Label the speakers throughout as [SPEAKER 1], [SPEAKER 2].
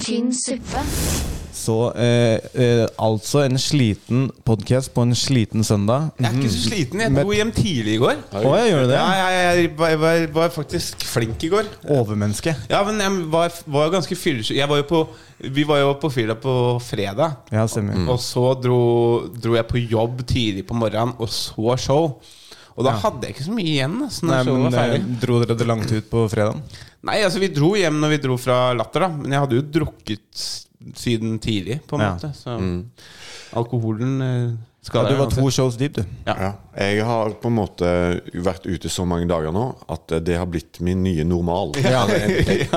[SPEAKER 1] tynn suppe.
[SPEAKER 2] Så eh, eh, altså en sliten podcast på en sliten søndag.
[SPEAKER 3] Jeg er ikke så sliten. Jeg dro hjem tidlig i går.
[SPEAKER 2] Mhm. Å, jeg gjør det?
[SPEAKER 3] Ja, jeg, jeg var, var, var faktisk flink i går.
[SPEAKER 2] Overmenneske.
[SPEAKER 3] Ja, men jeg var, var jo ganske fyllesyk. Jeg var jo på, vi var jo på fylla på fredag.
[SPEAKER 2] Ja, stemmer. Mm.
[SPEAKER 3] Og så dro, dro jeg på jobb tidlig på morgenen og så show. Og da hadde jeg ikke så mye igjen. da, Så når
[SPEAKER 2] Nei,
[SPEAKER 3] showet
[SPEAKER 2] men
[SPEAKER 3] var
[SPEAKER 2] eh,
[SPEAKER 3] ferdig
[SPEAKER 2] Dro dere det langt ut på fredagen?
[SPEAKER 3] Nei, altså vi dro hjem når vi dro fra Latter, da. Men jeg hadde jo drukket s- siden tidlig, på en
[SPEAKER 2] Ja. Mm.
[SPEAKER 3] måte. Så alkoholen eh,
[SPEAKER 2] Ja, du
[SPEAKER 3] skader
[SPEAKER 2] var
[SPEAKER 3] uansett.
[SPEAKER 2] to shows deep, du.
[SPEAKER 4] Ja. Jeg har på en måte vært ute så mange dager nå at det har blitt min nye normal. Jeg, jeg,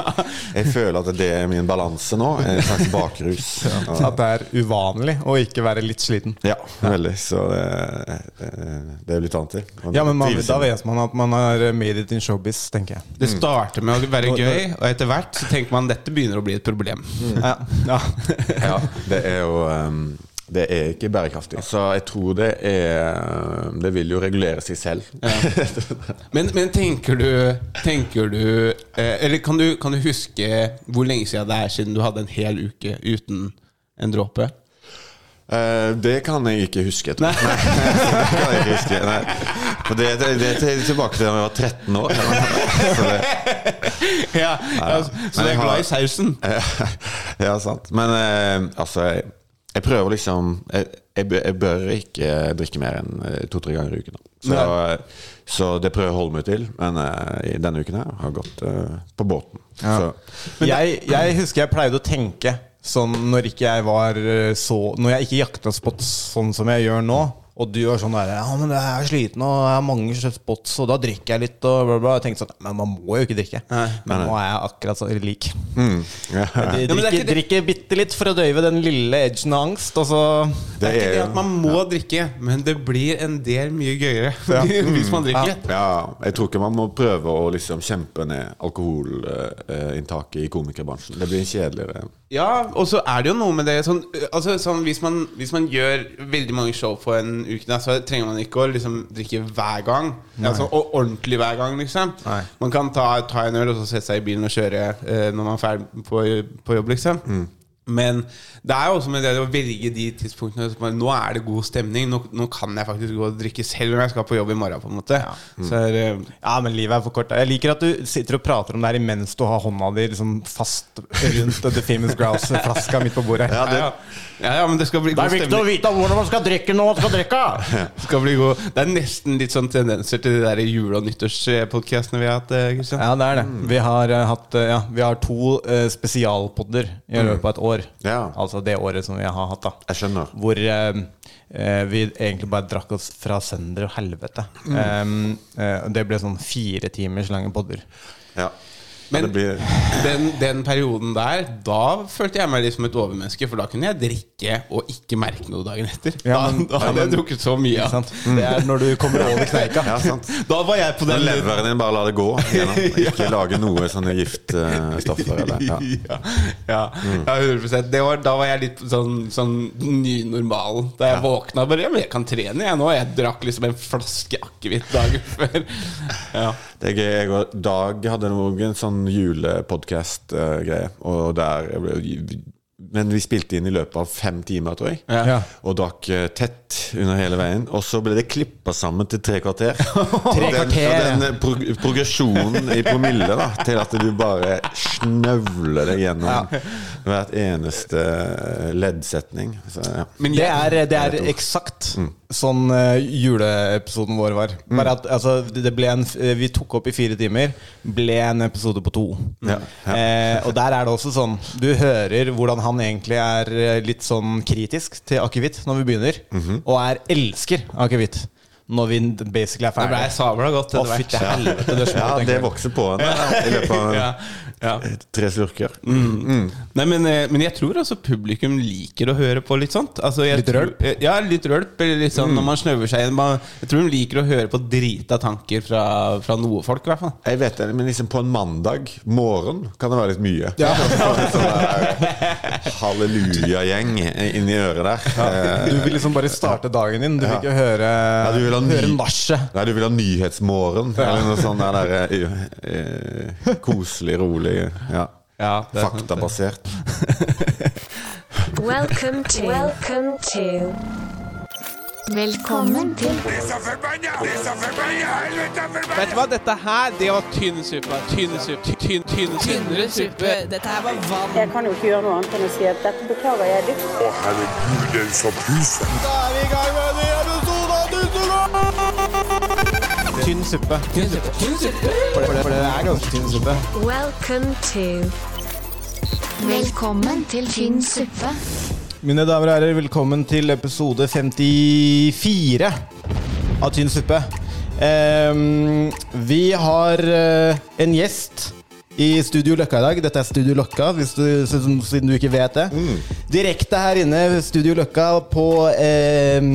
[SPEAKER 4] jeg føler at det er min balanse nå. En slags bakrus. Ja,
[SPEAKER 2] At det er uvanlig å ikke være litt sliten.
[SPEAKER 4] ja veldig. Så det, det er jo litt annet til. Og
[SPEAKER 2] Ja, men man,
[SPEAKER 4] trives
[SPEAKER 2] Da
[SPEAKER 4] jeg med.
[SPEAKER 2] vet man at man har made it in showbiz, tenker jeg.
[SPEAKER 3] Det starter med å
[SPEAKER 2] Nå-
[SPEAKER 3] være
[SPEAKER 2] nå-
[SPEAKER 3] gøy, og etter hvert så tenker man dette begynner å bli et problem.
[SPEAKER 2] Ja. Ja.
[SPEAKER 4] Mm. ja, det er jo ehm, Det er ikke bærekraftig. Så jeg tror det er um, Det vil jo regulere seg selv.
[SPEAKER 3] Men, men tenker du, tenker du eh, Eller kan du, kan du huske hvor lenge siden det er siden du hadde en hel uke uten en dråpe?
[SPEAKER 4] Eh, det kan jeg ikke huske. Tror jeg. Nei. det kan jeg ikke huske Nei. For det, det, det er til- tilbake til da jeg var 13 år. Så det,
[SPEAKER 3] Ja, altså, Så
[SPEAKER 4] Men
[SPEAKER 3] du er
[SPEAKER 4] jeg har-
[SPEAKER 3] glad i sausen?
[SPEAKER 4] eh, ja, sant. Men eh, altså jeg, jeg prøver liksom jeg, jeg, bø- jeg bør ikke drikke mer enn eh, to-tre ganger i uken. Da. Så, eh, så det prøver jeg å holde meg til. Men eh, i denne uken her har jeg gått eh, på båten. Så
[SPEAKER 2] Jeg, jeg husker jeg pleide å tenke sånn når ikke jeg var eh, så Når jeg ikke jakta spots sånn som jeg gjør nå, og du var sånn der Ja, men jeg er sliten, og jeg har mange spots, og da drikker jeg litt, og bla, bla. Jeg tenkte sånn Men man må jo ikke drikke. Men nå er jeg akkurat sånn lik.
[SPEAKER 4] mm, ja.
[SPEAKER 2] Jeg
[SPEAKER 3] Ja, men det er
[SPEAKER 2] drikker,
[SPEAKER 3] ikke det-
[SPEAKER 2] drikker bitte litt for å døyve den lille edgen av angst, og så
[SPEAKER 3] Det er ikke det
[SPEAKER 4] jo-
[SPEAKER 3] at man må drikke, men det blir en del mye gøyere hvis man drikker.
[SPEAKER 4] Mm. Ja, jeg tror ikke man må prøve å liksom kjempe ned alkoholinntaket i komikerbransjen. Det blir kjedeligere.
[SPEAKER 3] Ja, og så er det jo noe med det sånn, øh, altså, sånn, hvis, man, hvis man gjør veldig mange show på en uke, da, så trenger man ikke å liksom, drikke hver gang. Altså, og ordentlig hver gang, liksom.
[SPEAKER 2] Nei.
[SPEAKER 3] Man kan ta, ta en øl og så sette seg i bilen og kjøre eh, når man er ferdig på, på jobb, liksom. Men det er jo også med det å velge de tidspunktene som man- Nå er det god stemning. Nå, nå kan jeg faktisk gå og drikke selv om jeg skal på jobb i morgen. på en måte Så er, eh,
[SPEAKER 2] Ja, men livet er for kort. Jeg liker at du sitter og prater om det her imens du har hånda di liksom fast rundt The Famous Grouse-flaska midt på bordet.
[SPEAKER 3] ja, ja, ja, ja, men det skal bli god stemning.
[SPEAKER 2] vite hvordan man skal drikke når man skal drikke.
[SPEAKER 3] skal bli god. Det er nesten litt sånn tendenser til de der jule- og nyttårspodkastene vi har hatt. eh, Christian.
[SPEAKER 2] Ja, det er det. Vi har, eh, hatt, eh, ja, vi har to eh, spesialpodder i løpet av et år.
[SPEAKER 4] Ja.
[SPEAKER 2] Altså det året som vi har hatt, da.
[SPEAKER 4] Jeg skjønner.
[SPEAKER 2] Hvor eh, eh, vi egentlig bare drakk oss fra sønder og helvete. Eh, eh, det ble sånn fire timers lange podder.
[SPEAKER 4] Ja. Men,
[SPEAKER 3] Men
[SPEAKER 4] det blir
[SPEAKER 3] den, den perioden der, da følte jeg meg litt som et overmenneske, for da kunne jeg drikke og ikke merke noe dagen etter.
[SPEAKER 2] Ja, men-
[SPEAKER 3] da, da hadde jeg drukket så mye.
[SPEAKER 2] Ikke
[SPEAKER 3] Ja.
[SPEAKER 2] sant? Mm. Det er når du kommer over kneika.
[SPEAKER 4] Ja, sant.
[SPEAKER 3] Da var jeg på den
[SPEAKER 4] Den leveren din bare lar det gå gjennom. Ikke lage noe sånn eh, sånne giftstoffer eller
[SPEAKER 3] Ja,
[SPEAKER 4] ja.
[SPEAKER 3] ja, ja
[SPEAKER 2] Mm.
[SPEAKER 3] 100% det var, Da var jeg litt sånn, sånn ny normal. Da jeg våkna bare ja, men 'Jeg kan trene, jeg nå.' Jeg drakk liksom en flaske akevitt dagen før. Ja.
[SPEAKER 4] Det er gøy. Jeg og Dag hadde noe en sånn julepodkast-greie, og der Men vi spilte inn i løpet av fem timer, tror jeg.
[SPEAKER 3] Ja.
[SPEAKER 2] Ja.
[SPEAKER 4] Og drakk eh, tett under hele veien. Og så ble det klippa sammen til tre kvarter. Og den-
[SPEAKER 2] kvarter,
[SPEAKER 4] Og den, eh, pro progresjonen i promille da til at du bare snøvler deg gjennom hvert eneste eh, leddsetning. Så, ja.
[SPEAKER 3] Men
[SPEAKER 2] Det
[SPEAKER 3] jeg,
[SPEAKER 2] er, det er eksakt
[SPEAKER 4] Mm.
[SPEAKER 2] sånn eh, juleepisoden vår var. Bare at altså, det det ble en, f- eh, Vi tok opp i fire timer, ble en episode på to.
[SPEAKER 4] Mm. Ja, ja.
[SPEAKER 2] Eh, og der er det også sånn Du hører hvordan han egentlig er eh, litt sånn kritisk til akevitt når vi begynner,
[SPEAKER 4] Mhm.
[SPEAKER 2] og er elsker akevitt når vi basically er
[SPEAKER 3] Da ble
[SPEAKER 2] ferdig.
[SPEAKER 3] jeg sabla godt
[SPEAKER 2] Å,
[SPEAKER 3] etter
[SPEAKER 2] fytti
[SPEAKER 3] hvert.
[SPEAKER 2] helvete, det er små,
[SPEAKER 4] ja,
[SPEAKER 2] tenker
[SPEAKER 4] det
[SPEAKER 2] jeg.
[SPEAKER 4] vokser på en da, i løpet av
[SPEAKER 3] Ja, ja.
[SPEAKER 4] tre slurker.
[SPEAKER 3] Nei, men, eh, men jeg tror altså publikum liker å høre på litt sånt. Altså, jeg
[SPEAKER 2] Litt Mm.
[SPEAKER 3] tror- Ja, litt rølp. Eller litt sånn når man snøver seg inn. Man, jeg tror de liker å høre på drita tanker fra, fra noe folk, i hvert fall.
[SPEAKER 4] Jeg vet det, men liksom på en mandag morgen kan det være litt mye. Sånn der Halleluja-gjeng inni øret der. Eh,
[SPEAKER 2] Du vil liksom bare starte dagen din. Du vil ikke høre,
[SPEAKER 4] Ja, du vil ha ny-
[SPEAKER 2] høre nachet.
[SPEAKER 4] Nei, du vil ha Nyhetsmorgen, eller noe sånt der, der eh, eh, koselig, eh, rolig ja.
[SPEAKER 3] Ja, det er sant.
[SPEAKER 4] Faktabasert.
[SPEAKER 1] Welcome to Welcome to Velkommen til
[SPEAKER 3] Vet du hva, dette her, det var tynn suppe. Tynn suppe. Tynn, tynn, tynnere suppe.
[SPEAKER 5] Dette her var vann.
[SPEAKER 6] Jeg kan jo ikke gjøre noe annet enn å si at dette beklager jeg dypt.
[SPEAKER 7] Å, herregud, den som puser.
[SPEAKER 2] Tynn suppe. Tynn suppe. For, det, for det er ganske tynn suppe.
[SPEAKER 1] Welcome to Velkommen til tynn suppe.
[SPEAKER 2] Mine damer og herrer, velkommen til episode 54 av Tynn suppe. Ehm, vi har eh, en gjest i Studio Løkka i dag. Dette er Studio Løkka, hvis du, siden siden du ikke vet det.
[SPEAKER 3] Mm.
[SPEAKER 2] Direkte her inne, Studio Løkka, på ehm,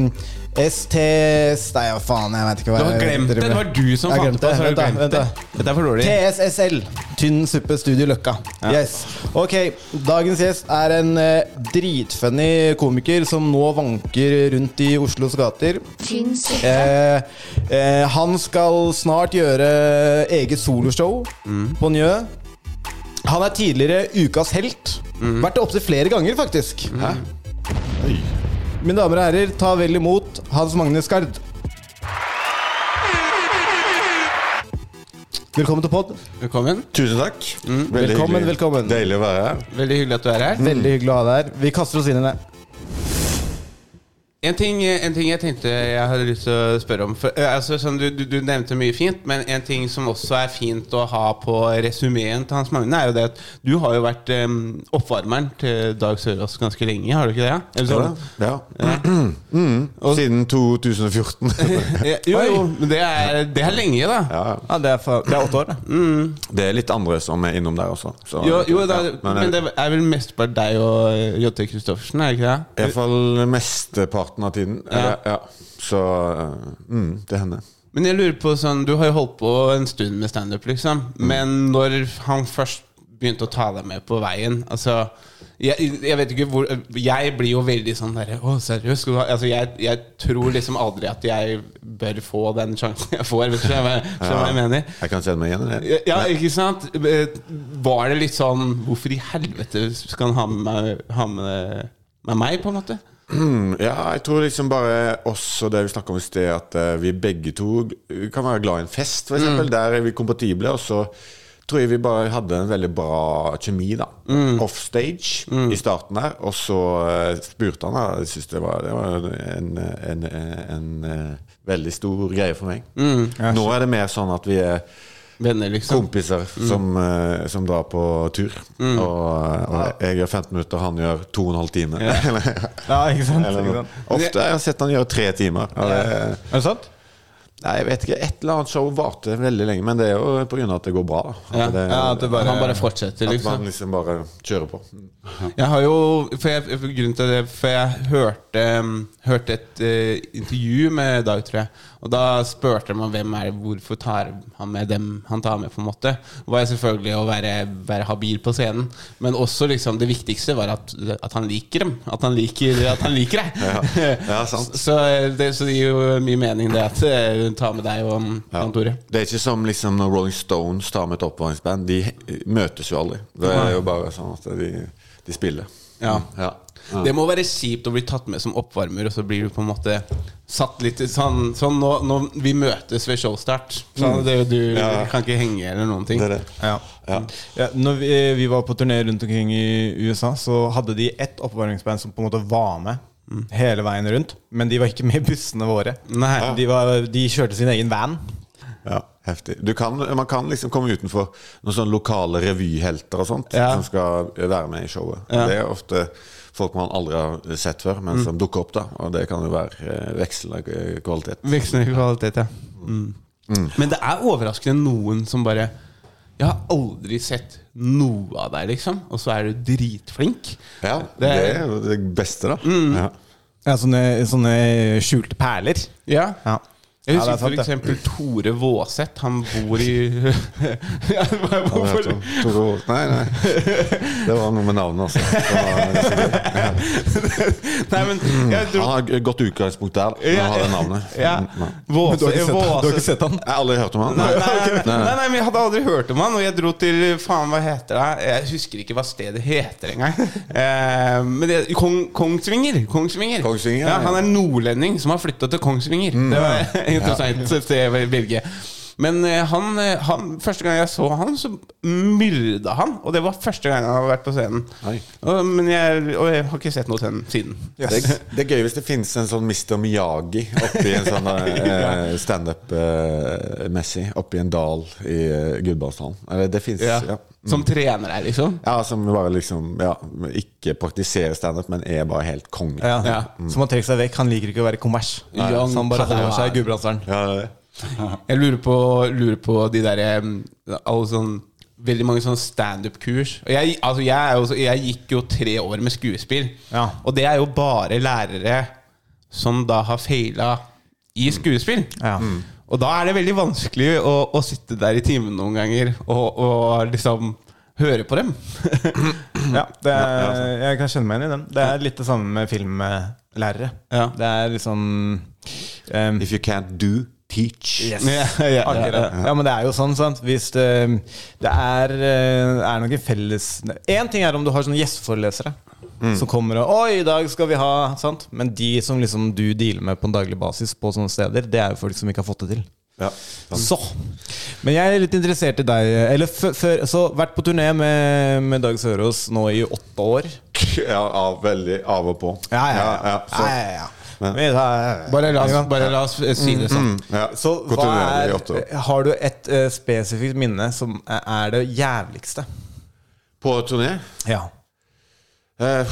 [SPEAKER 2] ST Nei, ja, faen, jeg vet ikke hva
[SPEAKER 3] Du har
[SPEAKER 2] jeg
[SPEAKER 3] glemt det.
[SPEAKER 2] driver
[SPEAKER 3] Det
[SPEAKER 2] med.
[SPEAKER 3] var du som
[SPEAKER 2] Jeg
[SPEAKER 3] fant
[SPEAKER 2] glemte
[SPEAKER 3] på det, så har du
[SPEAKER 2] Vent da,
[SPEAKER 3] glemt
[SPEAKER 2] vent da.
[SPEAKER 3] det. Dette er for dårlig.
[SPEAKER 2] TSSL. Tynn suppe Studio Løkka. Yes. Ok, dagens gjest er en eh, dritfunny komiker som nå vanker rundt i Oslos gater.
[SPEAKER 1] Tynn suppe.
[SPEAKER 2] Eh, eh, han skal snart gjøre eh, eget soloshow på Njø. Han er tidligere ukas helt. Vært det opptil flere ganger, faktisk. Hæ? Mine damer og herrer, ta vel imot Hans Magne Skard. Velkommen til pod.
[SPEAKER 3] Velkommen.
[SPEAKER 4] Tusen takk.
[SPEAKER 3] Mm.
[SPEAKER 4] Veldig
[SPEAKER 2] Velkommen,
[SPEAKER 4] hyggelig.
[SPEAKER 2] velkommen.
[SPEAKER 4] Deilig å være her.
[SPEAKER 3] Veldig hyggelig at du er her.
[SPEAKER 2] Veldig hyggelig å ha deg her. Vi kaster oss inn i det.
[SPEAKER 3] En ting, en ting jeg tenkte jeg hadde lyst til å spørre om for, eh, altså, sånn, du, du, du nevnte mye fint, men en ting som også er fint å ha på resumeen til Hans Magne, er jo det at du har jo vært eh, oppvarmeren til Dag Sørås ganske lenge, har du ikke det? Eller
[SPEAKER 4] Ja,
[SPEAKER 3] sånn?
[SPEAKER 4] da. ja. Mm. Siden 2014.
[SPEAKER 3] Ja, jo, jo, men det er, det er lenge, da. Mm,
[SPEAKER 4] ja.
[SPEAKER 2] Ja, det, er for, det er åtte år, det.
[SPEAKER 4] Det er litt andre som er innom der også. Så,
[SPEAKER 3] Jo, jo da,
[SPEAKER 4] ja,
[SPEAKER 3] men,
[SPEAKER 4] men eh,
[SPEAKER 3] det er vel mest bare deg og eh, J.T. Christoffersen, er det ikke det?
[SPEAKER 4] Iallfall mesteparten av tiden. Eller, ja. Så mm, det hender.
[SPEAKER 3] Men jeg lurer på sånn, Du har jo holdt på en stund med standup, liksom.
[SPEAKER 4] Mm.
[SPEAKER 3] Men når han først begynte å ta deg med på veien Altså, jeg, jeg vet ikke hvor Jeg blir jo veldig sånn derre Å, seriøst? Skal du ha Altså, jeg, jeg tror liksom aldri at jeg bør få den sjansen jeg får. Vet du hva jeg, skjønner du hva jeg mener?
[SPEAKER 4] Jeg kan kjenne meg igjen i det.
[SPEAKER 3] Ja, ikke sant? Eh, Var det litt sånn Hvorfor i helvete skal han ha med meg, ha med, med meg på en måte?
[SPEAKER 4] Mm, Ja, jeg tror liksom bare oss og det vi snakka om i sted, at eh, vi begge to kan være glad i en fest, f.eks. eksempel Der er vi kompatible. Og så tror jeg vi bare hadde en veldig bra kjemi, da. Offstage i starten her. Og så eh, spurte han, da. Jeg synes det var, det var en, en, en, eh, veldig stor greie for meg. Nå er det mer sånn at vi er
[SPEAKER 3] Venner, liksom?
[SPEAKER 4] kompiser som, eh, som drar på tur. Og, og jeg gjør 15 minutter, han gjør 2,5 timer. Eller-
[SPEAKER 2] Ja, ikke sant?
[SPEAKER 4] eller
[SPEAKER 2] Ikke
[SPEAKER 4] noe.
[SPEAKER 2] sant?
[SPEAKER 4] Ofte har jeg sett han gjøre tre timer. Og det,
[SPEAKER 2] Er det sant?
[SPEAKER 4] nei, jeg vet ikke, Et eller annet show varte veldig lenge, men det er jo pga. at det går bra. da. At
[SPEAKER 3] Ja.
[SPEAKER 4] det,
[SPEAKER 2] Ja, at det bare-
[SPEAKER 3] han bare fortsetter,
[SPEAKER 4] at
[SPEAKER 3] liksom?
[SPEAKER 4] man liksom bare kjører på.
[SPEAKER 3] Jeg har jo For jeg, for grunnen til det For jeg hørte, um, hørte et eh, intervju med Dag, tror jeg. Og da spurte man hvem er det, hvorfor tar han med dem han tar med, på en måte. Det var jo selvfølgelig å være, være habil på scenen, men også liksom det viktigste var at, at han liker dem. At han liker, at han liker deg.
[SPEAKER 4] Ja, sant.
[SPEAKER 3] Så det, så det gir jo mye mening, det at eh, hun tar med deg og um, Jan Tore.
[SPEAKER 4] Det er ikke som liksom når Rolling Stones tar med et oppvarmingsband. De møtes jo aldri. Det er jo bare sånn at de, de spiller.
[SPEAKER 3] Ja.
[SPEAKER 4] Ja.
[SPEAKER 3] Det må være kjipt å bli tatt med som oppvarmer, og så blir du på en måte satt litt i sånn, sånn nå, nå, Vi møtes ved showstart.
[SPEAKER 2] Mm.
[SPEAKER 3] Sånn, det, er jo du
[SPEAKER 4] Ja.
[SPEAKER 3] kan ikke henge eller noen ting.
[SPEAKER 4] Det er det.
[SPEAKER 2] Ja.
[SPEAKER 4] Ja.
[SPEAKER 2] Ja, når vi, eh, vi var på turné rundt omkring i USA, så hadde de ett oppvarmingsband som på en måte var med hele veien rundt. Men de var ikke med i bussene våre.
[SPEAKER 3] Nei.
[SPEAKER 2] De, var, de kjørte sin egen van.
[SPEAKER 4] Ja, heftig. Du kan, man kan liksom komme utenfor noen sånne lokale revyhelter og sånt
[SPEAKER 2] Ja.
[SPEAKER 4] som skal være med i showet. Det er ofte folk man aldri har sett før, men som dukker opp, da. Og det kan jo være eh, vekslende eh, kvalitet.
[SPEAKER 3] Vekslende kvalitet, ja. Mm. Men det er overraskende noen som bare Jeg har aldri sett noe av deg, liksom. Og så er du dritflink.
[SPEAKER 4] Ja,
[SPEAKER 3] Det
[SPEAKER 4] det
[SPEAKER 3] er-
[SPEAKER 4] er jo det beste, da. Ja.
[SPEAKER 2] Ja, sånne, sånne skjulte perler.
[SPEAKER 3] Ja.
[SPEAKER 2] Ja. Ja, det
[SPEAKER 3] Jeg husker
[SPEAKER 2] er sant,
[SPEAKER 3] for
[SPEAKER 2] det.
[SPEAKER 3] eksempel Tore Våseth. Han bor i ja, det var-
[SPEAKER 4] Hva
[SPEAKER 3] hvorfor-
[SPEAKER 4] heter han? Tore Holt? Nei, nei. Det var noe med navnet, altså. Det var,
[SPEAKER 3] Nei, men jeg
[SPEAKER 4] han
[SPEAKER 3] tror
[SPEAKER 4] har et godt utgangspunkt der. men Han har det navnet.
[SPEAKER 3] ja.
[SPEAKER 4] Nei.
[SPEAKER 3] Våse,
[SPEAKER 2] Mm, Du har ikke sett,
[SPEAKER 3] Våse-
[SPEAKER 2] du har ikke sett han?
[SPEAKER 4] Jeg har aldri hørt om han.
[SPEAKER 3] Nei, nei, nei,
[SPEAKER 4] Nei, nei.
[SPEAKER 3] nei, nei, men jeg hadde aldri hørt om han, og jeg dro til Faen, hva heter det? Jeg husker ikke hva stedet heter engang. Eh, men det, Kong, Kongsvinger. Kongsvinger.
[SPEAKER 4] Kongsvinger,
[SPEAKER 3] ja,
[SPEAKER 4] ja.
[SPEAKER 3] Han er nordlending som har flytta til Kongsvinger.
[SPEAKER 2] Mm.
[SPEAKER 3] Det var interessant å se Birge. Men eh, han, eh, han, første gang jeg så han, så myrda han. Og det var første gang han hadde vært på scenen.
[SPEAKER 4] Oi.
[SPEAKER 3] Og, men jeg, og jeg har ikke sett noe til ham siden.
[SPEAKER 4] Det, det er gøy hvis det finnes en sånn Mr. Miyagi oppi en sånn eh, standup-messig. oppi en dal i eh, Gudbrandsdalen. Eller det finnes
[SPEAKER 3] Ja.
[SPEAKER 4] ja. Ja.
[SPEAKER 2] Mm.
[SPEAKER 3] Som trener her, liksom.
[SPEAKER 4] som bare liksom ja, ikke praktiserer standup, men er bare helt konge.
[SPEAKER 2] Ja.
[SPEAKER 3] Ja.
[SPEAKER 2] Så man trekker seg vekk. Han liker ikke å være kommers.
[SPEAKER 3] Nei.
[SPEAKER 2] Så han bare holder seg i Gudbrandsdalen.
[SPEAKER 4] Ja, det er det.
[SPEAKER 3] Jeg lurer på, lurer på de derre Alle sånn Veldig mange sånne standup-kurs. Og Jeg, altså jeg, er jo så- jeg gikk jo tre år med skuespill,
[SPEAKER 2] Ja.
[SPEAKER 3] og det er jo bare lærere som da har feila i skuespill.
[SPEAKER 2] Ja.
[SPEAKER 3] Og da er det veldig vanskelig å, å sitte der i timen noen ganger og, og liksom høre på dem.
[SPEAKER 2] Ja, det
[SPEAKER 3] altså.
[SPEAKER 2] er, jeg kan kjenne meg igjen i den. Det er litt det samme med filmlærere.
[SPEAKER 3] Ja.
[SPEAKER 2] Det er liksom um,
[SPEAKER 4] If you can't do, teach.
[SPEAKER 3] Ja, ja, ja,
[SPEAKER 2] Akkurat.
[SPEAKER 3] ja.
[SPEAKER 2] Ja, men det er jo sånn, sant. Hvis det, det er, eh, er noen felles Én ting er om du har sånne gjesteforelesere
[SPEAKER 3] Mm.
[SPEAKER 2] som kommer og Oi, i dag skal vi ha Sant. Men de som liksom du dealer med på en daglig basis på sånne steder, det er jo folk som ikke har fått det til.
[SPEAKER 4] Ja.
[SPEAKER 3] Mm.
[SPEAKER 2] Så. Men jeg er litt interessert i deg. Eller før, før, så vært på turné med, med Dag Sørås nå i åtte år.
[SPEAKER 4] ja, av, veldig av og på.
[SPEAKER 2] Ja, ja, ja.
[SPEAKER 4] så,
[SPEAKER 2] ja, ja, ja. Vi tar-
[SPEAKER 3] Bare la oss, bare la oss eh, si det sånn.
[SPEAKER 4] Mm, ja.
[SPEAKER 2] Så hva
[SPEAKER 4] Kontinuerlig i åtte
[SPEAKER 2] er,
[SPEAKER 4] år.
[SPEAKER 2] har du et eh, spesifikt minne som er- er det jævligste?
[SPEAKER 4] På turné?
[SPEAKER 2] Ja.
[SPEAKER 4] Eh,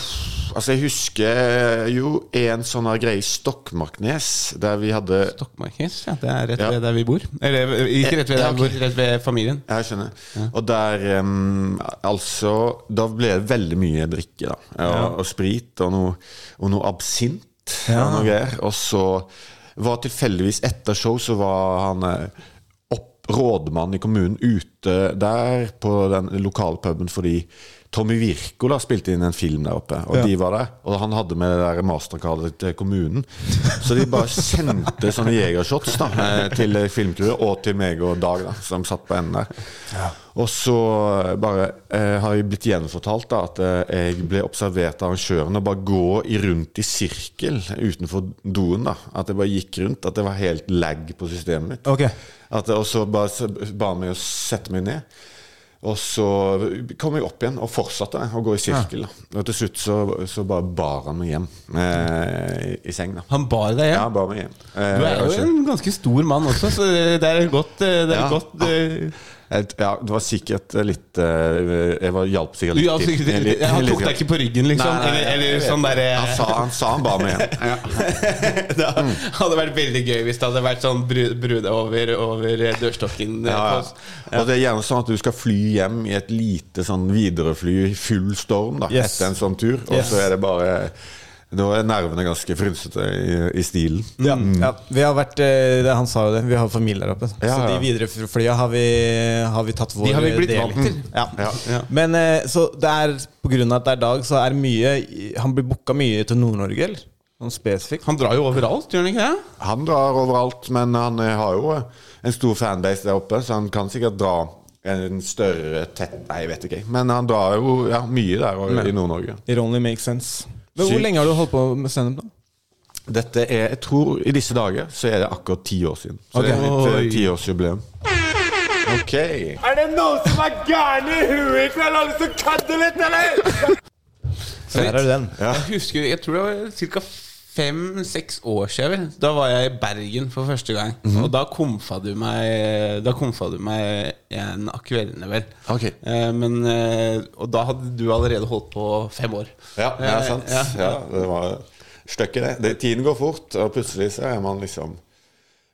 [SPEAKER 4] altså, jeg husker jo en sånn her greie i Stokmarknes, der vi hadde
[SPEAKER 3] Stokmarkis, ja, det er rett
[SPEAKER 4] Mm-hmm. Ja.
[SPEAKER 3] ved der vi bor. Eller ikke rett ved der
[SPEAKER 4] Ja, ok.
[SPEAKER 3] vi bor, rett ved familien.
[SPEAKER 4] Jeg skjønner. Og der em, Altså, da ble det veldig mye drikke, da. Og, og sprit og noe, og noe absint og noe greier. Og så var tilfeldigvis etter show så var han eh, opp, rådmann i kommunen ute der på den lokalpuben fordi Tommy Wirkola spilte inn en film der oppe, og de var der. Og han hadde med det der mastercardet til kommunen. Så de bare sendte sånne jegershots da, eh, til filmturet, og til meg og Dag, da, som satt på enden der. Og så bare eh, har jeg blitt gjenfortalt da, at eh, jeg ble observert av arrangøren og bare gå i rundt i sirkel utenfor doen. da. At jeg bare gikk rundt. At det var helt lag på systemet mitt.
[SPEAKER 2] Ok.
[SPEAKER 4] At, og så bare så ba han meg å sette meg ned. Og så kom jeg opp igjen og fortsatte å gå i sirkel. Da. Og til slutt så, så bare bar han meg hjem eh, i, i seng. da.
[SPEAKER 3] Han bar deg hjem?
[SPEAKER 4] Ja, bar meg hjem. Eh,
[SPEAKER 3] Du er jo
[SPEAKER 4] kanskje-
[SPEAKER 3] en ganske stor mann også, så det er godt, eh, det er
[SPEAKER 4] Ja.
[SPEAKER 3] godt eh,
[SPEAKER 4] Et- Ja, det var sikkert litt eh, Jeg var, hjalp
[SPEAKER 3] Du
[SPEAKER 4] sikkert litt.
[SPEAKER 3] ja, sikkert,
[SPEAKER 4] til.
[SPEAKER 3] litt- altså, Han tok deg ikke på ryggen, liksom?
[SPEAKER 4] Nei, nei, nei,
[SPEAKER 3] eller eller
[SPEAKER 4] jeg vet
[SPEAKER 3] sånn derre
[SPEAKER 4] Han sa han, sa han ba meg igjen.
[SPEAKER 3] Det hadde vært veldig gøy hvis det hadde vært sånn bru- brude over, over eh, dørstokken. eh,
[SPEAKER 4] Ja,
[SPEAKER 3] på oss.
[SPEAKER 4] ja. Og det er gjerne sånn at du skal fly hjem i et lite sånn viderefly i full storm da,
[SPEAKER 2] Yes.
[SPEAKER 4] etter en sånn tur, og
[SPEAKER 2] Yes.
[SPEAKER 4] så er det bare Da er nervene ganske frynsete i, i stilen.
[SPEAKER 2] Ja, Mm. ja. Vi har vært, eh, det, han sa jo det, vi har familie der oppe.
[SPEAKER 4] Ja,
[SPEAKER 2] Så de
[SPEAKER 4] ja.
[SPEAKER 2] videre fl- flya har vi, har vi tatt vår
[SPEAKER 3] De har vi blitt
[SPEAKER 2] del.
[SPEAKER 3] vant til.
[SPEAKER 2] Ja.
[SPEAKER 4] Ja.
[SPEAKER 3] Ja.
[SPEAKER 2] Men eh, så det er på grunn av at det er Dag, så er mye i- Han blir booka mye til Nord-Norge, eller? Sånn spesifikt.
[SPEAKER 3] Han drar jo overalt, gjør han ikke det?
[SPEAKER 4] Han drar overalt, men han eh, har jo eh, en stor fanbase der oppe, så han kan sikkert dra en større tett Nei, jeg vet ikke. Men han drar jo ja, mye der og, i Nord-Norge.
[SPEAKER 2] It only makes sense. Men hvor
[SPEAKER 4] Sykt.
[SPEAKER 2] lenge har du holdt på med standup, da?
[SPEAKER 4] Dette er, jeg tror I disse dager så er det akkurat ti år siden. Så det er
[SPEAKER 2] Ok.
[SPEAKER 4] mitt eh,
[SPEAKER 2] Oi.
[SPEAKER 4] tiårsjubileum. Ok.
[SPEAKER 5] Er det noen som er gærne i huet i kveld? Har lyst til å kødde litt, eller?
[SPEAKER 2] Så der er den.
[SPEAKER 3] Jeg husker, jeg tror det var ca. fem-seks år siden. Vel. Da var jeg i Bergen for første gang.
[SPEAKER 4] Mhm.
[SPEAKER 3] Og da komfa du meg Da komfa du meg en av kveldene, vel.
[SPEAKER 4] Ok.
[SPEAKER 3] Eh, men, eh, og da hadde du allerede holdt på fem år.
[SPEAKER 4] Ja, ja
[SPEAKER 3] Eh,
[SPEAKER 4] sant.
[SPEAKER 3] ja.
[SPEAKER 4] Ja, det var støkket, det. det. Tiden går fort, og plutselig så er man liksom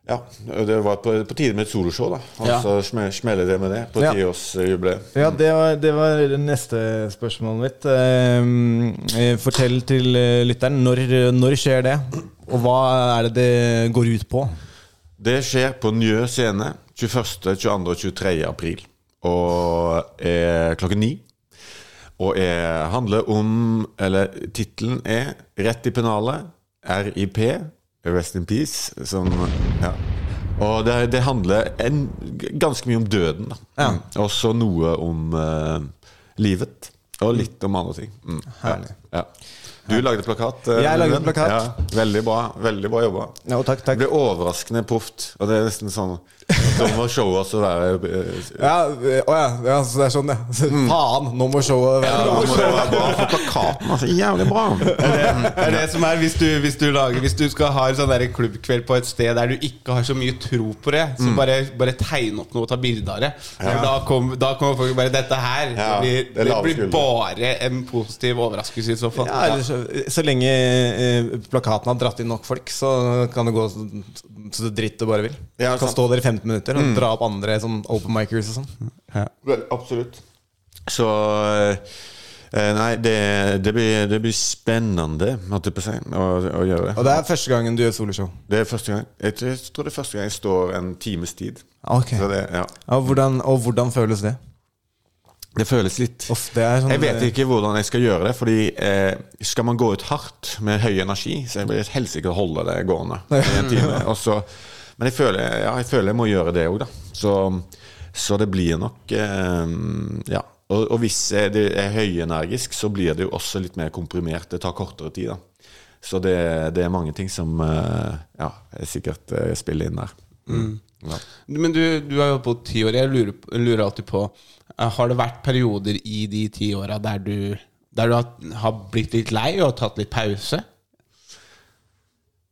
[SPEAKER 4] Ja. Det var på, på tide med et soloshow, da. Og
[SPEAKER 3] Ja.
[SPEAKER 4] så smel- smeller det med det på
[SPEAKER 2] Ja.
[SPEAKER 4] tiårsjubileum.
[SPEAKER 2] Ja, det var, det var det neste spørsmålet mitt. Ehm, eh, fortell til eh, lytteren, når, når skjer det? Og hva er det det går ut på?
[SPEAKER 4] Det skjer på Njø scene 21., 22. og 23. april. Og er klokken ni. Og er, handler om Eller tittelen er 'Rett i pennalet'. RIP. Rest in peace. Som Ja. Og det, det handler en, ganske mye om døden, da. Mm. Også noe om eh, livet. Og litt om andre ting. Mm.
[SPEAKER 2] Herlig.
[SPEAKER 4] Ja. Du lagde plakat. eh,
[SPEAKER 2] Jeg lagde
[SPEAKER 4] Ruben.
[SPEAKER 2] plakat.
[SPEAKER 4] Ja, veldig bra. Veldig bra jobba.
[SPEAKER 2] Ja, og takk, takk.
[SPEAKER 4] Det ble overraskende proft. Og det er nesten sånn Da må showet også være eh,
[SPEAKER 2] Ja, øh, å ja, ja, så det er sånn, ja. Så, Faen, nå må showet være
[SPEAKER 4] Da må det være bra for plakaten. Altså, jævlig bra.
[SPEAKER 3] Det er det som er hvis du, hvis du, lager, hvis du skal ha en sånn der klubbkveld på et sted der du ikke har så mye tro på det,
[SPEAKER 4] Mm.
[SPEAKER 3] så bare, bare tegn opp noe og ta bilde av det. For Da kommer da kommer folk bare Dette her
[SPEAKER 4] Ja,
[SPEAKER 3] blir,
[SPEAKER 4] det er
[SPEAKER 3] det
[SPEAKER 4] lave
[SPEAKER 3] blir
[SPEAKER 4] skuldre.
[SPEAKER 3] bare en positiv overraskelse i så fall.
[SPEAKER 2] Ja, eller så, så lenge eh, plakaten har dratt inn nok folk, så kan det gå så, så dritt du bare vil.
[SPEAKER 4] Ja,
[SPEAKER 2] kan
[SPEAKER 4] sant.
[SPEAKER 2] stå der i 15 minutter og dra opp andre sånn open micers og sånn.
[SPEAKER 4] Vel, absolutt. Så eh, Nei, det, det, blir, det blir spennende, holdt jeg på å si, å, å gjøre
[SPEAKER 2] Og
[SPEAKER 4] det.
[SPEAKER 2] det er første gangen du gjør soloshow.
[SPEAKER 4] Det er første gang Jeg tror- jeg tror det er første gang jeg står en times tid.
[SPEAKER 2] Ok.
[SPEAKER 4] Så det, ja.
[SPEAKER 2] Ja, hvordan, og hvordan føles det?
[SPEAKER 4] det føles litt
[SPEAKER 2] Uff, det er sånn,
[SPEAKER 4] Jeg vet ikke hvordan jeg skal gjøre det, Fordi eh, skal man gå ut hardt med høy energi, så blir det helsike å holde det gående i en time. Og så, men jeg føler, ja, jeg føler jeg må gjøre det òg, da. Så, så det blir nok eh, Ja. Og, og hvis jeg- det er høyenergisk, så blir det jo også litt mer komprimert. Det tar kortere tid, da. Så det, det er mange ting som eh, ja, jeg sikkert eh, spiller inn der. Ja.
[SPEAKER 3] Men du, du har jo holdt på i ti år. Jeg lurer, på- lurer alltid på eh, Har det vært perioder i de ti åra der du, der du har, har blitt litt lei og tatt litt pause?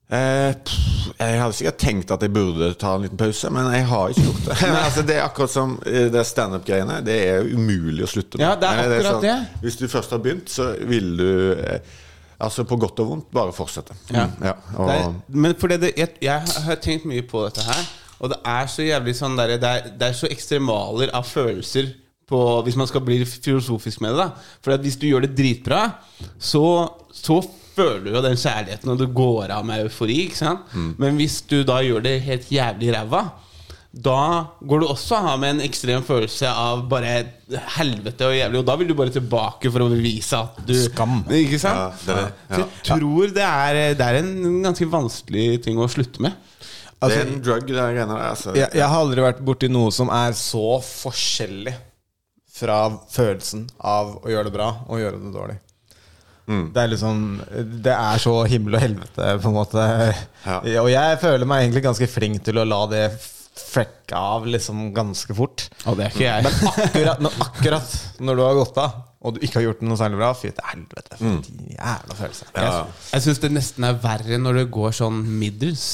[SPEAKER 4] Eh, pff, jeg hadde sikkert tenkt at jeg burde ta en liten pause, men jeg har ikke gjort det. Men altså, det er akkurat som eh, det standup-greiene. Det er jo umulig å slutte med.
[SPEAKER 3] Ja, det er
[SPEAKER 4] Eh,
[SPEAKER 3] akkurat
[SPEAKER 4] sånn, Hvis du først har begynt, så vil du eh, Altså på godt og vondt bare fortsette.
[SPEAKER 3] Ja.
[SPEAKER 4] Mm, og,
[SPEAKER 3] det er, men fordi det, jeg, jeg har tenkt mye på dette her, og det er så jævlig sånn der, det, er, det er så ekstremaler av følelser på, hvis man skal bli filosofisk med det. da For at hvis du gjør det dritbra, så, så føler du jo den kjærligheten, og du går av med eufori. Ikke sant?
[SPEAKER 4] Mm.
[SPEAKER 3] Men hvis du da gjør det helt jævlig ræva, da går du også av med en ekstrem følelse av bare helvete og jævlig, og da vil du bare tilbake for å bevise at du
[SPEAKER 2] Skam.
[SPEAKER 3] Ikke sant?
[SPEAKER 4] Ja, det er det.
[SPEAKER 3] Så jeg tror det er, eh, det er en ganske vanskelig ting å slutte med.
[SPEAKER 4] det
[SPEAKER 2] Altså,
[SPEAKER 4] er en drug, det er greiene der. Altså.
[SPEAKER 2] jeg, jeg har aldri vært borti noe som er så forskjellig fra følelsen av å gjøre det bra og gjøre det dårlig. Det er liksom Det er så himmel og helvete, på en måte.
[SPEAKER 4] Ja.
[SPEAKER 2] Og jeg føler meg egentlig ganske flink til å la det frekke av liksom ganske fort.
[SPEAKER 3] Og det er ikke jeg.
[SPEAKER 2] Men akkurat, når, akkurat når du har gått av, og du ikke har gjort noe særlig bra, fy til helvete. For en jævla følelse. Jeg-
[SPEAKER 3] Jeg syns det nesten er verre når det går sånn middels.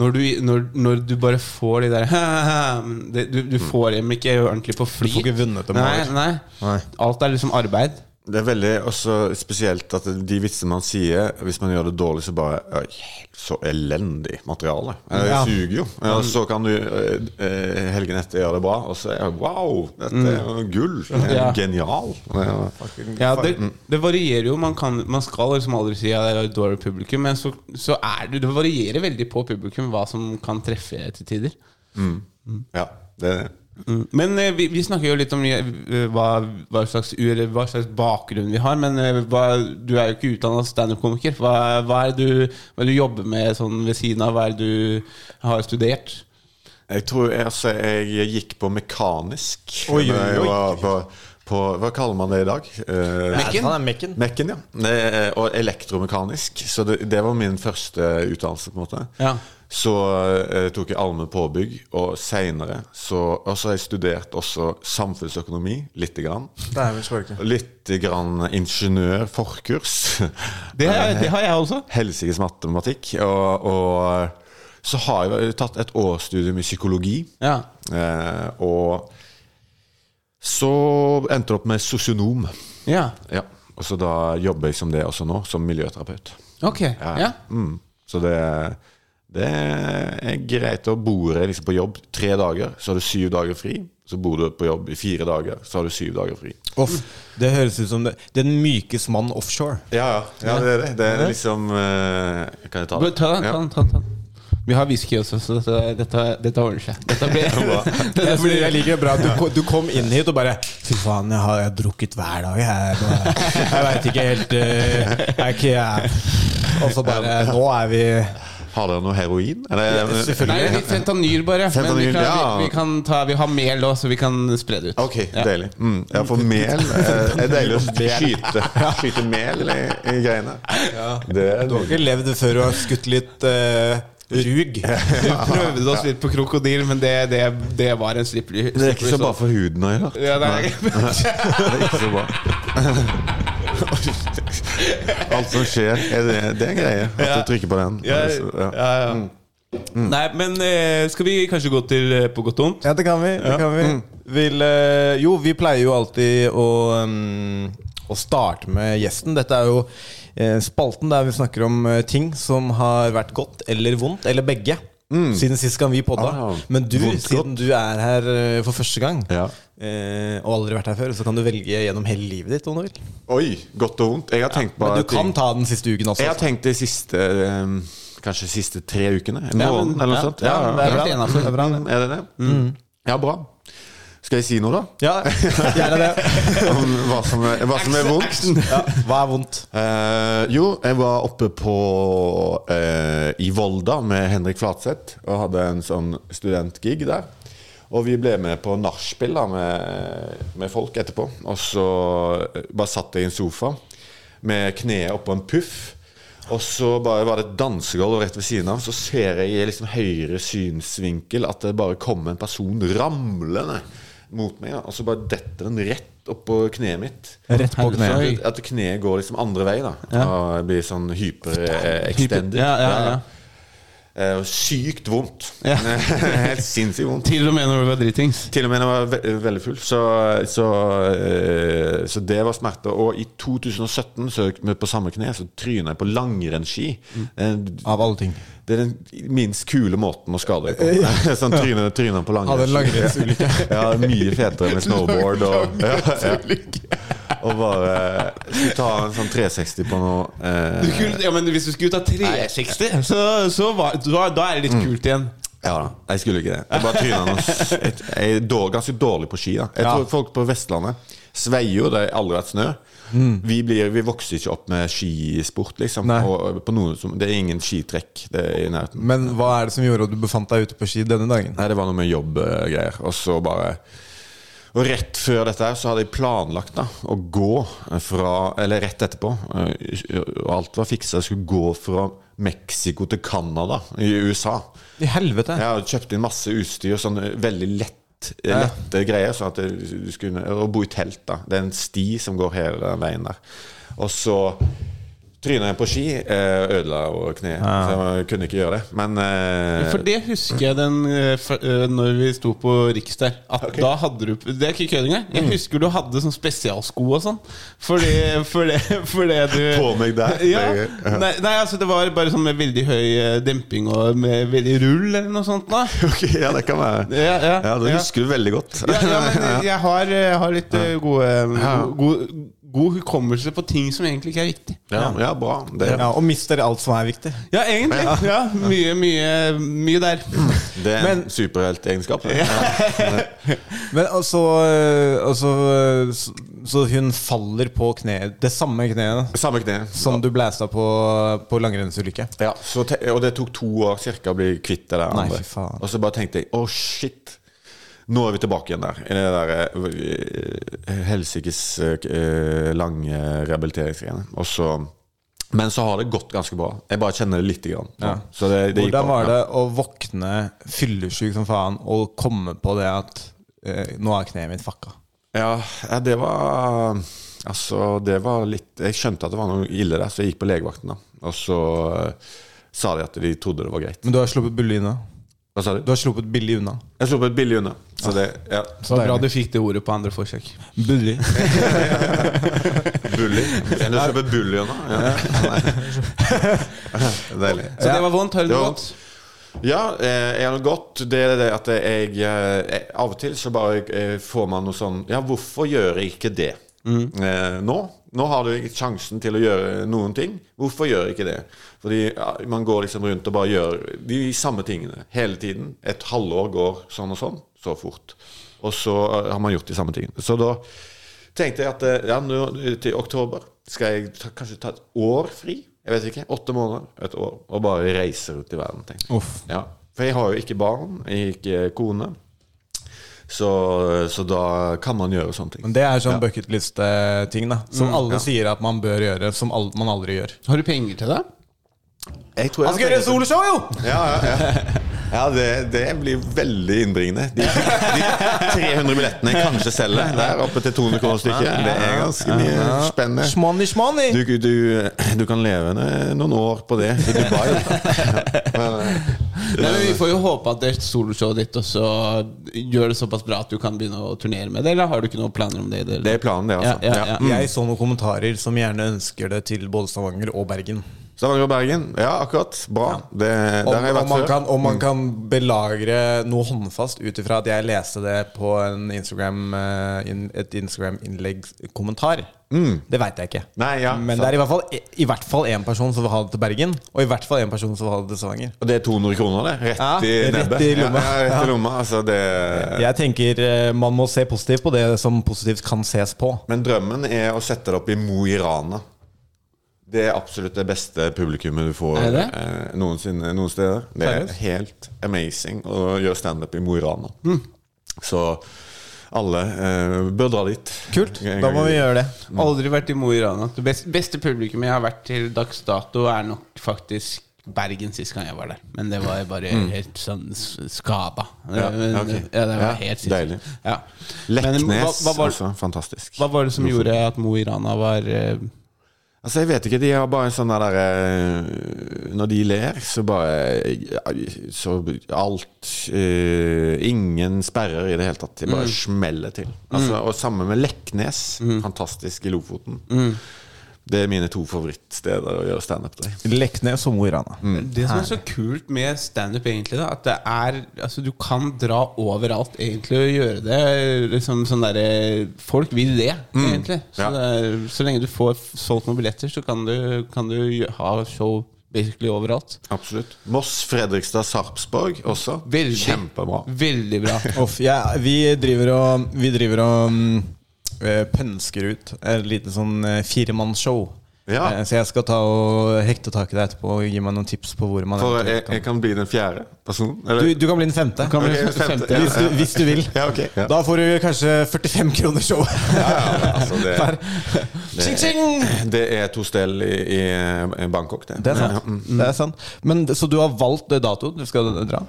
[SPEAKER 3] Når du, når, når du bare får de der det, du, du får dem ikke ordentlig på fly.
[SPEAKER 2] Mm. Du får ikke vunnet dem
[SPEAKER 3] nei,
[SPEAKER 2] over.
[SPEAKER 3] nei.
[SPEAKER 2] Nei.
[SPEAKER 3] Alt er liksom arbeid.
[SPEAKER 4] Det er veldig også spesielt at de vitsene man sier, hvis man gjør det dårlig, så bare «Øy, Så elendig materiale. Eh, Det
[SPEAKER 2] Ja.
[SPEAKER 4] suger jo. Ja, så kan du eh, eh, helgen etter gjøre det bra, og så er det, Wow! Dette er jo gull!
[SPEAKER 3] Ja.
[SPEAKER 4] Genial! Ja. Mm,
[SPEAKER 3] Ja, det, det varierer jo. Man, kan, man skal liksom aldri si at det er dårlig publikum, men så, så er det Det varierer veldig på publikum hva som kan treffe til tider.
[SPEAKER 4] ja det,
[SPEAKER 3] Mm. Men eh, vi, vi snakker jo litt om eh, hva, hva, slags, ur- hva slags bakgrunn vi har. Men eh, hva, du er jo ikke utdanna standup-komiker. Hva, hva er det du, hva er det du jobber med sånn ved siden av? Hva er det du har studert?
[SPEAKER 4] jeg tror jeg, altså, jeg gikk på mekanisk.
[SPEAKER 2] Oi, oi,
[SPEAKER 4] da jeg
[SPEAKER 2] oi.
[SPEAKER 4] var På, på, hva kaller man det i dag? Eh,
[SPEAKER 3] Mekken?
[SPEAKER 2] Han er mekken.
[SPEAKER 4] Mekken, ja. Det, eh, og elektromekanisk. Så det, det var min første utdannelse, på en måte.
[SPEAKER 3] Ja.
[SPEAKER 4] Så eh, tok jeg allmenn påbygg, og seinere så og så har jeg studert også samfunnsøkonomi, lite grann.
[SPEAKER 2] Dæven skorke.
[SPEAKER 4] Litt grann ingeniørforkurs.
[SPEAKER 3] Det, har- det har jeg også.
[SPEAKER 4] Eh, Helsikes matematikk. Og, og så har jeg tatt et årsstudium i psykologi.
[SPEAKER 3] Ja.
[SPEAKER 4] Eh, og så endte det opp med sosionom.
[SPEAKER 3] ja.
[SPEAKER 4] Ja. Og så da jobber jeg som det også nå, som miljøterapeut.
[SPEAKER 3] Ok. Ja. ja.
[SPEAKER 4] Mm. Så det, det er greit å bo deg liksom på jobb tre dager, så har du syv dager fri. Så bor du på jobb i fire dager, så har du syv dager fri.
[SPEAKER 2] Off. Det høres ut som det, den mykes mann offshore.
[SPEAKER 4] Ja, ja. det er det. Det er liksom eh, Kan jeg ta
[SPEAKER 3] Ta den, ta
[SPEAKER 4] Ja.
[SPEAKER 3] den. ta den, ta den. Vi har whisky også, så dette, dette, dette ordner seg. Dette blir, dette
[SPEAKER 2] Fordi
[SPEAKER 3] blir
[SPEAKER 2] jeg liker det bra at du, ko- du kom inn hit og bare Fy faen, jeg har jeg har drukket hver dag. Jeg, er bare- jeg veit ikke helt eh, Jeg er ikke jeg. Og så bare Nå er vi
[SPEAKER 4] Har dere noe heroin? Er det-
[SPEAKER 3] Nei,
[SPEAKER 2] Selvfølgelig.
[SPEAKER 3] litt fentanyl, bare. Men vi,
[SPEAKER 4] Fentanyl,
[SPEAKER 3] kan,
[SPEAKER 4] ja.
[SPEAKER 3] vi, vi, kan ta, vi har mel òg, så vi kan spre det ut.
[SPEAKER 4] Ok, deilig. Mm, ja, for mel eh, er deilig å skyte, skyte mel i, i greiene. Det er
[SPEAKER 2] Du har ikke levd før du har skutt litt eh, rug.
[SPEAKER 3] Vi prøvde oss litt på krokodil, men det, det, det var en slippery sånn.
[SPEAKER 4] Det er ikke så bra for huden å gjøre.
[SPEAKER 3] Ja, det er-
[SPEAKER 4] Nei. det er ikke så bra. Alt som skjer, er det, det er en greie. At du trykker på den.
[SPEAKER 3] Ja, ja,
[SPEAKER 4] Ja. Mm.
[SPEAKER 3] ja. Nei, men eh, skal vi kanskje gå til eh, på godt og vondt?
[SPEAKER 2] Ja, det kan vi. Det kan
[SPEAKER 4] Mm.
[SPEAKER 2] vi. Vil, eh, jo, vi pleier jo alltid å, mm, å starte med gjesten. Dette er jo eh, spalten der vi snakker om eh, ting som har vært godt eller vondt, eller begge. Siden sist gang vi podda.
[SPEAKER 4] Mm. Ah, ja.
[SPEAKER 2] Men du,
[SPEAKER 4] Vondt,
[SPEAKER 2] siden du er her eh, for første gang,
[SPEAKER 4] Ja.
[SPEAKER 2] eh, og aldri vært her før, så kan du velge gjennom hele livet ditt om du vil.
[SPEAKER 4] Oi, godt og vondt. Jeg har tenkt på
[SPEAKER 2] Men du
[SPEAKER 4] ting-
[SPEAKER 2] kan ta den siste uken også. altså,
[SPEAKER 4] Jeg har tenkt de siste eh, Kanskje de siste tre ukene. En
[SPEAKER 3] Ja,
[SPEAKER 4] måned
[SPEAKER 3] men-
[SPEAKER 4] eller noe
[SPEAKER 3] ja,
[SPEAKER 4] sånt. Mm.
[SPEAKER 3] ja, men det er bra.
[SPEAKER 4] det er bra. Er det det? Ja, bra. Skal jeg si noe, da?
[SPEAKER 2] Ja, gjerne det.
[SPEAKER 4] Om hva som er, hva som er vondt?
[SPEAKER 2] Ja, hva er vondt?
[SPEAKER 4] Eh, jo, jeg var oppe på eh, i Volda med Henrik Flatseth og hadde en sånn studentgig der. Og vi ble med på nachspiel da, med, med folk etterpå. Og så eh, bare satt jeg i en sofa med kneet oppå en puff. Og så bare var det et dansegulv og rett ved siden av. Så ser jeg i liksom høyre synsvinkel at det bare kommer en person ramlende mot meg. Da. Og så bare detter den rett oppå kneet mitt.
[SPEAKER 2] Rett på kneet.
[SPEAKER 4] Så at- At kneet går liksom andre vei. da Og jeg blir sånn hyper-extended. Eh,
[SPEAKER 3] Ja, ja, ja.
[SPEAKER 4] Sykt vondt.
[SPEAKER 3] Ja.
[SPEAKER 4] Helt sinnssykt vondt.
[SPEAKER 3] Til og med når du var dritings.
[SPEAKER 4] Til og med når jeg var ve veldig full. Så, så, eh, så det var smerte. Og i 2017, så med på samme kne, så tryna jeg på langrennsski.
[SPEAKER 3] Mm.
[SPEAKER 4] Eh,
[SPEAKER 2] Av alle ting.
[SPEAKER 4] Det er den minst kule måten å skade deg på. sånn tryne, tryne på langrenn.
[SPEAKER 2] Hadde en langrennsulykke.
[SPEAKER 4] ja, mye fetere med snowboard og ja, ja. Og bare skulle ta en sånn 360 på noe
[SPEAKER 3] Du
[SPEAKER 4] eh,
[SPEAKER 3] skulle, ja, men Hvis du skulle ta 360, så, så var, da, da er det
[SPEAKER 4] Mm.
[SPEAKER 3] litt kult igjen.
[SPEAKER 4] Ja da, jeg skulle ikke det. Jeg bare tryna noe s- et- Jeg er dår, ganske dårlig på ski. da Jeg
[SPEAKER 2] Ja.
[SPEAKER 4] tror folk på Vestlandet sveier jo, det har aldri vært snø. Vi, blir, vi vokser ikke opp med skisport, liksom.
[SPEAKER 2] Mm. Nei.
[SPEAKER 4] Og, og på noe som, det er ingen skitrekk det er i nærheten.
[SPEAKER 2] Men hva er det som gjorde at du befant deg ute på ski denne dagen?
[SPEAKER 4] Nei, det var noe med jobbgreier. Og så bare Og rett før dette her så hadde jeg planlagt da å gå fra Eller rett etterpå. eh, Og alt var fiksa. Jeg skulle gå fra Mexico til Canada i USA.
[SPEAKER 2] I helvete!
[SPEAKER 4] Jeg hadde kjøpt inn masse utstyr, sånn veldig lett, lette greier. Sånn at jeg- du skulle Og bo i telt, da. Det er en sti som går hele den veien der. Og så tryna jeg på ski, eh, ødela og kneet. Så jeg kunne ikke gjøre det. Men eh,
[SPEAKER 3] For det husker jeg den eh, f- eh, Når vi sto på Riks der. At da hadde du Det er ikke kødd engang. Jeg
[SPEAKER 4] Mm.
[SPEAKER 3] husker du hadde sånn spesialsko og sånn. Fordi, fordi, fordi du
[SPEAKER 4] På meg der?
[SPEAKER 3] Ja.
[SPEAKER 4] Det- ja.
[SPEAKER 3] Nei, nei, altså det var bare sånn med veldig høy eh, demping og med veldig rull eller noe sånt. Da.
[SPEAKER 4] Ok, ja, det kan være.
[SPEAKER 3] Ja, ja,
[SPEAKER 4] Det
[SPEAKER 3] ja.
[SPEAKER 4] husker du veldig godt.
[SPEAKER 3] Ja, ja, men jeg- jeg har, eh, har litt eh, gode,
[SPEAKER 4] Ja.
[SPEAKER 3] god, god hukommelse på ting som egentlig ikke er viktig.
[SPEAKER 4] ja, ja, bra. Det,
[SPEAKER 2] Ja, og mister alt som er viktig.
[SPEAKER 3] Ja, egentlig. Ja, mye, mye, mye der.
[SPEAKER 4] det er en
[SPEAKER 2] Men-
[SPEAKER 4] superheltegenskap.
[SPEAKER 2] Men altså, øh, altså øh, så, så hun faller på kneet, det samme kneet
[SPEAKER 4] Samme kne.
[SPEAKER 2] som du blæsta på på langrennsulykke.
[SPEAKER 4] Ja, så te og det tok to år cirka å bli kvitt det der
[SPEAKER 2] Nei,
[SPEAKER 4] andre.
[SPEAKER 2] fy faen.
[SPEAKER 4] Og så bare tenkte jeg å, shit. Nå er vi tilbake igjen der. I det der eh, eh, helsikes eh, lange rehabiliteringsgreiene. Og så Men så har det gått ganske bra. Jeg bare kjenner det lite grann. nå. Så det, det gikk
[SPEAKER 2] Hvordan
[SPEAKER 4] bra.
[SPEAKER 2] var det å våkne fyllesyk som faen og komme på det at øh, nå er kneet mitt fucka?
[SPEAKER 4] Ja, ja, det var Altså, det var litt Jeg skjønte at det var noe ille der, så jeg gikk på legevakten, da. Og så eh, sa de at de trodde det var greit.
[SPEAKER 2] Men du har sluppet billig unna.
[SPEAKER 4] Hva sa
[SPEAKER 2] Du
[SPEAKER 4] de?
[SPEAKER 2] har sluppet billig unna.
[SPEAKER 4] Jeg slo på et billig unna. Så det Ja.
[SPEAKER 3] Det var bra du fikk det ordet på andre forsøk.
[SPEAKER 2] Billig.
[SPEAKER 4] Bully. Eller du kjøper bully unna. Ja. Nei. Deilig.
[SPEAKER 3] Så det var vondt. Har du
[SPEAKER 4] Det
[SPEAKER 3] det
[SPEAKER 4] var
[SPEAKER 3] vondt?
[SPEAKER 4] Ja, eh, jeg har det godt. Det er det at eh, jeg eh, Av og til så bare eh, får man noe sånn Ja, hvorfor gjør jeg ikke det? eh, nå. Nå har du ikke sjansen til å gjøre noen ting. Hvorfor gjør ikke det? Fordi ja, man går liksom rundt og bare gjør de samme tingene hele tiden. Et halvår går sånn og sånn, så fort. Og så eh, har man gjort de samme tingene. Så da tenkte jeg at eh, ja, nå, til oktober skal jeg ta, kanskje ta et år fri. Jeg vet ikke. Åtte måneder, et år. Og bare reise rundt i verden, tenkte jeg.
[SPEAKER 2] Uff.
[SPEAKER 4] Ja. For jeg har jo ikke barn, jeg har ikke kone. Så, så da kan man gjøre sånne ting.
[SPEAKER 2] Men det er sånn bucketlist-ting da som alle sier at man bør gjøre, som al man aldri gjør.
[SPEAKER 3] Har du penger til det?
[SPEAKER 4] Jeg tror jeg
[SPEAKER 2] Han skal gjøre
[SPEAKER 4] har tenkt-
[SPEAKER 2] soloshow, jo!
[SPEAKER 4] Ja, ja, ja. ja det, det blir veldig innbringende. De, de 300 billettene jeg kanskje selger der oppe til 200 kroner stykket, det er ganske mye spennende.
[SPEAKER 2] Shmoney, shmoney.
[SPEAKER 4] Du, du, du kan leve noen år på det i Dubai.
[SPEAKER 3] Nei, men Vi får jo håpe at det soloshowet ditt også gjør det såpass bra at du kan begynne å turnere med det, eller har du ikke noen planer om det? Eller?
[SPEAKER 4] Det er planen, det,
[SPEAKER 3] ja,
[SPEAKER 4] altså.
[SPEAKER 3] ja, ja.
[SPEAKER 4] Ja.
[SPEAKER 2] Jeg så noen kommentarer som gjerne ønsker det til både Stavanger og Bergen.
[SPEAKER 4] Stavanger og Bergen. Ja, akkurat. Bra. Det,
[SPEAKER 2] Om,
[SPEAKER 4] der har jeg
[SPEAKER 2] om,
[SPEAKER 4] vært
[SPEAKER 2] man
[SPEAKER 4] før. Mm.
[SPEAKER 2] kan, om man kan belagre noe håndfast ut ifra at jeg leste det på en Instagram, eh, in- et Instagram-innlegg-kommentar. Det veit jeg ikke.
[SPEAKER 4] Mm. Nei, ja,
[SPEAKER 2] Men
[SPEAKER 4] sant.
[SPEAKER 2] det er i hvert fall- e- i hvert fall én person som vil ha det til Bergen, og i hvert fall én person som vil ha det til Stavanger.
[SPEAKER 4] Og det er 200 kroner, det. Rett
[SPEAKER 2] Ja,
[SPEAKER 4] i
[SPEAKER 2] rett
[SPEAKER 4] nebbet.
[SPEAKER 2] i lomma.
[SPEAKER 4] Ja, ja, rett i lomma. Altså, det
[SPEAKER 2] Jeg tenker eh, Man må se positivt på det som positivt kan ses på.
[SPEAKER 4] Men drømmen er å sette det opp i Mo i Rana. Det er absolutt det beste publikummet du får
[SPEAKER 3] Er det?
[SPEAKER 4] eh, noensinne noen steder. Det er helt amazing å gjøre standup i Mo i Rana.
[SPEAKER 3] Mm.
[SPEAKER 4] Så alle eh, bør dra dit.
[SPEAKER 2] Kult. Da må vi gjøre det.
[SPEAKER 3] Aldri vært i Mo i Rana. Det beste, beste publikummet jeg har vært til dags dato, er nok faktisk Bergen sist gang jeg var der. Men det var jeg bare helt sånn s- skada.
[SPEAKER 4] Mm. Ja,
[SPEAKER 3] Men-
[SPEAKER 4] ok.
[SPEAKER 3] ja, det var
[SPEAKER 4] Ja,
[SPEAKER 3] helt sist.
[SPEAKER 4] deilig.
[SPEAKER 3] Ja.
[SPEAKER 4] Leknes,
[SPEAKER 3] Men hva, hva, var,
[SPEAKER 4] altså. Fantastisk.
[SPEAKER 3] hva var det som gjorde at Mo i Rana var eh,
[SPEAKER 4] Altså, jeg vet ikke. De har bare en sånn der eh, Når de ler, så bare ja, Så alt eh, Ingen sperrer i det hele tatt. De bare smeller til. Altså, Og sammen med Leknes. Fantastisk i Lofoten. Det er mine to favorittsteder å gjøre standup til.
[SPEAKER 2] Leknes og Mo i Rana.
[SPEAKER 4] Mm.
[SPEAKER 3] Det som er så kult med standup, egentlig, da, at det er Altså, du kan dra overalt, egentlig, og gjøre det liksom sånn derre Folk vil det, egentlig. Så,
[SPEAKER 4] Mm. ja.
[SPEAKER 3] det er, så lenge du får f- solgt noen billetter, så kan du, kan du gjø- ha show basically overalt.
[SPEAKER 4] Absolutt. Moss, Fredrikstad, Sarpsborg også.
[SPEAKER 3] Veldig,
[SPEAKER 4] Kjempebra.
[SPEAKER 3] Veldig bra.
[SPEAKER 2] Uff, ja, vi driver og, vi driver og mm, eh, pønsker ut et lite sånn eh, firemannsshow.
[SPEAKER 4] Ja.
[SPEAKER 2] Eh, Så jeg skal ta og hekte tak i deg etterpå og gi meg noen tips på hvor man
[SPEAKER 4] For jeg,
[SPEAKER 2] eventuelt
[SPEAKER 4] jeg kan bli den fjerde personen?
[SPEAKER 2] kan du,
[SPEAKER 4] Eller?
[SPEAKER 2] du kan bli den femte.
[SPEAKER 3] Kan vi
[SPEAKER 4] Ok,
[SPEAKER 3] snakke
[SPEAKER 4] femte,
[SPEAKER 3] femte?
[SPEAKER 2] Hvis, du, hvis du vil.
[SPEAKER 4] Ja, ok. Ja.
[SPEAKER 2] Da får du kanskje 45 kroner show.
[SPEAKER 4] Ja, ja, altså, det,
[SPEAKER 2] Der. Tjing, tjing!
[SPEAKER 4] det er to stell i, i Bangkok, det.
[SPEAKER 2] Det er sant.
[SPEAKER 4] mm,
[SPEAKER 2] Det er sant. Men, så du har valgt eh, dato du skal dra?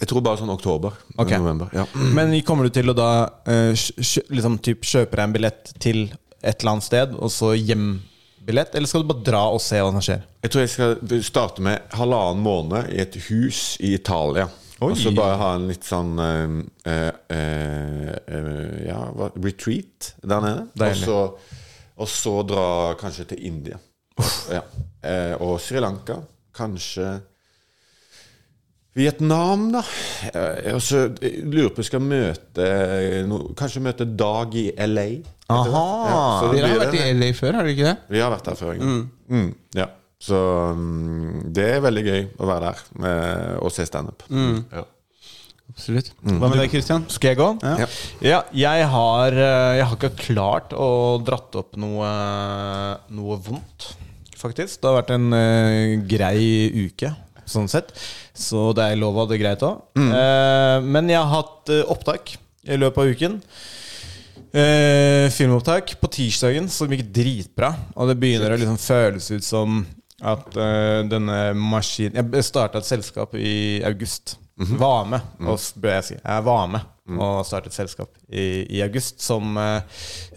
[SPEAKER 4] Jeg tror bare sånn oktober.
[SPEAKER 2] Ok.
[SPEAKER 4] November. Ja.
[SPEAKER 2] Men kommer du til å da eh, kjø- kjø, liksom typ kjøpe deg en billett til et eller annet sted, og så hjembillett? Eller skal du bare dra og se hva som skjer?
[SPEAKER 4] Jeg tror jeg skal starte med halvannen måned i et hus i Italia. Og så bare ha en litt sånn eh, eh, eh, Ja, hva, retreat der nede. Og
[SPEAKER 2] Deilig.
[SPEAKER 4] så, og så dra kanskje til India. Ja. Eh, og Sri Lanka. Kanskje Vietnam, da. Eh, og så jeg lurer på om jeg skal møte eh, no, Kanskje møte Dag i LA.
[SPEAKER 2] Aha!
[SPEAKER 4] Ja, så det
[SPEAKER 3] Dere har
[SPEAKER 4] blir
[SPEAKER 3] vært
[SPEAKER 4] en-
[SPEAKER 3] i LA før, har dere ikke det?
[SPEAKER 4] vi har vært der før en gang. Mm. Ja. Så mm, det er veldig gøy å være der eh, og se standup.
[SPEAKER 2] Mm.
[SPEAKER 4] Ja.
[SPEAKER 3] Absolutt.
[SPEAKER 4] Mm.
[SPEAKER 3] Hva med deg, Christian?
[SPEAKER 2] Skal jeg gå?
[SPEAKER 4] Ja.
[SPEAKER 2] Ja, jeg har, eh, jeg har ikke klart å dratt opp noe, noe vondt, faktisk. Det har vært en eh, grei uke, sånn sett. Så det er lov å ha det greit òg. men jeg har hatt eh, opptak i løpet av uken. Eh, filmopptak på tirsdagen som gikk dritbra. Og det begynner å liksom føles ut som at eh, denne maskinen Jeg starta et selskap i august. Var med, og s- bør jeg si. Jeg var med og startet et selskap i, i august som eh,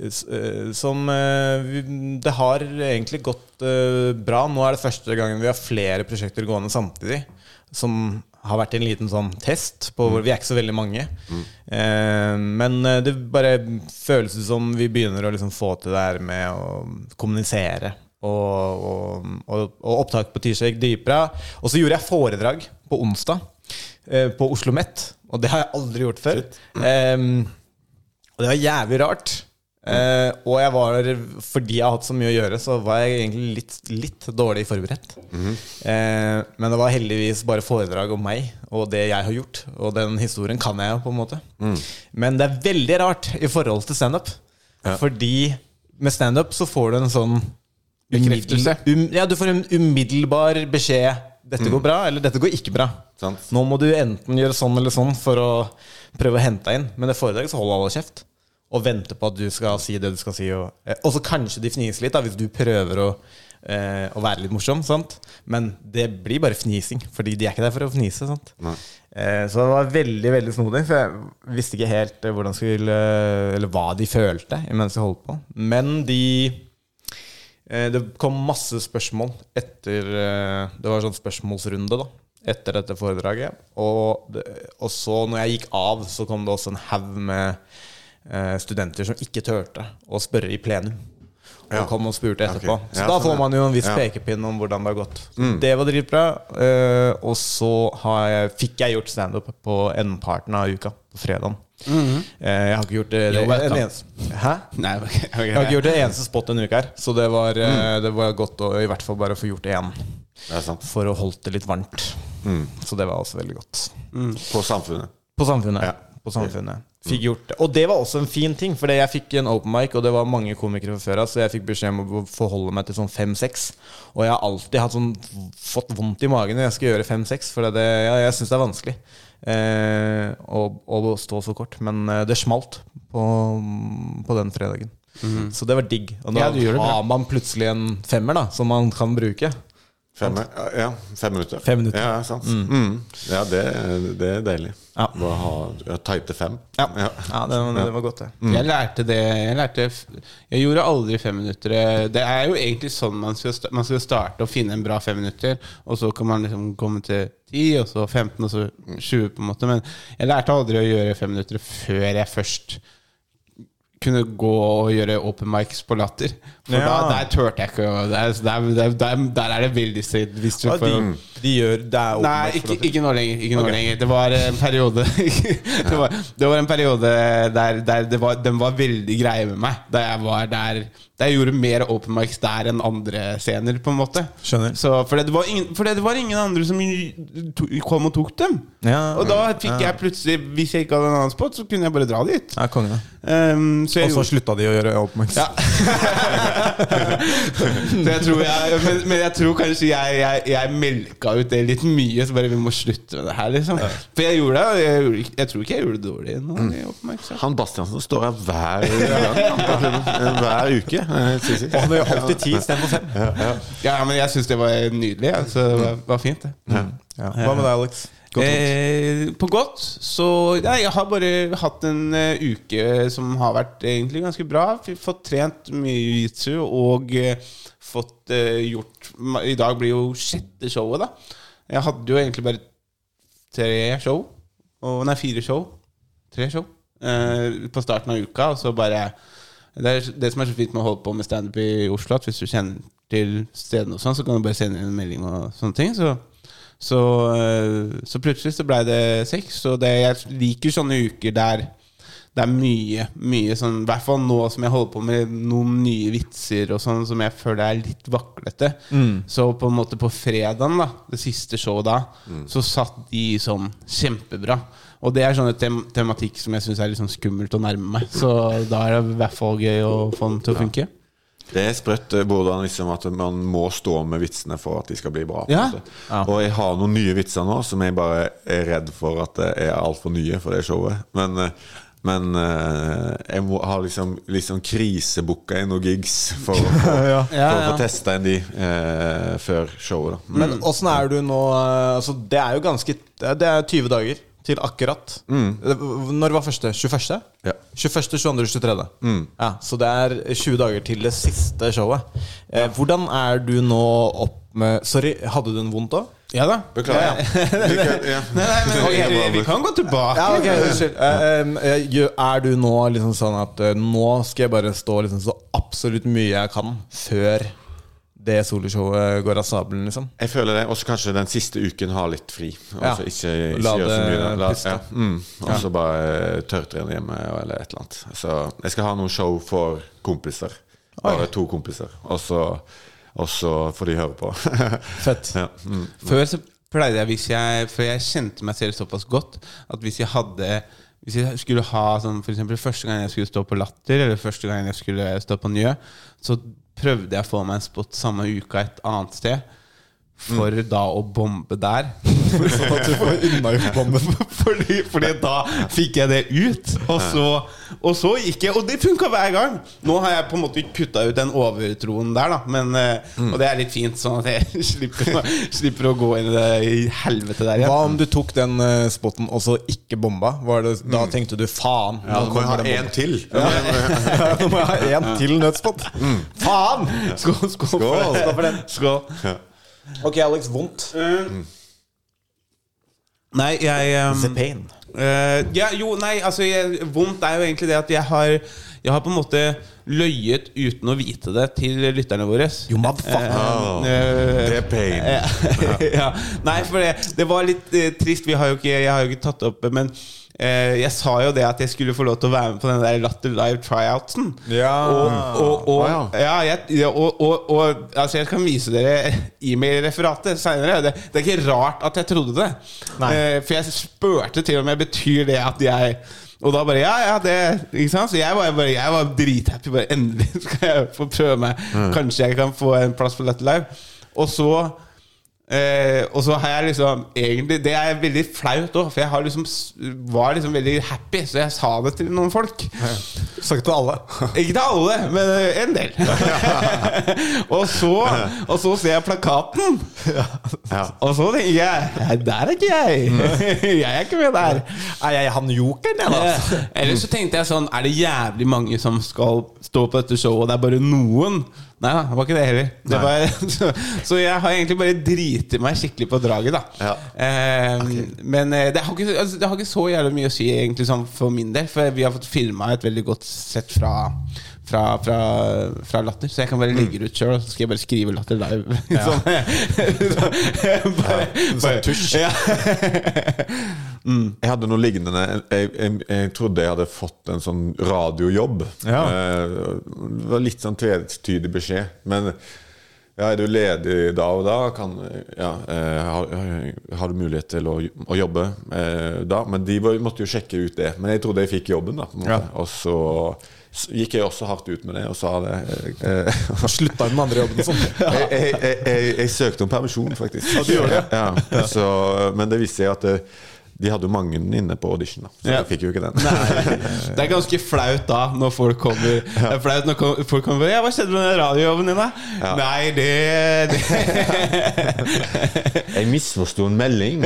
[SPEAKER 2] s- eh, Som eh, vi- Det har egentlig gått eh, bra. Nå er det første gangen vi har flere prosjekter gående samtidig som har vært en liten sånn test. På hvor, vi er ikke så veldig mange. Eh, men eh, det bare føles ut som vi begynner å liksom få til det her med å kommunisere. Og, og, og, og opptak på tirsdag gikk dritbra. Og så gjorde jeg foredrag på onsdag eh, på Oslo Met. Og det har jeg aldri gjort før. Eh, og det var jævlig rart. Eh, og jeg var, fordi jeg har hatt så mye å gjøre, så var jeg egentlig litt, litt dårlig forberedt. eh, men det var heldigvis bare foredrag om meg og det jeg har gjort. Og den historien kan jeg jo, på en måte. Men det er veldig rart i forhold til standup. Fordi med standup så får du en sånn
[SPEAKER 3] Bekreftelse.
[SPEAKER 2] umiddel- Um, ja, du får en umiddelbar beskjed. Dette går bra, eller dette går ikke bra.
[SPEAKER 4] Sant.
[SPEAKER 2] Nå må du enten gjøre sånn eller sånn for å prøve å hente deg inn. Men i foredrag så holder alle kjeft og venter på at du skal si det du skal si. Og, eh, og så kanskje de fniser litt, da, hvis du prøver å, eh, å være litt morsom. Sant? Men det blir bare fnising, fordi de er ikke der for å fnise. Sant? Eh, så det var veldig veldig snodig, for jeg visste ikke helt eh, hvordan skulle, eh, eller hva de følte mens jeg holdt på. Men de Eh, Det kom masse spørsmål etter eh, Det var en sånn spørsmålsrunde da etter dette foredraget. Og, det, og så, når jeg gikk av, så kom det også en haug med eh, studenter som ikke turte å spørre i plenum. Og
[SPEAKER 4] Ja.
[SPEAKER 2] kom og spurte etterpå.
[SPEAKER 4] Ja, ok.
[SPEAKER 2] Så
[SPEAKER 4] Ja,
[SPEAKER 2] da
[SPEAKER 4] sånn,
[SPEAKER 2] får
[SPEAKER 4] ja.
[SPEAKER 2] man jo en viss
[SPEAKER 4] Ja.
[SPEAKER 2] pekepinn om hvordan det har gått. Det var dritbra. eh, og så har jeg, fikk jeg gjort standup på endparten av uka, på fredagen. Eh, jeg har ikke gjort det, det
[SPEAKER 3] Jo, vet
[SPEAKER 2] en
[SPEAKER 3] du.
[SPEAKER 2] eneste Hæ?
[SPEAKER 3] Nei, ok, ok,
[SPEAKER 2] Jeg har
[SPEAKER 3] nei.
[SPEAKER 2] ikke gjort det eneste spot denne uka her, så det var, eh, det var godt å i hvert fall bare få gjort det igjen.
[SPEAKER 4] Det er sant.
[SPEAKER 2] For å holdt det litt varmt. Så det var også veldig godt.
[SPEAKER 4] På samfunnet.
[SPEAKER 2] På Samfunnet.
[SPEAKER 4] Ja.
[SPEAKER 2] På samfunnet. Fikk gjort det. Og det var også en fin ting, for jeg fikk en open mic, og det var mange komikere fra før av, så jeg fikk beskjed om å forholde meg til sånn fem-seks. Og jeg har alltid hatt sånn, fått vondt i magen når jeg skal gjøre fem-seks, for det, ja, jeg syns det er vanskelig eh, å, å stå så kort. Men eh, det smalt på, på den fredagen. Så det var digg. Og da
[SPEAKER 3] Ja, du gjør det bra.
[SPEAKER 2] har man plutselig en femmer da som man kan bruke.
[SPEAKER 4] Fem, ja, fem minutter.
[SPEAKER 2] Fem minutter.
[SPEAKER 4] Ja, sant. Mm. ja det, det er deilig.
[SPEAKER 2] Ja.
[SPEAKER 4] Bare ha ja, type fem.
[SPEAKER 2] Ja, ja. det, det var godt, det.
[SPEAKER 3] Jeg lærte det Jeg, lærte, f- jeg gjorde aldri femminuttere. Det er jo egentlig sånn man skal, sta- man skal starte å finne en bra femminutter, og så kan man liksom komme til 10, og så 15, og så 20, på en måte. Men jeg lærte aldri å gjøre femminuttere før jeg først kunne gå og gjøre open mics på latter. For da,
[SPEAKER 2] Ja.
[SPEAKER 3] der turte jeg ikke å Der, der, der, der, der er det veldig stritt. Hvis du
[SPEAKER 2] Ja, de,
[SPEAKER 3] får-
[SPEAKER 2] de gjør Det er åpenbart
[SPEAKER 3] Nei,
[SPEAKER 2] for
[SPEAKER 3] ikke,
[SPEAKER 2] at-
[SPEAKER 3] ikke nå lenger. Ikke nå lenger. Det var en periode det, var, det var en periode der, der det var, den var veldig greie med meg. Da jeg var der Da jeg gjorde mer open mics der enn andre scener, på en måte.
[SPEAKER 2] Skjønner.
[SPEAKER 3] Så, for, det var ingen, for det var ingen andre som to, kom og tok dem.
[SPEAKER 2] Ja,
[SPEAKER 3] og da fikk jeg plutselig Hvis jeg ikke hadde en annen spot, så kunne jeg bare dra dit.
[SPEAKER 2] Ja, konge.
[SPEAKER 3] Um, så
[SPEAKER 2] Og
[SPEAKER 3] jeg
[SPEAKER 2] så
[SPEAKER 3] gjorde-
[SPEAKER 2] slutta de å gjøre oppmerks.
[SPEAKER 3] ja. så jeg tror jeg, men, men jeg tror kanskje jeg, jeg, jeg melka ut det litt mye. Så bare vi må slutte med det her, liksom. For jeg gjorde det. og Jeg, gjorde, ikke- jeg tror ikke jeg gjorde det dårlig. Nå, i oppmerksomhet.
[SPEAKER 4] Han Bastiansen står her hver gang. på klubben. Hver uke. eh, Sisi.
[SPEAKER 2] Og han har holdt i ti istedenfor fem.
[SPEAKER 3] Ja, ja, men jeg syns det var nydelig. Ja. Så det var, var fint, det.
[SPEAKER 2] Ja. Hva med deg, Alex? Godt gjort.
[SPEAKER 3] Eh, på godt så ja, Jeg har bare hatt en eh, uke som har vært egentlig ganske bra. F- Fått trent mye jiu-jitsu og eh, fått eh, gjort ma- I dag blir jo sjette showet, da. Jeg hadde jo egentlig bare tre show. Og, nei, fire show. Tre show eh, på starten av uka, og så bare det, er, det som er så fint med å holde på med standup i Oslo, at hvis du kjenner til stedene og sånn, så kan du bare sende inn en melding og sånne ting. Så, så, eh, så plutselig så blei det seks. Og det, jeg liker sånne uker der det er mye, mye sånn I hvert fall nå som jeg holder på med noen nye vitser og sånn, som jeg føler er litt vaklete. Så på en måte på fredagen, da, det siste showet da, så satt de sånn kjempebra. Og det er sånn et tem tematikk som jeg syns er litt sånn skummelt å nærme meg. Så da er det i hvert fall gøy å få den til å funke.
[SPEAKER 4] Det er sprøtt eh, hvordan liksom at man må stå med vitsene for at de skal bli bra. på en
[SPEAKER 3] Ja.
[SPEAKER 4] måte. Og jeg har noen nye vitser nå som jeg bare er redd for at det er altfor nye for det showet. Men, eh, men eh, jeg må ha liksom, liksom krisebooka i noen gigs for å få, for å
[SPEAKER 3] Ja, Mm. ja.
[SPEAKER 4] få testa inn de eh, før showet. Da.
[SPEAKER 2] Men åssen er du nå eh, altså, Det er jo ganske eh, Det er 20 dager til akkurat. Det- Når var første? 21.?
[SPEAKER 4] Ja.
[SPEAKER 2] 21., 22., 23. Ja, så det er 20 dager til det siste showet. Eh, hvordan er du nå opp med Sorry, hadde du en vondt òg?
[SPEAKER 3] Ja da.
[SPEAKER 4] Beklager. Vi kan- ja.
[SPEAKER 3] Nei, nei, men vi, vi, vi kan gå tilbake.
[SPEAKER 2] Ja, ok, unnskyld. Eh, em, eh, gjø- er du nå liksom sånn at eh, nå skal jeg bare stå liksom så absolutt mye jeg kan før det soloshowet går av sabelen, liksom.
[SPEAKER 4] Jeg føler det. Og så kanskje den siste uken ha litt fri.
[SPEAKER 2] Ja.
[SPEAKER 4] Altså ikke, ikke
[SPEAKER 2] La
[SPEAKER 4] gjøre så mye.
[SPEAKER 2] det
[SPEAKER 4] da. La,
[SPEAKER 2] puste.
[SPEAKER 4] ja. mm. Og så bare eh, tørrtrene hjemme eller et eller annet. Så jeg skal ha noen show for kompiser. Bare to kompiser. Og så, og så får de høre på.
[SPEAKER 2] Fett.
[SPEAKER 4] ja. mm.
[SPEAKER 3] Før så pleide jeg, hvis jeg For jeg kjente meg selv såpass godt at hvis jeg hadde hvis jeg skulle ha sånn, for eksempel, Første gang jeg skulle stå på Latter, eller første gang jeg skulle stå på Njø, så prøvde jeg å få meg en spot samme uka et annet sted. For da å bombe der.
[SPEAKER 2] Sånn at du får unnagjort bomben.
[SPEAKER 3] fordi, fordi da fikk jeg det ut, og så, og så gikk jeg. Og det funka hver gang! Nå har jeg på en måte kutta ut den overtroen der, da. Men, eh,
[SPEAKER 2] Mm.
[SPEAKER 3] Og det er litt fint, sånn at jeg slipper, å- slipper å gå inn i det i helvete
[SPEAKER 2] Hva
[SPEAKER 3] der igjen.
[SPEAKER 2] om du tok den eh, spotten og så ikke bomba? Var det, da tenkte du faen.
[SPEAKER 4] Mm.
[SPEAKER 2] nå
[SPEAKER 4] ja, Nå må jeg
[SPEAKER 2] kommer
[SPEAKER 4] ha
[SPEAKER 2] den
[SPEAKER 4] én til.
[SPEAKER 2] bomben. Nå må jeg ha én til nødspott.
[SPEAKER 4] Mm.
[SPEAKER 2] Faen!
[SPEAKER 3] Skål, skål,
[SPEAKER 4] Skål.
[SPEAKER 3] for det. Skål. Mm.
[SPEAKER 2] Ok, Alex. Vondt.
[SPEAKER 3] Nei, jeg ehm,
[SPEAKER 2] pain.
[SPEAKER 3] Eh, ja, jo, nei, altså jeg, Vondt er jo egentlig det at jeg har Jeg har på en måte løyet uten å vite det til lytterne våre.
[SPEAKER 2] You motherfucker.
[SPEAKER 4] Oh,
[SPEAKER 3] Eh,
[SPEAKER 4] det er pain.
[SPEAKER 3] eh, ja. Nei, for det, det var litt eh, trist. Vi har jo ikke, jeg har jo ikke tatt det opp, men eh, jeg sa jo det at jeg skulle få lov til å være med på den der Latter Live tryouten.
[SPEAKER 2] Ja.
[SPEAKER 3] Og, og, og,
[SPEAKER 4] Ah,
[SPEAKER 3] ja, jeg, ja, og, og, og altså, jeg kan vise dere e-mail-referatet seinere. Det, det er ikke rart at jeg trodde det.
[SPEAKER 2] Nei.
[SPEAKER 3] Eh, for jeg spurte til om jeg betyr det at jeg Og da bare Ja, ja, det Ikke sant? Så jeg var, bare, jeg var drithappy. Bare endelig skal jeg få prøve meg. Kanskje jeg kan få en plass på Latter Live. Og så Eh, og så har jeg liksom egentlig, Det er veldig flaut òg, for jeg har liksom, s- var liksom veldig happy, så jeg sa det til noen folk.
[SPEAKER 2] Snakket til alle.
[SPEAKER 3] Ikke til alle, men eh, en del. og, så, og så ser jeg plakaten,
[SPEAKER 4] Ja.
[SPEAKER 3] og så tenker jeg Nei, der er ikke jeg. jeg er ikke med der.
[SPEAKER 2] Er jeg han jokeren, jeg, da?
[SPEAKER 3] Eh, Ellers så tenkte jeg sånn Er det jævlig mange som skal stå på dette showet, og det er bare noen? Nei da, det var ikke det heller. Det var, så, så jeg har egentlig bare driti meg skikkelig på draget, da.
[SPEAKER 4] Ja.
[SPEAKER 3] Eh, Men eh, det har, ikke, altså, det har ikke så jævlig mye å si egentlig sånn for min del, for vi har fått filma et veldig godt sett fra fra, fra, fra Latter, så jeg kan bare legge det ut sjøl, og så skal jeg bare skrive Latter live. sånn. Så- bare, bare,
[SPEAKER 2] tusj.
[SPEAKER 3] Ja.
[SPEAKER 4] Jeg hadde noe lignende. Jeg, jeg, jeg trodde jeg hadde fått en sånn radiojobb.
[SPEAKER 2] Ja.
[SPEAKER 4] Eh, Det var litt sånn tvetydig beskjed. Men ja, er du ledig da og da? Kan, ja, eh, har, har du mulighet til å, å jobbe eh, da? Men de var, måtte jo sjekke ut det. Men jeg trodde jeg fikk jobben, da. På en måte. Og så s- gikk jeg også hardt ut med det og sa det. eh, eh,
[SPEAKER 2] Slutta i den andre jobben sånn.
[SPEAKER 4] jeg, jeg, jeg, jeg, jeg søkte om permisjon, faktisk. Ja, så, men det viste seg at eh, de hadde jo mange inne på audition, da. så
[SPEAKER 3] Ja.
[SPEAKER 4] jeg fikk jo ikke den.
[SPEAKER 3] Nei, Det er ganske flaut da, når folk kommer Det er flaut når kom- folk kommer og bare, Ja, hva skjedde med den radiojobben din, da? Nei, det, det.
[SPEAKER 4] Jeg misforsto en melding.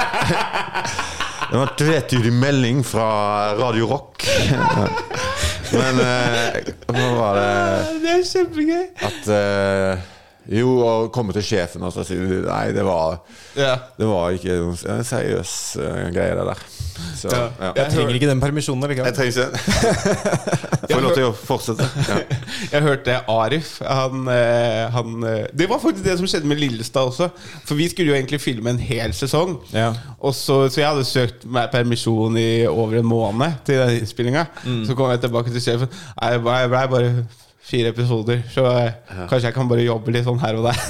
[SPEAKER 4] Det var en tvetydig melding fra Radio Rock. Men eh, hva var det
[SPEAKER 3] Det er kjempegøy.
[SPEAKER 4] At eh, Jo, å komme til sjefen og så si Nei, det var,
[SPEAKER 3] Ja.
[SPEAKER 4] det var ikke noen en seriøs eh, greie, det der. Så,
[SPEAKER 3] Ja.
[SPEAKER 4] ja.
[SPEAKER 2] Jeg trenger ikke den permisjonen
[SPEAKER 4] Jeg
[SPEAKER 2] likevel.
[SPEAKER 4] trenger ikke den. Får lov til å fortsette. Ja.
[SPEAKER 3] Jeg hørte Arif. Han, eh, han eh, Det var faktisk det som skjedde med Lillestad også. For vi skulle jo egentlig filme en hel sesong.
[SPEAKER 2] Ja.
[SPEAKER 3] Og så, så jeg hadde søkt meg permisjon i over en måned til den innspillinga.
[SPEAKER 2] Mm.
[SPEAKER 3] Så kom jeg tilbake til sjefen. Nei, det ble- det ble bare fire episoder, så eh, kanskje jeg kan bare jobbe litt sånn her og der.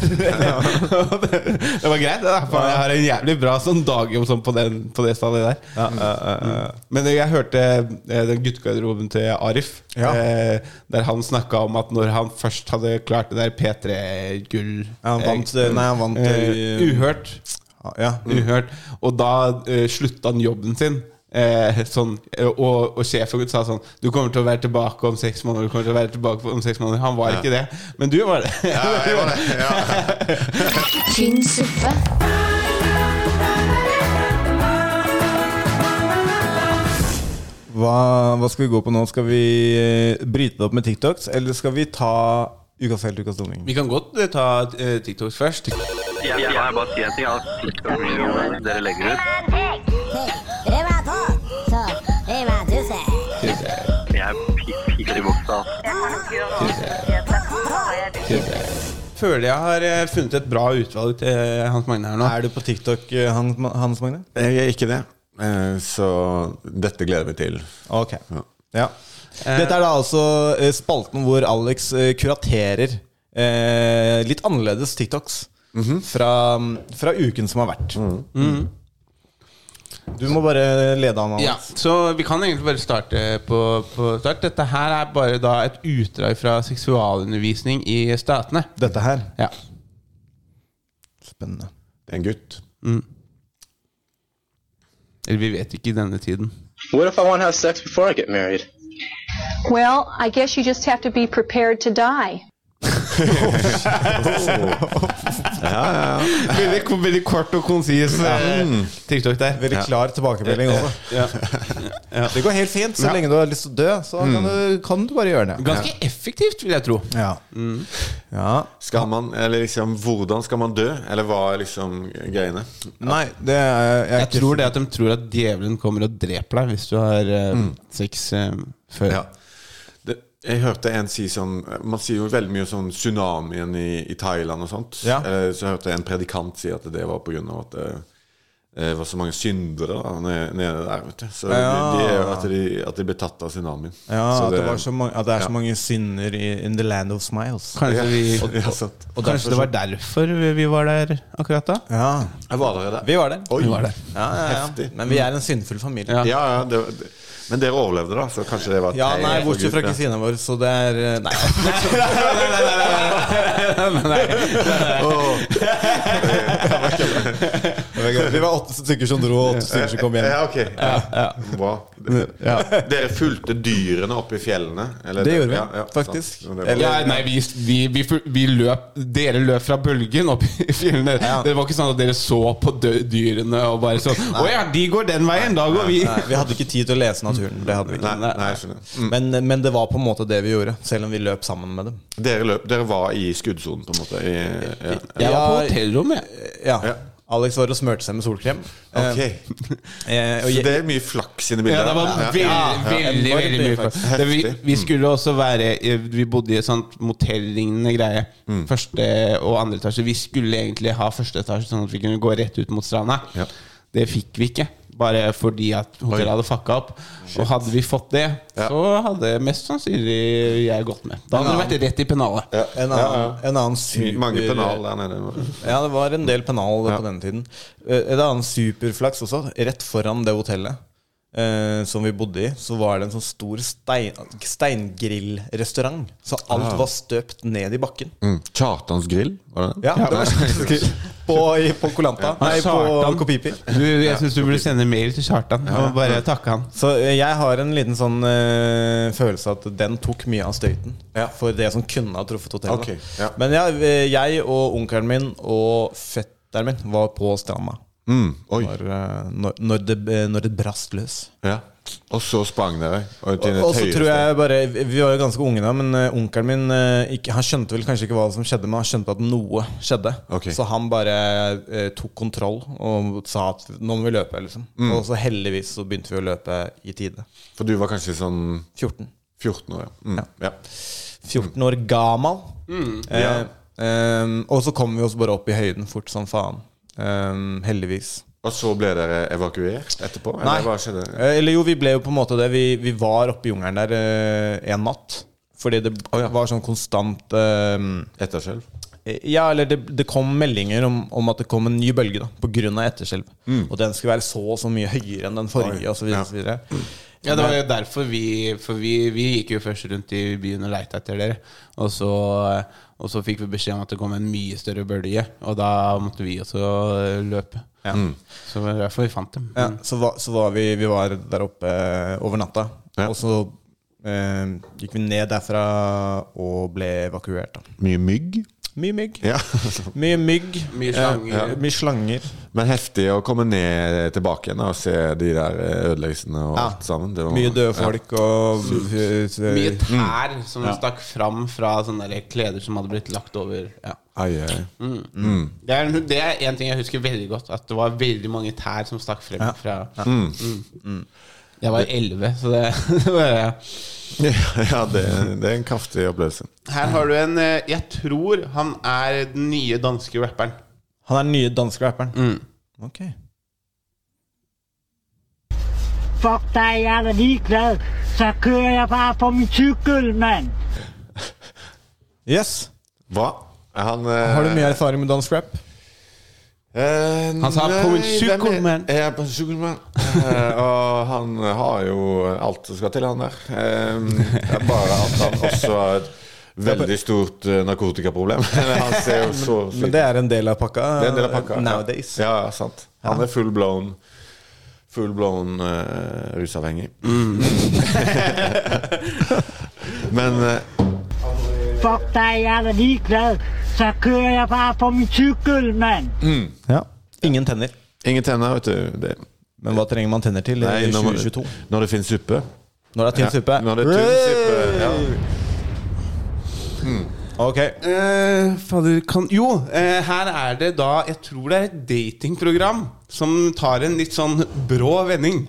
[SPEAKER 3] Og det, det var greit, det. da For jeg har en jævlig bra sånn dagjobb sånn på, den- på det stedet der. Mm. Men jeg hørte eh, den guttegarderoben til Arif.
[SPEAKER 2] Ja.
[SPEAKER 3] eh, Der han snakka om at når han først hadde klart det der P3-gull
[SPEAKER 2] Ja, han vant, eh, nei, han vant, eh,
[SPEAKER 3] Uhørt.
[SPEAKER 2] Ja.
[SPEAKER 4] Mm.
[SPEAKER 3] Uhørt. Og da eh, slutta han jobben sin. Eh, sånn, eh, og, og sjefen sa sånn Du kommer til å være tilbake om seks måneder. Du kommer til å være tilbake om seks måneder Han var ikke det, men du var det.
[SPEAKER 4] jeg var det,
[SPEAKER 1] Tynn suppe.
[SPEAKER 2] Hva, hva skal vi gå på nå? Skal vi eh, bryte det opp med TikToks, eller skal vi ta ukas helt, ukas dumling?
[SPEAKER 3] Vi kan godt eh, ta eh, TikToks først.
[SPEAKER 8] Jeg, jeg har bare si en ting. Altså, TikTok-videoene dere legger ut Jeg er pi- piker i buksa. altså.
[SPEAKER 3] Til det. føler jeg har eh, funnet et bra utvalg til Hans Magne her nå.
[SPEAKER 2] Er du på TikTok, eh, Hans Hans Magne?
[SPEAKER 4] Jeg er ikke det. Eh, Så dette gleder jeg meg til.
[SPEAKER 2] Ok.
[SPEAKER 4] Ja.
[SPEAKER 2] Ja. Dette er da altså eh, spalten hvor Alex eh, kuraterer eh, litt annerledes TikToks
[SPEAKER 3] Mhm.
[SPEAKER 2] fra, fra uken som har vært. Du må bare lede an, Alex.
[SPEAKER 3] Ja, så vi kan egentlig bare starte på, på start. Dette her er bare da et utdrag fra seksualundervisning i statene.
[SPEAKER 2] Dette her.
[SPEAKER 3] Ja.
[SPEAKER 2] Spennende.
[SPEAKER 4] Det er en gutt.
[SPEAKER 3] Eller vi vet ikke i denne tiden.
[SPEAKER 9] What if I want to have sex before I get married?
[SPEAKER 10] Well, I guess you just have to be prepared to die.
[SPEAKER 4] Oh.
[SPEAKER 3] Veldig, veldig kort og konsis eh,
[SPEAKER 4] Mm.
[SPEAKER 3] TikTok der.
[SPEAKER 2] Veldig klar tilbakemelding også. Det går helt fint. Så lenge du har lyst til å dø, så kan, du, kan du bare gjøre det.
[SPEAKER 3] Ganske effektivt, vil jeg tro.
[SPEAKER 2] Ja. ja.
[SPEAKER 4] Skal man, eller liksom, hvordan skal man dø? Eller hva er liksom greiene?
[SPEAKER 2] Nei, det er
[SPEAKER 3] Jeg tror det at de tror at djevelen kommer og dreper deg hvis du har eh,
[SPEAKER 4] Mm.
[SPEAKER 3] sex eh, før.
[SPEAKER 4] Det, jeg hørte en si sånn Man sier jo veldig mye om sånn tsunamien i, i Thailand og sånt.
[SPEAKER 2] Ja.
[SPEAKER 4] Eh, Så hørte jeg en predikant si at det var på grunn av at det, eh, var så mange syndere da, nede, nede der. Vet du. Så
[SPEAKER 2] Ja.
[SPEAKER 4] de, de, er jo at, de, at de ble tatt av tsunamien.
[SPEAKER 2] Ja,
[SPEAKER 4] så
[SPEAKER 2] at det, var så mange, at det er så
[SPEAKER 4] ja.
[SPEAKER 2] mange synder i In the land of smiles.
[SPEAKER 3] Kanskje, vi,
[SPEAKER 4] Og- ja, sant.
[SPEAKER 3] og kanskje det var derfor vi- vi var der akkurat da?
[SPEAKER 4] Mm.
[SPEAKER 2] Ja.
[SPEAKER 4] Jeg var der.
[SPEAKER 2] Vi var der.
[SPEAKER 4] Oi.
[SPEAKER 3] Vi var der.
[SPEAKER 2] Ja, ja, ja.
[SPEAKER 4] Heftig.
[SPEAKER 2] Men vi er en syndfull familie.
[SPEAKER 3] Ja.
[SPEAKER 2] Ja,
[SPEAKER 4] Ja, ja, det, var- men dere overlevde, da? Så kanskje det var et tegn
[SPEAKER 2] nei,
[SPEAKER 4] fra
[SPEAKER 2] bortsett fra
[SPEAKER 4] Gud, ja.
[SPEAKER 2] kusina vår, så det er eh, Nei. Vi var åtte stykker som dro, og åtte stykker som kom hjem.
[SPEAKER 4] Ja, ok. Ja. Bra. Dere fulgte dyrene opp i fjellene? eller?
[SPEAKER 2] Det gjorde vi,
[SPEAKER 4] Ja, ja,
[SPEAKER 2] faktisk.
[SPEAKER 4] sant. Det var-
[SPEAKER 3] Ja, nei, vi, vi, vi, vi løp Dere løp fra bølgen opp i fjellene.
[SPEAKER 2] Ja.
[SPEAKER 3] Det var ikke sånn at dere så på dø dyrene og bare sånn Å ja, de går den veien, da går vi.
[SPEAKER 2] Nei, vi hadde ikke tid til å lese naturen. Det hadde vi
[SPEAKER 4] Nei,
[SPEAKER 2] ikke.
[SPEAKER 4] nei, jeg skjønner.
[SPEAKER 2] Men, men det var på en måte det vi gjorde, selv om vi løp sammen med dem.
[SPEAKER 4] Dere, løp, dere var i skuddsonen, på en måte? I,
[SPEAKER 2] Eh,
[SPEAKER 4] ja.
[SPEAKER 3] Jeg var på
[SPEAKER 2] Ja,
[SPEAKER 3] hotellrommet. jeg.
[SPEAKER 2] Ja.
[SPEAKER 4] Ja.
[SPEAKER 2] Alex var og smurte seg med solkrem. Eh,
[SPEAKER 4] Ok.
[SPEAKER 2] eh, og
[SPEAKER 4] Så
[SPEAKER 2] jeg,
[SPEAKER 4] det er mye flaks i det bildet.
[SPEAKER 3] Ja, det var veldig, veldig,
[SPEAKER 2] Ja,
[SPEAKER 3] veldig mye folk. Det, vi,
[SPEAKER 4] Heftig.
[SPEAKER 3] vi skulle også være eh, Vi bodde i et sånt motell-lignende greie. Første og andre etasje. Vi skulle egentlig ha første etasje, sånn at vi kunne gå rett ut mot stranda.
[SPEAKER 4] Ja.
[SPEAKER 3] Det fikk vi ikke. Bare fordi at hotellet hadde fucka opp. Og hadde vi fått det,
[SPEAKER 4] Ja.
[SPEAKER 3] så hadde mest sannsynlig jeg gått med. Da hadde det vært rett i pennalet.
[SPEAKER 4] Ja.
[SPEAKER 2] en annen, en annen super
[SPEAKER 4] Mange penal der nede.
[SPEAKER 2] Ja, det var en del penal på denne tiden. Eh, En annen superflaks også. Rett foran det hotellet eh, som vi bodde i, så var det en sånn stor stein, steingrillrestaurant. Så alt
[SPEAKER 4] Ah.
[SPEAKER 2] var støpt ned i bakken.
[SPEAKER 4] Mm. Kjartans grill, var det det?
[SPEAKER 2] Ja, det var sånn På, i- på Kolanta. Nei, på
[SPEAKER 3] Sartan.
[SPEAKER 2] Kopipi.
[SPEAKER 3] Du, jeg syns du burde sende mail til Kjartan og bare takke han.
[SPEAKER 2] Så eh, jeg har en liten sånn eh, følelse at den tok mye av støyten for det som kunne ha truffet hotellet.
[SPEAKER 4] Ok, ja.
[SPEAKER 2] Men ja, eh, jeg og onkelen min og fetteren min var på stranda
[SPEAKER 4] Mm. Oi.
[SPEAKER 2] når, eh, når, når, det, eh, når det brast løs.
[SPEAKER 4] Ja. Og så sprang dere. Og,
[SPEAKER 2] Og
[SPEAKER 4] til et
[SPEAKER 2] og så
[SPEAKER 4] høyere
[SPEAKER 2] tror
[SPEAKER 4] sted.
[SPEAKER 2] jeg bare Vi var jo ganske unge da, men eh, onkelen min eh, ikke, Han skjønte vel kanskje ikke hva som skjedde, men han skjønte at noe skjedde.
[SPEAKER 4] Ok.
[SPEAKER 2] Så han bare eh, tok kontroll og sa at nå må vi løpe, liksom.
[SPEAKER 4] Mm.
[SPEAKER 2] Og så heldigvis så begynte vi å løpe i tide.
[SPEAKER 4] For du var kanskje sånn
[SPEAKER 2] 14.
[SPEAKER 4] 14 år, ja. Mm. ja.
[SPEAKER 2] 14 år gamal. Eh, ehm, og så kom vi oss bare opp i høyden fort som faen. Ehm, heldigvis.
[SPEAKER 4] Og så ble dere evakuert etterpå?
[SPEAKER 2] Nei.
[SPEAKER 4] Eller hva skjedde?
[SPEAKER 2] Eh, Eller jo, vi ble jo på en måte det. Vi, vi var oppe i jungelen der eh, en natt. Fordi det var sånn konstant ehm,
[SPEAKER 4] Etterskjelv?
[SPEAKER 2] eh, Ja, eller det, det kom meldinger om, om at det kom en ny bølge da pga. etterskjelv. Og den skulle være så og så mye høyere enn den forrige, og så videre. og så videre.
[SPEAKER 3] Ja, det var jo derfor vi For vi, vi gikk jo først rundt i byen og leita etter dere. Og så, og så fikk vi beskjed om at det kom en mye større bølge, og da måtte vi også løpe. Mm. Så det var derfor vi fant dem. Mm.
[SPEAKER 2] Ja, så, var, så var vi, vi var der oppe over natta.
[SPEAKER 4] Ja.
[SPEAKER 2] Og så eh, gikk vi ned derfra og ble evakuert. Da.
[SPEAKER 4] Mye mygg?
[SPEAKER 2] Mye mygg.
[SPEAKER 4] Ja.
[SPEAKER 2] Mye mygg.
[SPEAKER 3] Mye slanger.
[SPEAKER 2] Eh, ja. Mye slanger.
[SPEAKER 4] Men heftig å komme ned tilbake igjen da, og se de der eh, ødeleggelsene og
[SPEAKER 2] Ja.
[SPEAKER 4] alt sammen. Det var-
[SPEAKER 2] Mye døde folk og eh,
[SPEAKER 3] Mye
[SPEAKER 2] Mm.
[SPEAKER 3] tær som stakk fram fra sånne der kleder som hadde blitt lagt over. Ja.
[SPEAKER 4] Ai, ai.
[SPEAKER 3] Det, er, det er en ting jeg husker veldig godt, at det var veldig mange tær som stakk frem fra
[SPEAKER 4] Mm.
[SPEAKER 3] Jeg var elleve, så det, det var jeg.
[SPEAKER 4] Ja, det, det er en kraftig opplevelse.
[SPEAKER 3] Her har du en eh, Jeg tror han er den nye danske rapperen.
[SPEAKER 2] Han er den nye danske rapperen.
[SPEAKER 4] Mm.
[SPEAKER 2] Ok.
[SPEAKER 5] Fuck deg, jeg er ligeglad. Så kører jeg bare på min sykkel, mann.
[SPEAKER 2] Yes.
[SPEAKER 4] Hva? Han eh,
[SPEAKER 2] Har du mye erfaring med dansk rap?
[SPEAKER 4] Han
[SPEAKER 3] sa, "På min sykkelmann."
[SPEAKER 4] Ja, på min sykkelmann. Eh, og han har jo alt som skal til, han der. Eh, bare at han også har et veldig stort eh, narkotikaproblem. han ser jo så
[SPEAKER 2] Men det er en del av pakka.
[SPEAKER 4] Det er en del av pakka.
[SPEAKER 2] Eh, Nowadays.
[SPEAKER 4] Ja, ja sant. Han er full blown Full blown eh, rusavhengig. Men eh,
[SPEAKER 5] Fuck deg, jeg er ligeglad. Så kører jeg bare på min sykkel, mann.
[SPEAKER 2] Ja. Ingen tenner.
[SPEAKER 4] ingen tenner, vet du. Det,
[SPEAKER 2] Men hva trenger man tenner til i
[SPEAKER 4] nei, når, man-
[SPEAKER 2] 2022?
[SPEAKER 4] når det finnes suppe.
[SPEAKER 2] Når det er tynn suppe?
[SPEAKER 4] Ja, når det er tynn suppe. Ja.
[SPEAKER 2] Ok.
[SPEAKER 3] Eh, fader, kan, jo, eh, her er det da Jeg tror det er et datingprogram som tar en litt sånn brå vending.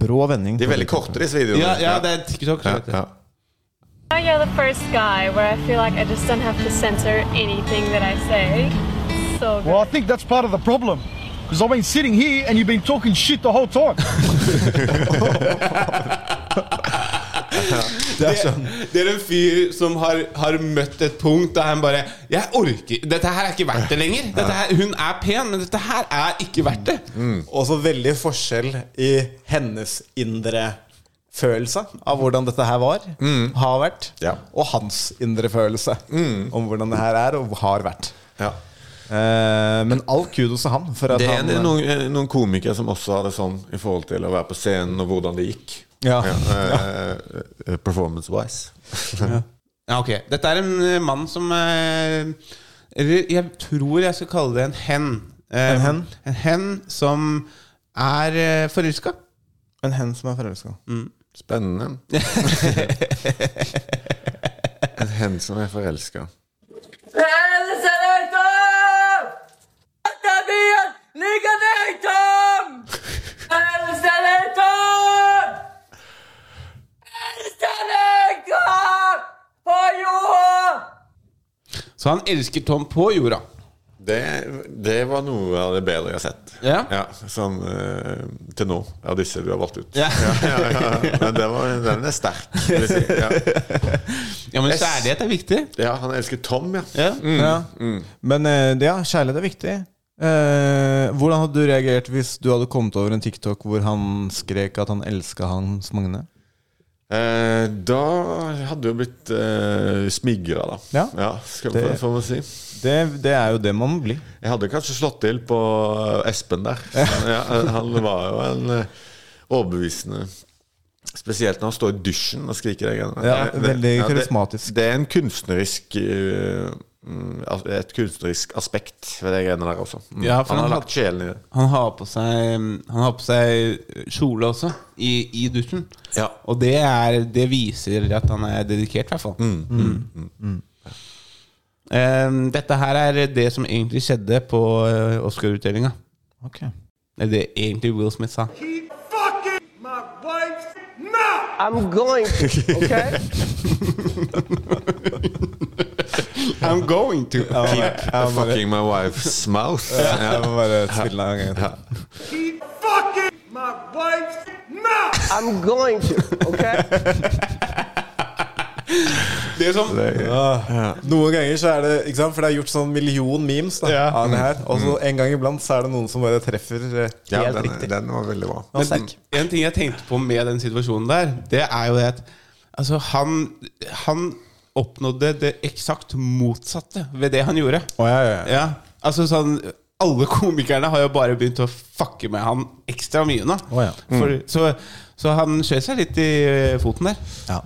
[SPEAKER 2] Brå vending.
[SPEAKER 4] De er veldig korte, disse videoene.
[SPEAKER 3] Ja, ja det er TikTok.
[SPEAKER 4] Ja,
[SPEAKER 3] så vet jeg.
[SPEAKER 4] ja.
[SPEAKER 10] You're the first guy where I feel like I just don't have to censor anything that I say. So
[SPEAKER 5] Well, I think that's part of the problem. Because I've been sitting here and you've been talking shit the whole time.
[SPEAKER 2] Det er sånn.
[SPEAKER 3] Det er en fyr som har, har møtt et punkt der han bare Jeg orker Dette her er ikke verdt det lenger. Dette her, hun er pen, men dette her er ikke verdt det.
[SPEAKER 2] Også veldig forskjell i hennes indre følelse av hvordan dette her var, har vært,
[SPEAKER 4] Mm. Ja. Mm.
[SPEAKER 2] og hans indre følelse om hvordan det her er og har vært.
[SPEAKER 4] Ja.
[SPEAKER 2] Eh, men all kudos til han. For at
[SPEAKER 4] Det er
[SPEAKER 2] han, eh,
[SPEAKER 4] en- noen, eh, noen komikere som også har det sånn i forhold til å være på scenen og hvordan det gikk.
[SPEAKER 2] Ja.
[SPEAKER 4] eh, Performance-wise.
[SPEAKER 3] Ja, ok Dette er en eh, mann som eh, Eller jeg tror jeg skal kalle det en hen. Eh,
[SPEAKER 2] En hen?
[SPEAKER 3] En hen som er eh, forelska.
[SPEAKER 2] En hen som er forelska.
[SPEAKER 3] Mm.
[SPEAKER 4] Spennende. en hen som er forelska.
[SPEAKER 3] Så han elsker Tom på jorda.
[SPEAKER 4] Det, det var noe av det bedre jeg har sett.
[SPEAKER 3] Ja.
[SPEAKER 4] sånn eh, til nå, av disse du har valgt ut.
[SPEAKER 3] Ja.
[SPEAKER 4] ja, ja, ja. Men det var, den er sterk. vil jeg si. Ja.
[SPEAKER 3] Ja, men kjærlighet er viktig.
[SPEAKER 4] ja, han elsker Tom, ja.
[SPEAKER 3] Ja. Mm.
[SPEAKER 2] Ja.
[SPEAKER 4] Mm.
[SPEAKER 2] Men eh, ja, kjærlighet er viktig. Eh, hvordan hadde du reagert hvis du hadde kommet over en TikTok hvor han skrek at han elska Hans Magne?
[SPEAKER 4] Eh, da hadde du blitt eh, smigra, da.
[SPEAKER 2] Ja.
[SPEAKER 4] skal vi
[SPEAKER 2] Det-
[SPEAKER 4] få man si.
[SPEAKER 2] Det, det er jo det man blir.
[SPEAKER 4] Jeg hadde kanskje slått til på eh, Espen der. Ja, han var jo en eh, overbevisende Spesielt når han står i dusjen og skriker. de greiene.
[SPEAKER 2] Ja,
[SPEAKER 4] Det-
[SPEAKER 2] veldig
[SPEAKER 4] det-
[SPEAKER 2] karismatisk.
[SPEAKER 4] Det, det er en kunstnerisk eh, mm, al- et kunstnerisk aspekt ved de greiene der også. Mm.
[SPEAKER 3] Ja, for
[SPEAKER 4] han har
[SPEAKER 3] han
[SPEAKER 4] lagt sjelen i det.
[SPEAKER 3] Han har på seg Han har på seg kjole også, i, i dusjen.
[SPEAKER 4] Ja.
[SPEAKER 3] Og det, er, det viser at han er dedikert, i hvert fall. Mm. Eh, dette her er det som egentlig skjedde på eh, Oscar-utdelinga.
[SPEAKER 2] Okay.
[SPEAKER 3] Eller det egentlig Will Smith sa.
[SPEAKER 5] I'm going to, okay?
[SPEAKER 3] I'm going to
[SPEAKER 4] Keep fucking my wife's mouth.
[SPEAKER 2] Jeg må bare spille av en gang. til.
[SPEAKER 5] I'm going to, okay?
[SPEAKER 3] Det som
[SPEAKER 2] Noen ganger så er det ikke sant? For det er gjort sånn million memes da,
[SPEAKER 3] Ja.
[SPEAKER 2] av det her. Og så en gang iblant så er det noen som bare treffer eh, helt
[SPEAKER 4] Ja, den,
[SPEAKER 2] riktig.
[SPEAKER 4] den var veldig bra.
[SPEAKER 2] Men- Sterk.
[SPEAKER 3] En ting jeg tenkte på med den situasjonen der, det er jo det at altså, han, han oppnådde det eksakt motsatte ved det han gjorde.
[SPEAKER 2] Å, ja, ja, ja.
[SPEAKER 3] Ja, altså sånn Alle komikerne har jo bare begynt å fucke med han ekstra mye nå.
[SPEAKER 2] Å, ja.
[SPEAKER 3] For, så, så han skjøt seg litt i eh, foten der.
[SPEAKER 2] Ja.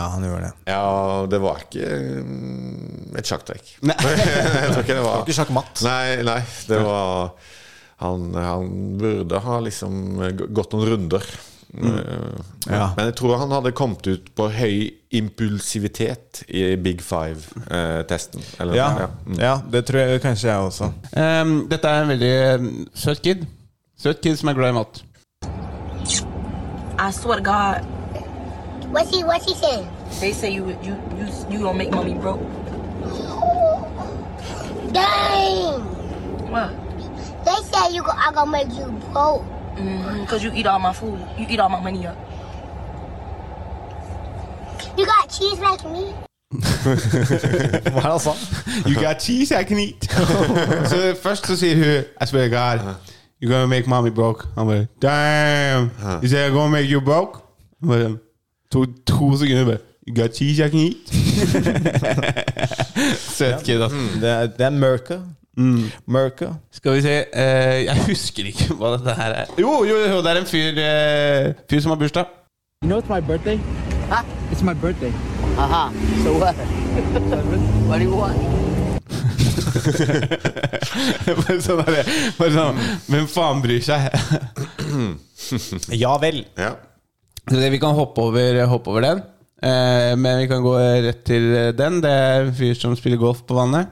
[SPEAKER 2] ja, han gjør det. Det
[SPEAKER 4] Ja, det var ikke mm, et sjakktrekk.
[SPEAKER 3] Nei.
[SPEAKER 4] jeg tror ikke det var
[SPEAKER 2] var ikke sjakkmatt.
[SPEAKER 4] Nei, nei, det var Han, han burde ha liksom g- gått noen runder.
[SPEAKER 3] Mm.
[SPEAKER 4] Eh,
[SPEAKER 2] Ja.
[SPEAKER 4] Men jeg tror han hadde kommet ut på høy impulsivitet i Big eh, Five-testen.
[SPEAKER 2] Ja. Mm.
[SPEAKER 4] Mm.
[SPEAKER 2] ja, det tror jeg kanskje jeg også.
[SPEAKER 3] Ehm, dette er en veldig eh, søt kid. Søt kid som er glad i mat.
[SPEAKER 11] I swear to God.
[SPEAKER 12] What's he What's he saying?
[SPEAKER 11] They say you you you you gonna make mommy broke.
[SPEAKER 12] Dang.
[SPEAKER 11] What?
[SPEAKER 12] They say you go, I gonna make you broke.
[SPEAKER 11] Mm-hmm, Cause you eat all my food. You eat all my money up.
[SPEAKER 12] You got cheese like me.
[SPEAKER 2] Hva er det han sa?
[SPEAKER 3] You got cheese I can eat. så først så sier hun I swear to God, you're gonna make mommy broke. Han bare damn. You say I'm gonna make you broke? Han bare, to, to sekunder bare You got cheese I can eat? Søt kid, ass.
[SPEAKER 2] Det er, det er Merca.
[SPEAKER 3] Mm.
[SPEAKER 2] Merca.
[SPEAKER 3] Skal vi se eh, Jeg husker ikke hva dette her er. Jo, jo, jo det er en fyr, eh, fyr som har bursdag.
[SPEAKER 13] You know it's my birthday?
[SPEAKER 11] Huh?
[SPEAKER 13] It's my birthday.
[SPEAKER 11] Aha. Uh-huh. So what? what do you want?
[SPEAKER 3] bare sånn er det. Bare sånn Hvem faen bryr seg?
[SPEAKER 2] Ja vel.
[SPEAKER 4] Ja.
[SPEAKER 3] Så det, vi kan hoppe over, hoppe over den. Eh, men vi kan gå rett til eh, den. Det er en fyr som spiller golf på vannet.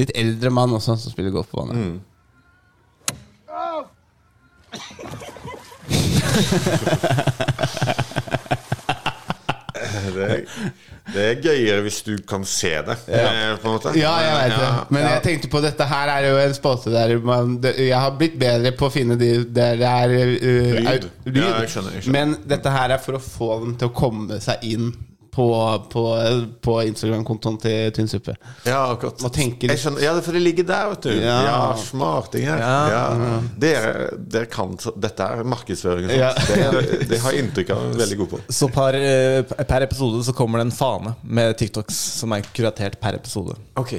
[SPEAKER 3] Litt eldre mann også som spiller golf på vannet.
[SPEAKER 4] Det, det er gøyere hvis du kan se det, eh, på en måte.
[SPEAKER 3] Ja, jeg vet det.
[SPEAKER 4] Ja.
[SPEAKER 3] Men jeg tenkte på dette her er jo en spalte der man det, Jeg har blitt bedre på å finne de der det er uh,
[SPEAKER 4] Lyd.
[SPEAKER 3] au- lyd.
[SPEAKER 4] Ja, jeg skjønner, jeg skjønner.
[SPEAKER 3] Men dette her er for å få dem til å komme seg inn på, på, på Instagram-kontoen til Tynn suppe.
[SPEAKER 4] Ja, akkurat.
[SPEAKER 3] Må tenke litt.
[SPEAKER 4] Jeg skjønner, ja, for det ligger der, vet du. Ja,
[SPEAKER 3] Ja.
[SPEAKER 4] smartinger. Ja. Dere, dere kan så- Dette er markedsføring. og sånt.
[SPEAKER 3] Ja.
[SPEAKER 4] Det, det har jeg inntrykk av. Veldig god på.
[SPEAKER 2] Så per, eh, per episode så kommer det en fane med TikToks som er kuratert per episode.
[SPEAKER 4] Ok.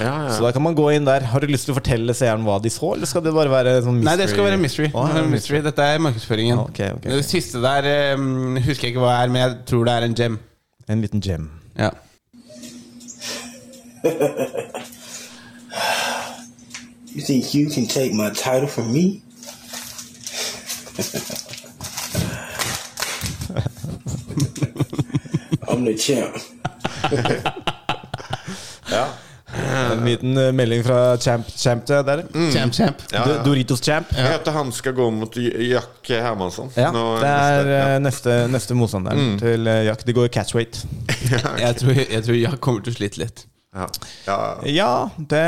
[SPEAKER 4] Ja,
[SPEAKER 2] Så
[SPEAKER 4] ja.
[SPEAKER 2] da kan man gå inn der. Har du lyst til å fortelle seeren hva de så, eller skal det bare være sånn mystery?
[SPEAKER 3] Nei, det skal være mystery.
[SPEAKER 2] Å, ja,
[SPEAKER 3] Det er mystery. Dette er markedsføringen.
[SPEAKER 2] Ok, ok,
[SPEAKER 3] Det
[SPEAKER 2] ok.
[SPEAKER 3] siste der eh, husker jeg ikke hva er, men jeg tror det er en gem.
[SPEAKER 2] En liten gem.
[SPEAKER 3] Ja.
[SPEAKER 14] You think you can take my title from me? I'm the champ.
[SPEAKER 2] En liten eh, melding fra Champ, champ til dere.
[SPEAKER 3] Mm. Champ, champ.
[SPEAKER 4] Ja, ja.
[SPEAKER 2] Do- Doritos Champ.
[SPEAKER 4] Jeg hørte han skal gå mot J- Jack Hermansson.
[SPEAKER 2] Ja,
[SPEAKER 4] Nå-
[SPEAKER 2] det er
[SPEAKER 4] neste-
[SPEAKER 2] eh, neste, neste motstander til eh, Jack. Det går catchweight.
[SPEAKER 3] Jeg tror, jeg tror jeg kommer til å slite litt.
[SPEAKER 4] ja. Ja. Ja.
[SPEAKER 2] Ja, det,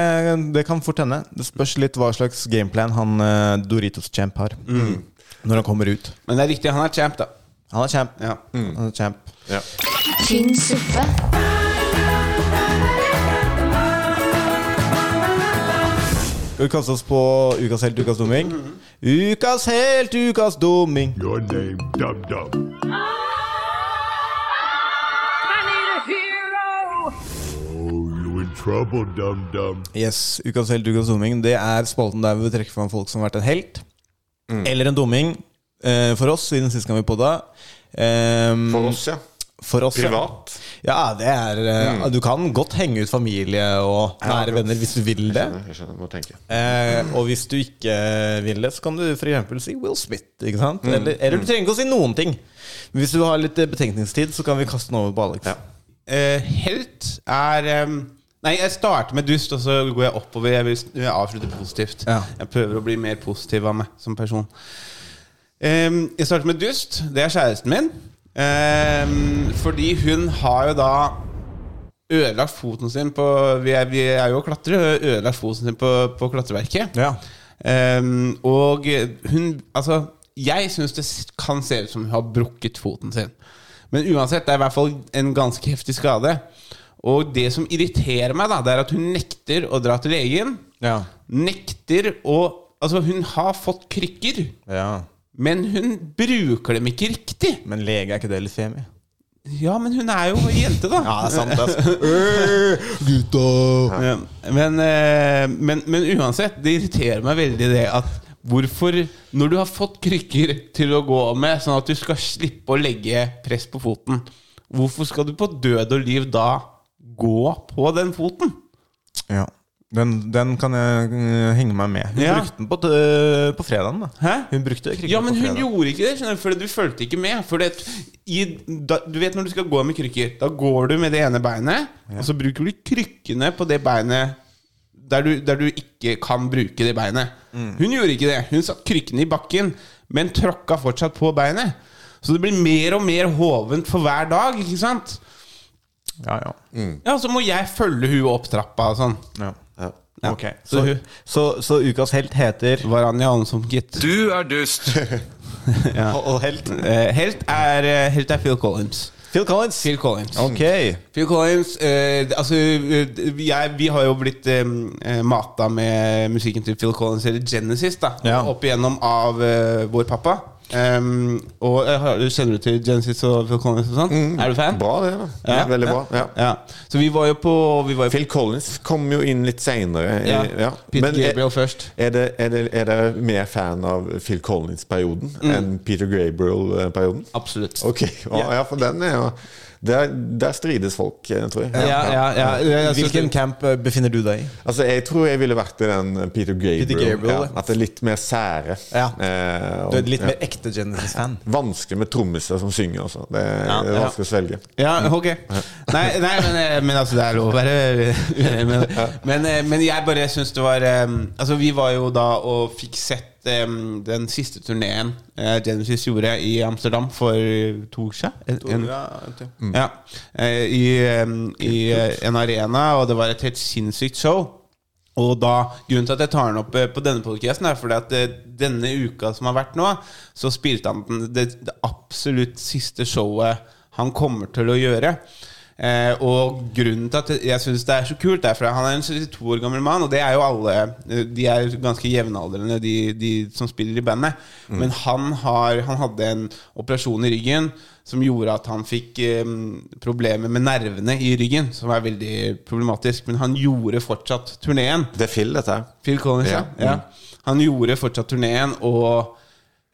[SPEAKER 2] det kan fort hende. Det spørs litt hva slags gameplan han eh, Doritos Champ har. Når han kommer ut.
[SPEAKER 3] Men det er riktig, han er champ, da.
[SPEAKER 2] Han er champ.
[SPEAKER 3] Ja.
[SPEAKER 2] Han er champ.
[SPEAKER 4] Ja.
[SPEAKER 1] Tynn suppe.
[SPEAKER 2] Skal vi kaste oss på ukas helt, ukas dumming? Ukas helt, ukas dumming.
[SPEAKER 7] Your name, Dum Dum. Oh, you in trouble, Dum Dum.
[SPEAKER 2] Yes, ukas helt, ukas dumming Det er spalten der vi trekker fram folk som har vært en helt. Eller en dumming eh, for oss, siden sist gang vi podda. Um,
[SPEAKER 4] For oss, ja.
[SPEAKER 2] For oss, ja.
[SPEAKER 4] Privat.
[SPEAKER 2] Ja, det er eh, Du kan godt henge ut familie og nære venner hvis du vil det.
[SPEAKER 4] Jeg skjønner, må tenke.
[SPEAKER 2] Eh, og hvis du ikke vil det, så kan du f.eks. si Will Smith. Ikke sant? Eller, eller du trenger ikke å si noen ting. Men hvis du har litt eh, betenkningstid, så kan vi kaste den over på Alex.
[SPEAKER 3] Eh, helt er ehm, Nei, jeg starter med dust, og så går jeg oppover. Jeg vil s- jeg avslutter positivt.
[SPEAKER 2] Ja.
[SPEAKER 3] Jeg prøver å bli mer positiv av meg som person. Ehm, jeg starter med dust. Det er kjæresten min. Ehm, fordi hun har jo da ødelagt foten sin på Vi er, vi er jo klatrere. Ødelagt foten sin på, på klatreverket.
[SPEAKER 2] Ja.
[SPEAKER 3] Ehm, og hun Altså, jeg syns det s- kan se ut som hun har brukket foten sin. Men uansett, det er i hvert fall en ganske heftig skade. Og det som irriterer meg, da, det er at hun nekter å dra til legen.
[SPEAKER 2] Ja.
[SPEAKER 3] Nekter å Altså, hun har fått krykker,
[SPEAKER 2] ja.
[SPEAKER 3] men hun bruker dem ikke riktig.
[SPEAKER 2] Men lege, er ikke det litt femi?
[SPEAKER 3] Ja, men hun er jo en jente, da.
[SPEAKER 2] Ja, det er sant, altså. Gutta!
[SPEAKER 3] Ja, Men, eh, men, men uansett, det irriterer meg veldig det at Hvorfor, når du har fått krykker til å gå med, sånn at du skal slippe å legge press på foten, hvorfor skal du på død og liv da gå på den foten?
[SPEAKER 2] Ja. Den, den kan jeg eh, henge meg med. Hun
[SPEAKER 3] Ja.
[SPEAKER 2] brukte den på, t- på fredagen, da.
[SPEAKER 3] Hæ?
[SPEAKER 2] Hun brukte krykker
[SPEAKER 3] Ja, men
[SPEAKER 2] på
[SPEAKER 3] hun
[SPEAKER 2] fredag.
[SPEAKER 3] gjorde ikke det, skjønner du, for du fulgte ikke med. For det, i, da, du vet når du skal gå med krykker, da går du med det ene beinet, og så bruker du krykkene på det beinet der du, der du ikke kan bruke det beinet. Hun gjorde ikke det. Hun satt krykkene i bakken, men tråkka fortsatt på beinet. Så det blir mer og mer hovent for hver dag, ikke sant?
[SPEAKER 2] Ja, ja.
[SPEAKER 3] Ja, så må jeg følge hun opp trappa og sånn. Ja.
[SPEAKER 2] Ok,
[SPEAKER 3] Så,
[SPEAKER 2] så, så, så ukas helt heter
[SPEAKER 3] Varanja Hansson, gitt.
[SPEAKER 15] Du er dust.
[SPEAKER 3] Ja.
[SPEAKER 2] Og, og helt?
[SPEAKER 3] Eh, helt, er, eh, helt er Phil Collins.
[SPEAKER 2] Phil Collins.
[SPEAKER 3] Phil Collins.
[SPEAKER 2] Ok.
[SPEAKER 3] Phil Collins eh, altså, eh, jeg, Vi har jo blitt eh, eh, mata med musikken til Phil Collins eller Genesis da
[SPEAKER 2] Ja.
[SPEAKER 3] opp igjennom av eh, vår pappa. Um, og jeg har- Kjenner du til Genesis og Phil Collins? og sånn? Er du fan?
[SPEAKER 4] Mm. Bra, det. da ja, Veldig bra. Ja.
[SPEAKER 3] Så vi var jo på, vi var jo på
[SPEAKER 4] Phil Collins kom jo inn litt seinere.
[SPEAKER 3] Ja. Peter Gabriel
[SPEAKER 4] er,
[SPEAKER 3] først.
[SPEAKER 4] er, det, er, det, er det mer fan av Phil Collins-perioden enn Peter Gabriel-perioden?
[SPEAKER 3] Absolutt.
[SPEAKER 4] Ok, ja, ja, for den er jo der, der strides folk, eh, tror jeg.
[SPEAKER 2] Hvilken camp eh, befinner du deg i?
[SPEAKER 4] Altså, Jeg tror jeg ville vært i den Peter Gabriel.
[SPEAKER 2] Peter Gabriel,
[SPEAKER 4] ja,
[SPEAKER 2] ja.
[SPEAKER 4] at det er litt mer sære.
[SPEAKER 2] Ja.
[SPEAKER 4] Eh, og-
[SPEAKER 2] Du er litt
[SPEAKER 4] ja.
[SPEAKER 2] mer ekte Genesis-fan.
[SPEAKER 4] Vanskelig med trommiser som synger også. Det er,
[SPEAKER 3] Ja,
[SPEAKER 4] det er
[SPEAKER 3] ja.
[SPEAKER 4] vanskelig å svelge.
[SPEAKER 3] Ja, ok. Nei, nei men, eh, men altså, det er lov å være uenig med det. Men, eh, men jeg bare syns det var eh, Altså, vi var jo da og fikk sett eh, den siste turneen eh, Genesis gjorde i Amsterdam for to år siden. En- en- Ja. Eh, I, eh, i eh, en arena, og det var et helt sinnssykt show. Og da, Grunnen til at jeg tar den opp eh, på denne podcasten er fordi at eh, denne uka som har vært nå, så spilte han den- det, det absolutt siste showet han kommer til å gjøre. Eh, og grunnen til at jeg syns det er så kult, er fordi han er en 72 år gammel mann, og det er jo alle eh, De er ganske jevnaldrende, de, de som spiller i bandet.
[SPEAKER 2] Mm.
[SPEAKER 3] Men han, har, han hadde en operasjon i ryggen som gjorde at han fikk eh, problemer med nervene i ryggen, som er veldig problematisk. Men han gjorde fortsatt turneen.
[SPEAKER 4] Det er Phil, dette her.
[SPEAKER 3] Phil Collins, ja.
[SPEAKER 4] Ja.
[SPEAKER 3] ja. Han gjorde fortsatt turneen, og,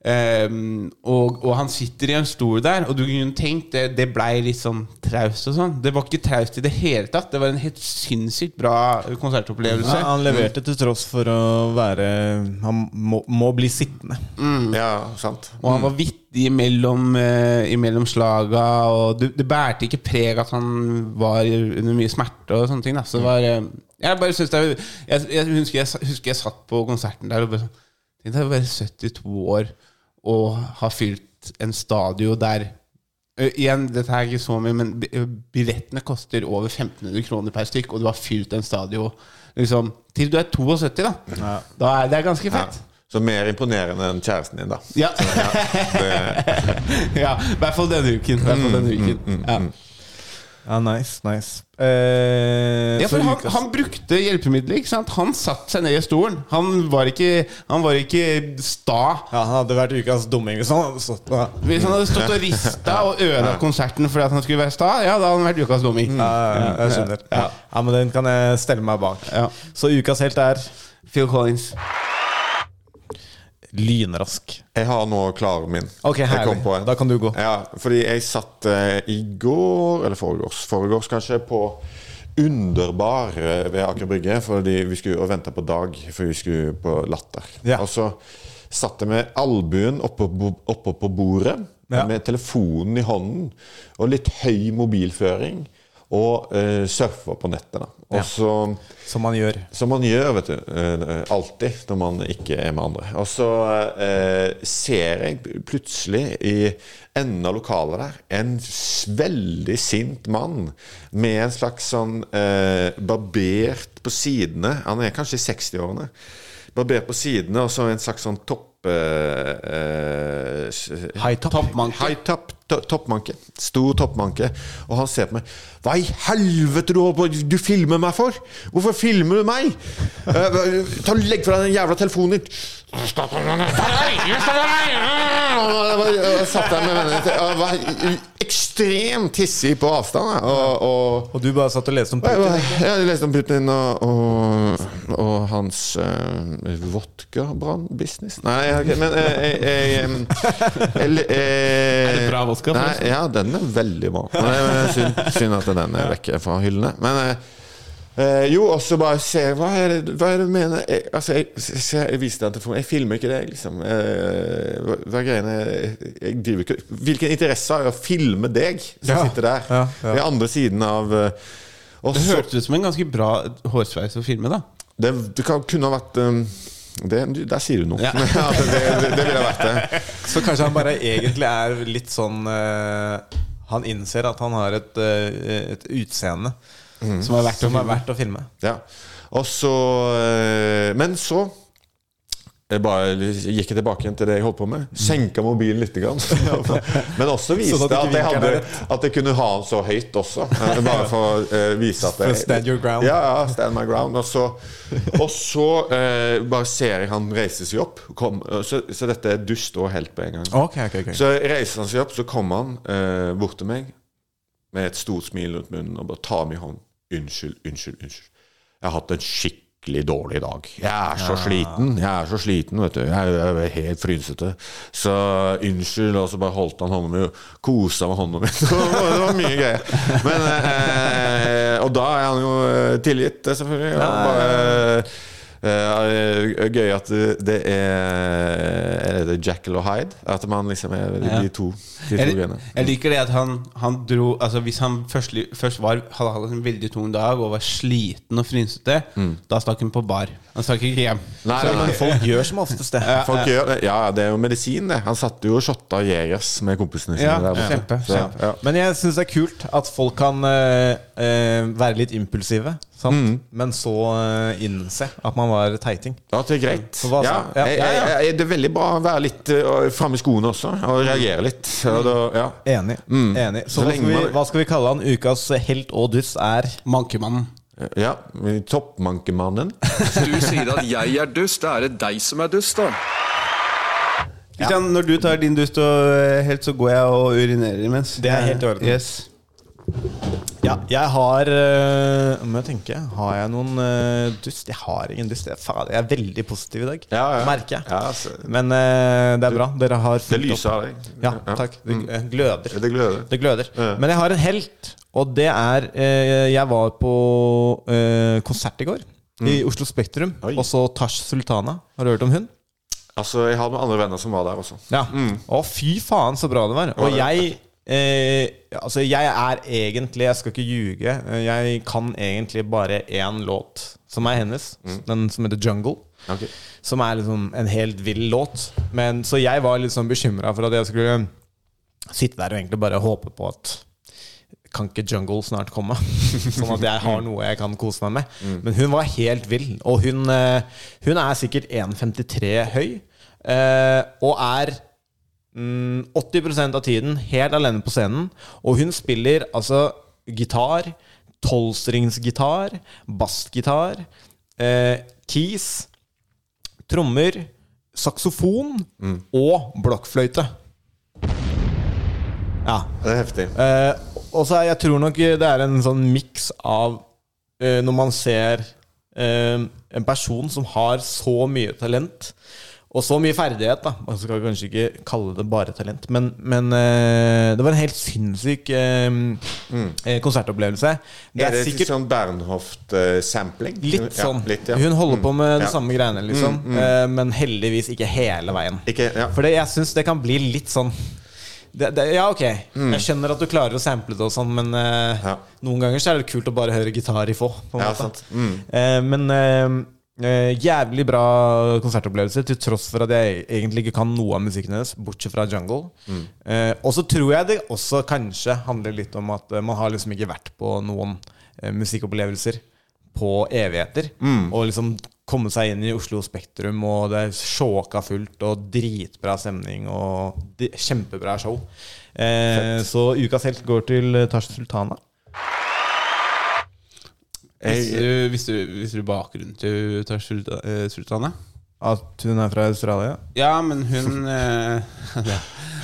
[SPEAKER 3] ehm, og, og han sitter i en stol der. Og du kunne tenkt det, det blei litt sånn traust og sånn. Det var ikke traust i det hele tatt. Det var en helt sinnssykt bra konsertopplevelse.
[SPEAKER 2] Ja, han leverte til tross for å være Han må, må bli sittende.
[SPEAKER 4] Mm. Ja, sant.
[SPEAKER 3] Og han var vittig imellom, eh, imellom slaga, og det, det bærte ikke preg at han var under mye smerte og sånne ting. Da. Så det var, eh, jeg bare synes det er, jeg, jeg, husker jeg, sa- husker jeg satt på konserten der og bare sånn Tenk deg å være 72 år og ha fylt en stadio der Ø, Igjen, dette er ikke så mye, men bi- ø, billettene koster over 1500 kroner per stykk, og du har fylt en stadio liksom, til du er 72, da. da er, det er ganske fett.
[SPEAKER 4] Så mer imponerende enn kjæresten din, da.
[SPEAKER 3] Ja. ja, i hvert fall denne uken. i hvert fall
[SPEAKER 2] Mm,
[SPEAKER 3] denne uken. Ja.
[SPEAKER 2] Ja, nice, nice. Eh,
[SPEAKER 3] Ja, for
[SPEAKER 2] så
[SPEAKER 3] han,
[SPEAKER 2] ukas-
[SPEAKER 3] han brukte hjelpemidler. ikke sant? Han satte seg ned i stolen. Han var ikke, han var ikke sta.
[SPEAKER 2] ja, han hadde vært ukas dumming sånn, hvis han hadde stått der.
[SPEAKER 3] Hvis han hadde stått og rista og ødelagt konserten fordi at han skulle være sta, ja, da hadde han vært ukas dumming.
[SPEAKER 2] Ja, ja, jeg skjønner. Ja. men den kan jeg stelle meg bak.
[SPEAKER 3] Ja.
[SPEAKER 2] Så ukas helt er
[SPEAKER 3] Phil Collins.
[SPEAKER 2] lynrask.
[SPEAKER 4] Jeg har nå klar min.
[SPEAKER 2] Ok,
[SPEAKER 4] jeg
[SPEAKER 2] herlig.
[SPEAKER 4] kom på en.
[SPEAKER 2] Da kan du gå.
[SPEAKER 4] Ja, fordi jeg satt eh, i går, eller foregårs, foregårs kanskje, på Underbar eh, ved Aker Brygge. Fordi vi skulle og venta på Dag, for vi skulle på Latter.
[SPEAKER 2] Ja.
[SPEAKER 4] Og så satt jeg med albuen oppå bo- oppå på bordet,
[SPEAKER 2] Ja.
[SPEAKER 4] med telefonen i hånden, og litt høy mobilføring, og eh, surfa på nettet. da. Og så
[SPEAKER 2] Som man gjør.
[SPEAKER 4] som man gjør, vet du. eh, Alltid når man ikke er med andre. Og så eh, ser jeg plutselig i enden av lokalet der en s- veldig sint mann med en slags sånn eh, barbert på sidene Han er kanskje i 60-årene. Barbert på sidene og så en slags sånn topp... Eh, eh, s-
[SPEAKER 2] High top.
[SPEAKER 3] Toppmanke.
[SPEAKER 4] High top, to, toppmanke. Stor toppmanke. Og han ser på meg. Hva i helvete du holder på Du filmer meg for?! Hvorfor filmer du meg?! Eh, ta, legg fra deg den jævla telefonen din! Og Jeg satt der med vennene til- Jeg var ekstremt hissig på avstand. jeg. Og, og
[SPEAKER 2] Og du bare satt og leste om
[SPEAKER 4] jeg,
[SPEAKER 2] Putin.
[SPEAKER 4] bare- jeg leste om Putin og, og, og hans uh, vodkabrannbusiness Nei, ok, men eh, jeg, jeg, Er
[SPEAKER 3] det bra vodka,
[SPEAKER 4] Nei,
[SPEAKER 3] forresten?
[SPEAKER 4] ja, den er veldig bra. Men det er synd, synd at den er vekke fra hyllene. Men eh, Eh, jo, og så bare se Hva er det, hva er det du mener? Jeg, altså, jeg, se, jeg viste deg telefonen. Jeg filmer ikke deg, liksom. Eh, hva, hva er greiene jeg, jeg driver ikke Hvilken interesse har jeg av å filme deg som
[SPEAKER 2] Ja,
[SPEAKER 4] sitter der?
[SPEAKER 2] ja, ja.
[SPEAKER 4] Den andre siden av eh, og
[SPEAKER 3] Det
[SPEAKER 4] så-
[SPEAKER 3] hørtes ut som en ganske bra hårsveis å filme, da.
[SPEAKER 4] Det, det kan, kunne ha vært um, det, du, Der sier du noe. At det, det, det ville vært det.
[SPEAKER 2] Så kanskje han bare egentlig er litt sånn eh, Han innser at han har et, eh, et utseende
[SPEAKER 4] Mm.
[SPEAKER 2] som er verdt, å, verdt å filme.
[SPEAKER 4] Ja. Og så eh, Men så jeg bare gikk jeg tilbake igjen til det jeg holdt på med. Senka mobilen litt. Grann. Men også viste
[SPEAKER 2] Mm. Sånn at ikke
[SPEAKER 4] at, jeg
[SPEAKER 2] vinkelen
[SPEAKER 4] hadde,
[SPEAKER 2] er
[SPEAKER 4] at jeg kunne ha den så høyt også. Eh, Bare for å eh, vise at jeg,
[SPEAKER 2] Stand your ground.
[SPEAKER 4] Ja, ja, stand my ground. Og så, og så eh, bare ser jeg han reiser seg opp. Kom, eh, så, så dette er dust og helt på en gang.
[SPEAKER 2] Ok, ok, ok.
[SPEAKER 4] Så reiser han seg opp, så kommer han eh, bort til meg med et stort smil rundt munnen og bare tar meg i hånden. Unnskyld, unnskyld, unnskyld. Jeg har hatt en skikkelig dårlig dag. Jeg er så
[SPEAKER 15] Ja.
[SPEAKER 4] sliten. Jeg er så sliten, vet du. Jeg er jeg er helt frynsete. Så unnskyld. Og så bare holdt han hånda mi og kosa med hånda mi. Så det var- det var mye greier. Men, eh, og da er han jo eh, tilgitt, eh, selvfølgelig. Og bare, eh, eh, gøy at det er Er det Jackal og Hyde? At man liksom er de,
[SPEAKER 3] Ja.
[SPEAKER 4] de to, de to
[SPEAKER 3] Jeg,
[SPEAKER 4] greiene.
[SPEAKER 3] jeg liker det at han, han dro Altså Hvis han først, først var, hadde hatt en veldig tung dag og var sliten og frynsete, da stakk han på bar. Han stakk ikke hjem.
[SPEAKER 4] Mm. Nei, nei, nei.
[SPEAKER 2] Folk gjør som oftest det.
[SPEAKER 3] Ja,
[SPEAKER 4] Folk
[SPEAKER 3] ja.
[SPEAKER 4] gjør det. Ja, det er jo medisin, det. Han satte jo og shotta Jegers med kompisene sine.
[SPEAKER 2] Ja,
[SPEAKER 4] der borte.
[SPEAKER 2] kjempe,
[SPEAKER 4] Så, ja.
[SPEAKER 2] kjempe. Men jeg syns det er kult at folk kan eh, eh, være litt impulsive, sant?
[SPEAKER 4] Mm.
[SPEAKER 2] men så eh, innse at man var teiting.
[SPEAKER 4] Ja, det er greit.
[SPEAKER 2] Så hva
[SPEAKER 4] ja,
[SPEAKER 2] sa- ja,
[SPEAKER 4] jeg,
[SPEAKER 2] ja,
[SPEAKER 4] jeg,
[SPEAKER 2] ja.
[SPEAKER 4] jeg, det er veldig bra å være litt uh, framme i skoene også, og reagere litt. Og da, ja.
[SPEAKER 2] Enig.
[SPEAKER 4] Mm.
[SPEAKER 2] Enig. Så,
[SPEAKER 4] Så
[SPEAKER 2] hva,
[SPEAKER 4] lenge
[SPEAKER 2] skal vi,
[SPEAKER 4] man-
[SPEAKER 2] hva skal vi kalle han? Ukas helt og dust er
[SPEAKER 3] Mankemannen.
[SPEAKER 4] Ja, Toppmankemannen.
[SPEAKER 16] Du sier at jeg er dust. Da er det deg som er dust, da.
[SPEAKER 3] Kristian, når du tar din dust og eh, helt, så går jeg og urinerer imens.
[SPEAKER 2] Det er helt i orden.
[SPEAKER 3] Yes.
[SPEAKER 2] Ja, jeg har øh, Må jeg tenke. Har jeg noen øh, dust? Jeg har ingen dust. Jeg, faen, jeg er veldig positiv i dag,
[SPEAKER 4] ja.
[SPEAKER 2] merker jeg.
[SPEAKER 4] Ja, så-
[SPEAKER 2] Men øh, det er bra. Dere har
[SPEAKER 4] Det
[SPEAKER 2] fulgt
[SPEAKER 4] lyser
[SPEAKER 2] opp.
[SPEAKER 4] av deg.
[SPEAKER 2] Ja,
[SPEAKER 4] Ja.
[SPEAKER 2] takk. Det
[SPEAKER 4] Mm.
[SPEAKER 2] øh, gløder.
[SPEAKER 4] Det gløder.
[SPEAKER 2] Det gløder. Men jeg har en helt, og det er øh, Jeg var på øh, konsert i går. I
[SPEAKER 4] Mm.
[SPEAKER 2] Oslo Spektrum. Og så Tash Sultana. Har du hørt om hun?
[SPEAKER 4] Altså, jeg har med andre venner som var der også.
[SPEAKER 2] Ja. Å, fy faen, så bra det var.
[SPEAKER 4] Mm. var
[SPEAKER 2] Og
[SPEAKER 4] det.
[SPEAKER 2] jeg eh, Altså, jeg er egentlig Jeg skal ikke ljuge. eh, Jeg kan egentlig bare én låt, som er hennes.
[SPEAKER 4] Mm.
[SPEAKER 2] Den som heter Jungle.
[SPEAKER 4] Ok.
[SPEAKER 2] Som er liksom en helt vill låt. Men, så jeg var litt sånn bekymra for at jeg skulle sitte der og egentlig bare håpe på at kan ikke jungle snart komme? Sånn at jeg har noe jeg kan kose meg med.
[SPEAKER 4] Mm.
[SPEAKER 2] Men hun var helt vill. Og hun, eh, hun er sikkert 1,53 høy. eh, Og er mm, 80 av tiden helt alene på scenen. Og hun spiller altså gitar, tolvstringsgitar, bassgitar, eh, keys, trommer, saksofon og blokkfløyte. Ja.
[SPEAKER 4] Det er heftig.
[SPEAKER 2] Eh, og så er, jeg tror nok det er en sånn miks av eh, Når man ser eh, en person som har så mye talent og så mye ferdighet, da. Man skal kanskje ikke kalle det bare talent, men, men eh, det var en helt sinnssyk eh, eh, konsertopplevelse. Det
[SPEAKER 4] Mm. er,
[SPEAKER 2] er
[SPEAKER 4] det
[SPEAKER 2] sikkert
[SPEAKER 4] sånn Bernhoft-sampling?
[SPEAKER 2] Litt sånn.
[SPEAKER 4] Ja, litt, ja. Mm.
[SPEAKER 2] Hun holder på med de
[SPEAKER 4] Ja.
[SPEAKER 2] samme greiene, liksom.
[SPEAKER 4] Mm, mm.
[SPEAKER 2] eh, Men heldigvis ikke hele veien. For det- jeg syns det kan bli litt sånn det, det, Ja, ok.
[SPEAKER 4] Mm.
[SPEAKER 2] Jeg skjønner at du klarer å sample det og sånn, men eh, noen ganger så er det kult å bare høre gitar i få. På en
[SPEAKER 4] Ja,
[SPEAKER 2] måte.
[SPEAKER 4] sant. Mm.
[SPEAKER 2] Eh, men eh, eh, jævlig bra konsertopplevelse, til tross for at jeg egentlig ikke kan noe av musikken hennes, bortsett fra Jungle.
[SPEAKER 4] Mm.
[SPEAKER 2] Eh, og så tror jeg det også kanskje handler litt om at eh, man har liksom ikke vært på noen eh, musikkopplevelser på evigheter.
[SPEAKER 4] Mm.
[SPEAKER 2] Og liksom komme seg inn i Oslo Spektrum, og det er sjåka fullt, og dritbra stemning, og di- kjempebra show. Eh, så ukas helt går til eh, Tash Sultana.
[SPEAKER 3] Hvis du, hvis du, hvis du bakgrunnen til Tash Sulta- eh, Sultana?
[SPEAKER 2] At hun er fra Australia?
[SPEAKER 3] Ja, men hun eh, det-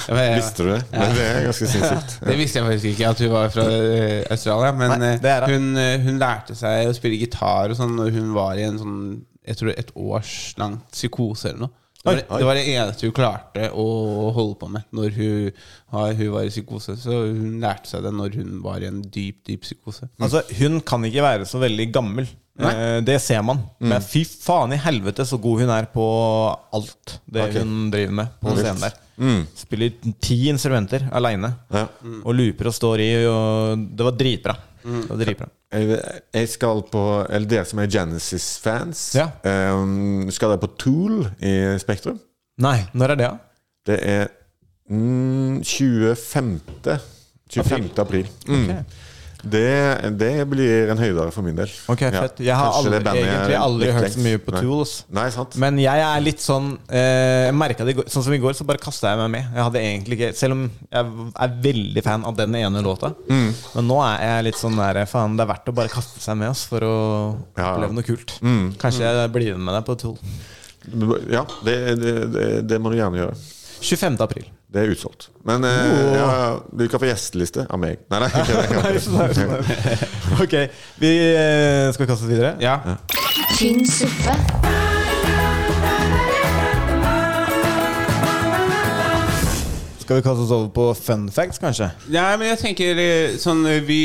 [SPEAKER 3] det var-
[SPEAKER 4] Visste du det?
[SPEAKER 3] Ja.
[SPEAKER 4] Det er ganske sinnssykt.
[SPEAKER 3] Det visste jeg faktisk ikke, at hun var fra eh, Australia. Men
[SPEAKER 2] Nei,
[SPEAKER 3] eh,
[SPEAKER 2] det er det.
[SPEAKER 3] hun, eh, hun lærte seg å spille gitar og sånn når hun var i en sånn Jeg tror et års langt psykose eller noe. Det var,
[SPEAKER 2] Oi, oi.
[SPEAKER 3] det var det eneste hun klarte å holde på med når hun, har- hun var i psykose. Så hun lærte seg det når hun var i en dyp, dyp psykose.
[SPEAKER 4] Mm.
[SPEAKER 2] Altså, hun kan ikke være så veldig gammel. Eh, Det ser man.
[SPEAKER 4] Mm.
[SPEAKER 2] Men fy faen i helvete så god hun er på alt det
[SPEAKER 4] Ok.
[SPEAKER 2] hun driver med på
[SPEAKER 4] Mm.
[SPEAKER 2] scenen der.
[SPEAKER 4] Mm.
[SPEAKER 2] Spiller ti instrumenter aleine. Og looper og står i, og det var dritbra.
[SPEAKER 4] Mm.
[SPEAKER 2] Da driver han.
[SPEAKER 4] Jeg skal på Eller dere som er Genesis-fans,
[SPEAKER 2] Ja.
[SPEAKER 4] ehm, skal dere på Tool i Spektrum?
[SPEAKER 2] Nei, når er det, da?
[SPEAKER 4] Det er mm, 25. 25. april. Mm.
[SPEAKER 2] Ok.
[SPEAKER 4] Det, det blir en høydare for min del.
[SPEAKER 2] Ok, fett. Jeg har
[SPEAKER 4] Kanskje
[SPEAKER 2] aldri,
[SPEAKER 4] det bandet jeg
[SPEAKER 2] egentlig aldri
[SPEAKER 4] likte
[SPEAKER 2] hørt
[SPEAKER 4] lengst.
[SPEAKER 2] så mye på
[SPEAKER 4] Nei.
[SPEAKER 2] Tools.
[SPEAKER 4] Nei, sant
[SPEAKER 2] Men jeg er litt sånn eh, Jeg merket det i går Sånn som i går, så bare kasta jeg meg med. Jeg hadde egentlig ikke Selv om jeg er veldig fan av den ene låta.
[SPEAKER 3] Mm.
[SPEAKER 2] Men nå er jeg litt sånn der Faen, det er verdt å bare kaste seg med oss for å oppleve noe kult.
[SPEAKER 4] Mm.
[SPEAKER 2] Kanskje jeg blir med deg på Tool.
[SPEAKER 4] Ja, det, det, det, det må du gjerne gjøre.
[SPEAKER 2] 25. april.
[SPEAKER 4] Det er utsolgt. Men eh,
[SPEAKER 2] Åh.
[SPEAKER 4] ja, du kan få gjesteliste av meg. Nei, nei, ikke det.
[SPEAKER 2] Nei, sånn, sånn. Ok, vi eh, skal kaste oss videre.
[SPEAKER 3] Ja.
[SPEAKER 1] Tynn suppe.
[SPEAKER 2] Skal vi kaste oss over på fun facts, kanskje?
[SPEAKER 3] Nei, men jeg tenker eh, sånn eh, vi,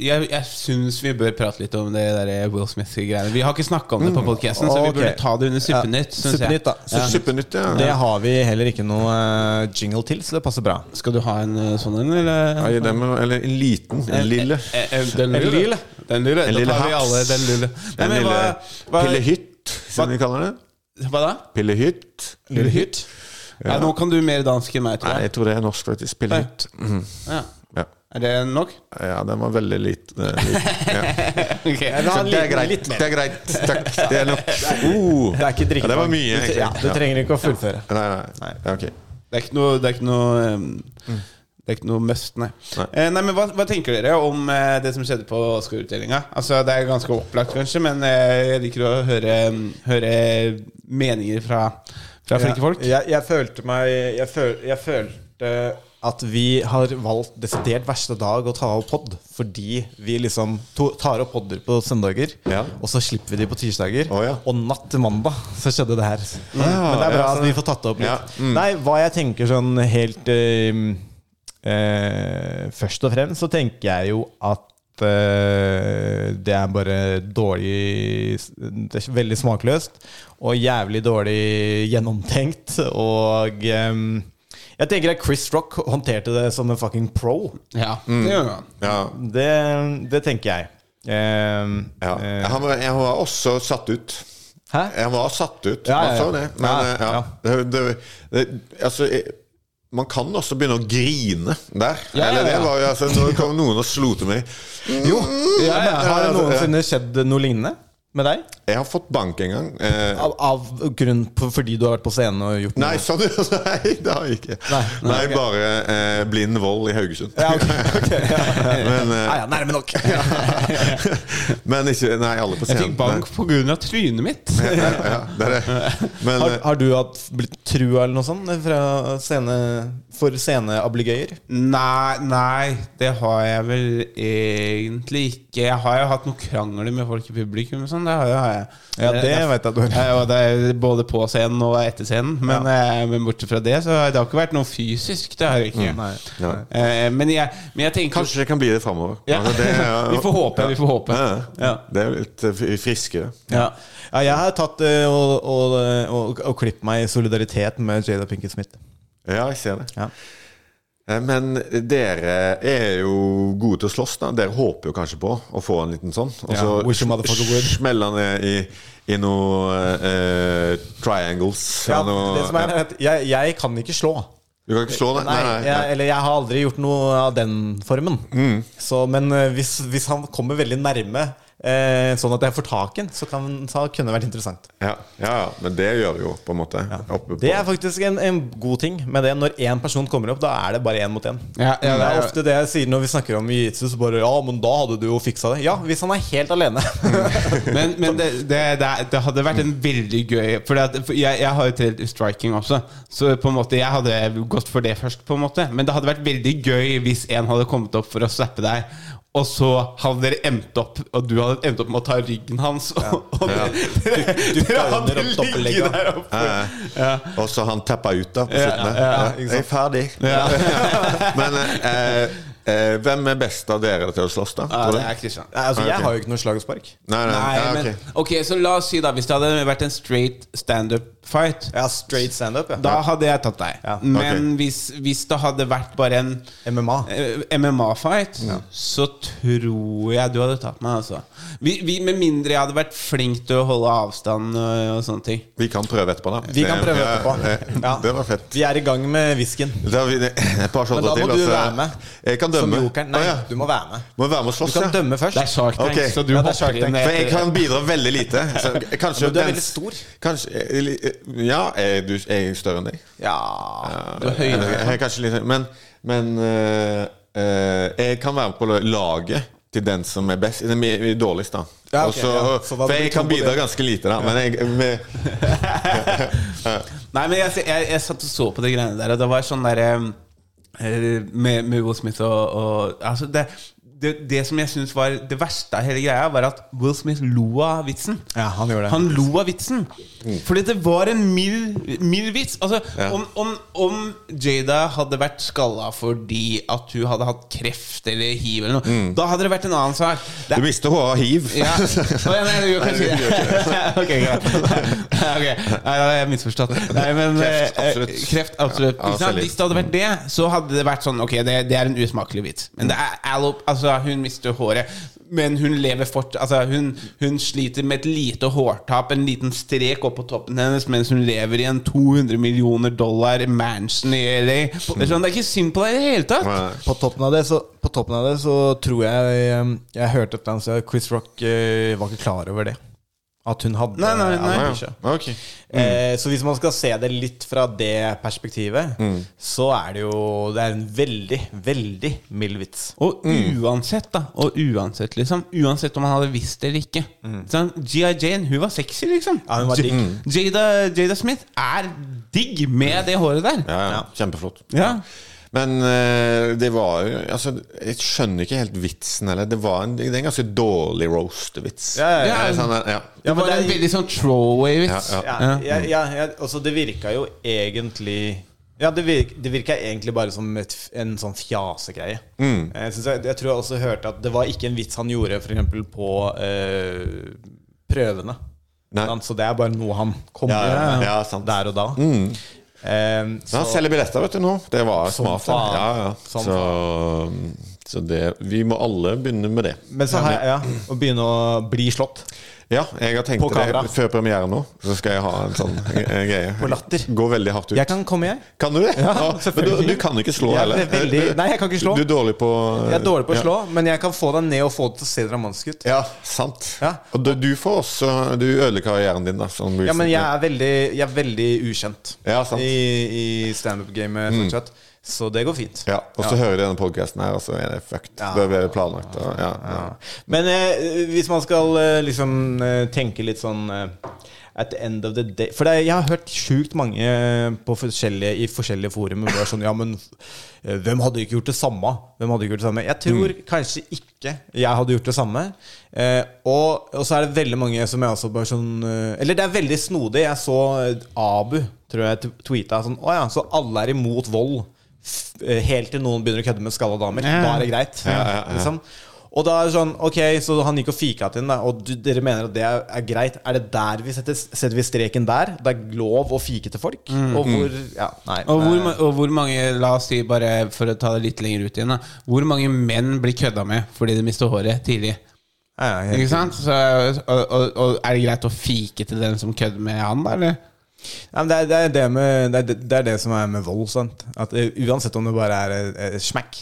[SPEAKER 3] Jeg, jeg syns vi bør prate litt om det der eh, Will Smith-greiene. Vi har ikke snakka om det på
[SPEAKER 2] Mm.
[SPEAKER 3] podkasten, så vi
[SPEAKER 2] Ok.
[SPEAKER 3] burde ta det under Suppenytt.
[SPEAKER 2] Ja.
[SPEAKER 3] synes jeg.
[SPEAKER 2] Suppenytt, da.
[SPEAKER 3] Ja.
[SPEAKER 2] Det har vi heller ikke noe eh, jingle til, så det passer bra.
[SPEAKER 3] Skal du ha en eh, sånn en, eller?
[SPEAKER 4] Nei, den må- eller en liten. En lille.
[SPEAKER 3] Eh, eh, Den
[SPEAKER 2] En
[SPEAKER 3] lille.
[SPEAKER 2] lille.
[SPEAKER 3] Den lille.
[SPEAKER 4] En lille
[SPEAKER 3] da tar vi
[SPEAKER 4] haps.
[SPEAKER 3] alle den lille. Nei,
[SPEAKER 4] En
[SPEAKER 3] men
[SPEAKER 4] lille
[SPEAKER 3] hva- hva-
[SPEAKER 4] pillehytt, som vi kaller det.
[SPEAKER 3] Hva da?
[SPEAKER 4] Pillehytt.
[SPEAKER 3] Lillehytt? Ja. nå kan du mer dansk enn meg, tror
[SPEAKER 4] Nei,
[SPEAKER 3] jeg.
[SPEAKER 4] jeg tror det er norsk, faktisk. Pillehytt. Mhm.
[SPEAKER 3] Ja.
[SPEAKER 4] Ja.
[SPEAKER 3] Er det nok?
[SPEAKER 4] ja, den var veldig liten. eh, liten. Ja.
[SPEAKER 3] Ok.
[SPEAKER 4] Så det er greit. Det er greit. Takk. Det er nok. Uh.
[SPEAKER 2] Det er ikke
[SPEAKER 4] Ja, det var mye,
[SPEAKER 2] Du-
[SPEAKER 4] egentlig.
[SPEAKER 2] Ja, du trenger ikke å fullføre.
[SPEAKER 4] Nei, nei. nei. Ja, ok.
[SPEAKER 3] Det er ikke noe Det er ikke noe, um, det er ikke noe must, nei. Nei, eh, nei men hva, hva tenker dere om eh, det som skjedde på Oscar-utdelinga? Altså, det er ganske opplagt, kanskje, men eh, jeg liker å høre, um, høre meninger fra, fra flinke
[SPEAKER 2] Ja,
[SPEAKER 3] folk.
[SPEAKER 2] Jeg, jeg følte meg jeg, føl, jeg følte at vi har valgt desidert verste dag å ta opp pod, fordi vi liksom to, tar opp podder på søndager, og så slipper vi de på tirsdager. Og natt til mandag så skjedde det her. Men det er bra
[SPEAKER 4] ja,
[SPEAKER 2] at vi får tatt det opp litt.
[SPEAKER 4] Ja, mm.
[SPEAKER 2] Nei, hva jeg tenker sånn helt eh, eh, Først og fremst så tenker jeg jo at eh, det er bare dårlig Det er veldig smakløst og jævlig dårlig gjennomtenkt. Og eh, jeg tenker at Chris Rock håndterte det som en fucking pro.
[SPEAKER 3] Ja,
[SPEAKER 4] Mm.
[SPEAKER 3] det gjør man.
[SPEAKER 2] Det, det tenker jeg. Eh,
[SPEAKER 4] Ja. Han var, jeg var også satt ut.
[SPEAKER 2] Hæ?
[SPEAKER 4] Jeg var satt ut,
[SPEAKER 2] Ja,
[SPEAKER 4] han
[SPEAKER 2] ja,
[SPEAKER 4] sa
[SPEAKER 2] ja.
[SPEAKER 4] det. Men
[SPEAKER 2] Ja,
[SPEAKER 4] eh, ja. Det, det, det, altså, eh, man kan også begynne å grine der.
[SPEAKER 2] Ja, ja,
[SPEAKER 4] Eller det
[SPEAKER 2] ja.
[SPEAKER 4] var jo altså, Nå kom noen og slo til meg.
[SPEAKER 2] Jo,
[SPEAKER 4] ja, ja.
[SPEAKER 2] Har det
[SPEAKER 4] Ja, altså,
[SPEAKER 2] noensinne skjedd noe lignende med deg?
[SPEAKER 4] Jeg har fått bank en gang. Eh,
[SPEAKER 2] Av, av grunn på, fordi du har vært på scenen og gjort noe?
[SPEAKER 4] Nei, sånn, nei, det har jeg ikke. Nei,
[SPEAKER 2] ok.
[SPEAKER 4] bare eh, blind vold i Haugesund.
[SPEAKER 2] Ja, ok, ok, ja.
[SPEAKER 4] Men, eh,
[SPEAKER 2] Ja, ja, nærme nok.
[SPEAKER 4] men ikke Nei, alle
[SPEAKER 3] Jeg
[SPEAKER 4] på scenen.
[SPEAKER 3] fikk bank pga. trynet mitt.
[SPEAKER 4] Nei. Ja, ja, det er det. Men,
[SPEAKER 2] har,
[SPEAKER 4] eh,
[SPEAKER 2] har du hatt blitt trua eller noe sånt eh, fra scene, for sceneabligøyer?
[SPEAKER 3] Nei, nei, det har jeg vel egentlig ikke. Jeg har jo hatt noen krangler med folk i publikum. og Sånn. Det har jo- har jeg. Eh,
[SPEAKER 2] Ja, det vet jeg at du har.
[SPEAKER 3] Ja, og det er både på scenen og etter scenen. Men, eh, men bortsett fra det, så har det har ikke vært noe fysisk. Det har det
[SPEAKER 2] Mm,
[SPEAKER 3] ikke.
[SPEAKER 4] Nei.
[SPEAKER 3] Eh, men, jeg, men jeg tenker
[SPEAKER 4] Kanskje det kan bli det framover.
[SPEAKER 3] Ja. Vi får håpe, vi får håpe. Ja.
[SPEAKER 4] Det er jo litt eh, fri- friskere.
[SPEAKER 2] Ja. ja, jeg har tatt eh, og, og, og, og klippet meg i solidaritet med Jada Pinkett Smith.
[SPEAKER 4] Ja, jeg ser det.
[SPEAKER 2] Ja.
[SPEAKER 4] Eh, Men dere er jo gode til å slåss, da. Dere håper jo kanskje på å få en liten sånn. Og
[SPEAKER 2] Ja, wish a motherfucker would.
[SPEAKER 4] smeller han i, i noe eh, triangles.
[SPEAKER 2] Ja,
[SPEAKER 4] eller noe,
[SPEAKER 2] det som er, at jeg, jeg kan ikke slå.
[SPEAKER 4] Du kan ikke slå det?
[SPEAKER 2] Nei, jeg, eller jeg har aldri gjort noe av den formen. Så, men eh, hvis, hvis han kommer veldig nærme, eh, sånn at jeg får tak i den, så, kan, så kunne det vært interessant.
[SPEAKER 4] Ja, ja, ja, men det gjør vi jo, på en måte. Oppe på.
[SPEAKER 2] Det er faktisk en, en god ting med det. Når én person kommer opp, da er det bare én mot én.
[SPEAKER 3] Ja, ja,
[SPEAKER 2] det er
[SPEAKER 3] ja.
[SPEAKER 2] ofte det jeg sier når vi snakker om jiu-jitsu. Så bare Ja, men da hadde du jo fiksa det. Ja, hvis han er helt alene.
[SPEAKER 3] Men, men det, det, det, er- det hadde vært en veldig gøy For, det, at- for jeg, jeg har jo trent striking også, så på en måte jeg hadde gått for det først. på en måte Men det hadde vært veldig gøy hvis en hadde kommet opp for å slappe deg. Og så hadde dere endt opp Og du hadde endt opp med å ta ryggen hans. Og, og
[SPEAKER 4] Ja.
[SPEAKER 3] dere, dere, dere
[SPEAKER 2] døgner
[SPEAKER 3] hadde
[SPEAKER 2] opp
[SPEAKER 3] ligget
[SPEAKER 2] toppelegget.
[SPEAKER 3] der oppe.
[SPEAKER 4] Eh, Og så han tappa ut da på
[SPEAKER 3] Ja,
[SPEAKER 4] slutten. der.
[SPEAKER 3] ja,
[SPEAKER 4] Ja,
[SPEAKER 3] ikke sant.
[SPEAKER 4] jeg er ferdig. Men eh, eh, hvem er best av dere til å slåss,
[SPEAKER 2] Ah,
[SPEAKER 4] da?
[SPEAKER 3] Ja,
[SPEAKER 4] tror du?
[SPEAKER 3] det er Kristian.
[SPEAKER 2] Nei, altså,
[SPEAKER 4] Ah, ok.
[SPEAKER 2] Jeg har jo ikke noe slag og spark.
[SPEAKER 4] Nei, nei,
[SPEAKER 3] Nei,
[SPEAKER 4] ja,
[SPEAKER 3] men
[SPEAKER 4] ok.
[SPEAKER 3] ok, så la oss si da Hvis det hadde vært en straight standup fight
[SPEAKER 2] Ja, straight standup, ja.
[SPEAKER 3] Da hadde jeg tatt deg.
[SPEAKER 2] Ja, ok.
[SPEAKER 3] Men hvis, hvis det hadde vært bare en eh, MMA-fight, så tror jeg du hadde tatt meg. Altså. Vi, vi, med mindre jeg hadde vært flink til å holde avstand øh, og sånne ting.
[SPEAKER 4] Vi kan prøve etterpå, da.
[SPEAKER 2] Vi kan prøve
[SPEAKER 4] Ja,
[SPEAKER 2] etterpå.
[SPEAKER 4] det-
[SPEAKER 2] Ja.
[SPEAKER 4] Det var fett.
[SPEAKER 2] Vi er i gang med whiskyen.
[SPEAKER 4] Da har vi et
[SPEAKER 2] Men
[SPEAKER 4] par shotter
[SPEAKER 2] da
[SPEAKER 4] til.
[SPEAKER 2] må du
[SPEAKER 4] og så-
[SPEAKER 2] være med.
[SPEAKER 4] Jeg kan dømme.
[SPEAKER 2] Som jokeren. Nei,
[SPEAKER 4] Å, ja.
[SPEAKER 2] du må være med.
[SPEAKER 4] Må være med og slåss,
[SPEAKER 2] Du kan dømme først. Det er Shark Tank,
[SPEAKER 4] Ok.
[SPEAKER 2] så du Ja, det er hopper Shark inn Tank. etter-
[SPEAKER 4] For jeg kan bidra veldig lite. Så kanskje
[SPEAKER 2] Men du er
[SPEAKER 4] den-
[SPEAKER 2] veldig stor.
[SPEAKER 4] Kanskje, eh, li- eh, ja, er, du, er jeg større enn deg?
[SPEAKER 2] Ja
[SPEAKER 3] du er høyere.
[SPEAKER 4] Eller, Jeg, er kanskje litt høy- men men eh, eh, jeg kan være med på laget til den som er best. Den er er dårligst, da.
[SPEAKER 2] Ja, ok,
[SPEAKER 4] Og så-
[SPEAKER 2] ja. Så da
[SPEAKER 4] for
[SPEAKER 2] blir
[SPEAKER 4] jeg
[SPEAKER 2] det
[SPEAKER 4] kan
[SPEAKER 2] to på
[SPEAKER 4] bidra
[SPEAKER 2] det.
[SPEAKER 4] ganske lite, da. Men jeg med,
[SPEAKER 3] Nei, men jeg, jeg, jeg satt og så på de greiene der, og det var sånn derre eh, med, med Will Smith og, og altså det, det, det som jeg syns var det verste av hele greia, var at Will Smith lo av vitsen.
[SPEAKER 2] Ja, han gjorde det.
[SPEAKER 3] Han lo av vitsen. Fordi det var en mild, mild vits. Altså,
[SPEAKER 4] Ja.
[SPEAKER 3] om, om, om Jada hadde vært skalla fordi at hun hadde hatt kreft eller hiv, eller noe, da hadde det vært en annen sak. Det
[SPEAKER 4] Du mister håret av hiv.
[SPEAKER 3] ja. Å, ja, nei, det gjør kanskje
[SPEAKER 4] Nei, det gjør
[SPEAKER 3] det. ok, greit. Ok. Nei, da har jeg misforstått. Nei, men,
[SPEAKER 4] Kreft,
[SPEAKER 3] eh,
[SPEAKER 4] absolutt.
[SPEAKER 3] Kreft, absolutt.
[SPEAKER 4] Ja,
[SPEAKER 3] Ikke sant?
[SPEAKER 4] absolutt.
[SPEAKER 3] Hvis det hadde vært det, så hadde det vært sånn Ok, det, det er en usmakelig vits. Men det er allop, altså, hun mister håret. Men hun lever fort altså, hun, hun sliter med et lite hårtap, en liten strek opp på toppen hennes, mens hun lever i en 200 millioner dollar mansion i LA.
[SPEAKER 4] Mm.
[SPEAKER 3] Det er, sånn, det er ikke synd på deg i det hele tatt.
[SPEAKER 2] På toppen av det så, på toppen av det, så tror jeg Jeg, jeg hørte et eller annet sted at Chris Rock eh, var ikke klar over det. At hun hadde
[SPEAKER 3] Nei, nei, nei.
[SPEAKER 2] alopecia.
[SPEAKER 4] Ok.
[SPEAKER 2] Eh, så hvis man skal se det litt fra det perspektivet,
[SPEAKER 4] Mm.
[SPEAKER 2] så er det jo Det er en veldig, veldig mild vits.
[SPEAKER 3] Og
[SPEAKER 2] Mm.
[SPEAKER 3] uansett, da. Og uansett, liksom. Uansett om han hadde visst det eller ikke. Sånn, G.I. Jane, hun var sexy, liksom.
[SPEAKER 2] Mm. Ja, hun var digg.
[SPEAKER 3] J- Jada, Jada Smith er digg med det håret der.
[SPEAKER 4] Ja, ja. Kjempeflott.
[SPEAKER 3] Ja.
[SPEAKER 4] Men eh, det var jo Altså, jeg skjønner ikke helt vitsen heller. Det, var en, det er en ganske dårlig roast-vits.
[SPEAKER 2] Ja, ja, ja.
[SPEAKER 4] Det er Sånn, ja.
[SPEAKER 3] Det
[SPEAKER 2] Ja, men
[SPEAKER 3] var en
[SPEAKER 2] det er-
[SPEAKER 3] veldig sånn throwaway-vits.
[SPEAKER 4] Ja,
[SPEAKER 2] Ja,
[SPEAKER 3] Ja.
[SPEAKER 2] ja, ja, ja altså det virka jo egentlig Ja, det, virk, det virka egentlig bare som et, f- en sånn fjasegreie. Eh,
[SPEAKER 4] Mm.
[SPEAKER 2] Jeg, synes jeg, jeg tror jeg også hørte at det var ikke en vits han gjorde for eksempel på eh, prøvene.
[SPEAKER 4] Nei.
[SPEAKER 2] Sant? Så det er bare noe han kommer
[SPEAKER 4] Ja, ja,
[SPEAKER 2] med
[SPEAKER 4] ja, sant.
[SPEAKER 2] der og da.
[SPEAKER 4] Mm.
[SPEAKER 2] Eh,
[SPEAKER 4] Men han
[SPEAKER 2] så-
[SPEAKER 4] selger billetter, vet du, nå. Det var
[SPEAKER 2] Som
[SPEAKER 4] smart.
[SPEAKER 2] faen.
[SPEAKER 4] Ja, ja.
[SPEAKER 2] Som
[SPEAKER 4] Så, så det Vi må alle begynne med det.
[SPEAKER 2] men så har jeg ja, å begynne å bli slått
[SPEAKER 4] Ja, jeg har tenkt
[SPEAKER 2] På kamera.
[SPEAKER 4] det før premieren nå. Så skal jeg ha en sånn eh, greie.
[SPEAKER 2] på latter.
[SPEAKER 4] Gå veldig hardt ut.
[SPEAKER 2] Jeg kan komme, jeg.
[SPEAKER 4] Kan du det?
[SPEAKER 2] Ja,
[SPEAKER 4] men du,
[SPEAKER 2] selvfølgelig.
[SPEAKER 4] du kan ikke slå
[SPEAKER 2] Jeg er
[SPEAKER 4] heller.
[SPEAKER 2] veldig- nei, jeg kan ikke slå.
[SPEAKER 4] Du er dårlig på
[SPEAKER 2] Jeg er dårlig på å
[SPEAKER 4] ja.
[SPEAKER 2] slå, men jeg kan få deg ned og få det til å se dramantisk ut.
[SPEAKER 4] Ja, sant.
[SPEAKER 2] Ja.
[SPEAKER 4] Og du, du får også Du ødelegger karrieren din, da. Sånn
[SPEAKER 2] Ja, men jeg er veldig, jeg er veldig ukjent
[SPEAKER 4] Ja, sant. Mm.
[SPEAKER 2] i, i standup-gamet fortsatt, så det går fint.
[SPEAKER 4] Ja, og så hører jeg denne podkasten her, og så er det fucked.
[SPEAKER 2] Ja.
[SPEAKER 4] Da blir det planlagt. Og, ja, ja.
[SPEAKER 2] Men eh, hvis man skal eh, liksom eh, tenke litt sånn eh, At the end of the day For det, er- jeg har hørt sjukt mange eh, på forskjellige, i forskjellige forum hvor det er sånn Ja, men eh, hvem hadde ikke gjort det samme? Hvem hadde ikke gjort det samme? Jeg tror
[SPEAKER 4] Mm.
[SPEAKER 2] kanskje ikke jeg hadde gjort det samme. Eh, og, og så er det veldig mange som er også bare sånn eh, Eller det er veldig snodig. Jeg så eh, Abu, tror jeg, t- tweeta sånn Å ja, så alle er imot vold. F- eh, Helt til noen begynner å kødde med skalla damer. Da er det greit.
[SPEAKER 4] Ja, ja, ja.
[SPEAKER 2] Liksom. Og da er det sånn Ok, så han gikk og fika til henne, da, og du, dere mener at det er, er greit. Er det der vi setter, setter vi streken der? Det er lov å fike til folk? Og hvor Ja, nei.
[SPEAKER 3] Mm. Og hvor,
[SPEAKER 2] eh,
[SPEAKER 3] ma- og hvor mange La oss si, bare for å ta det litt lenger ut igjen da, Hvor mange menn blir kødda med fordi de mister håret tidlig?
[SPEAKER 2] ja, ja,
[SPEAKER 3] Ikke sant? Så, og, og, og er det greit å fike til den som kødder med han, da? Eller?
[SPEAKER 2] Ja, men det, er, det, er det, med, det, er det, det er det som er med vold. Sant? At eh, Uansett om det bare er eh, eh, smekk.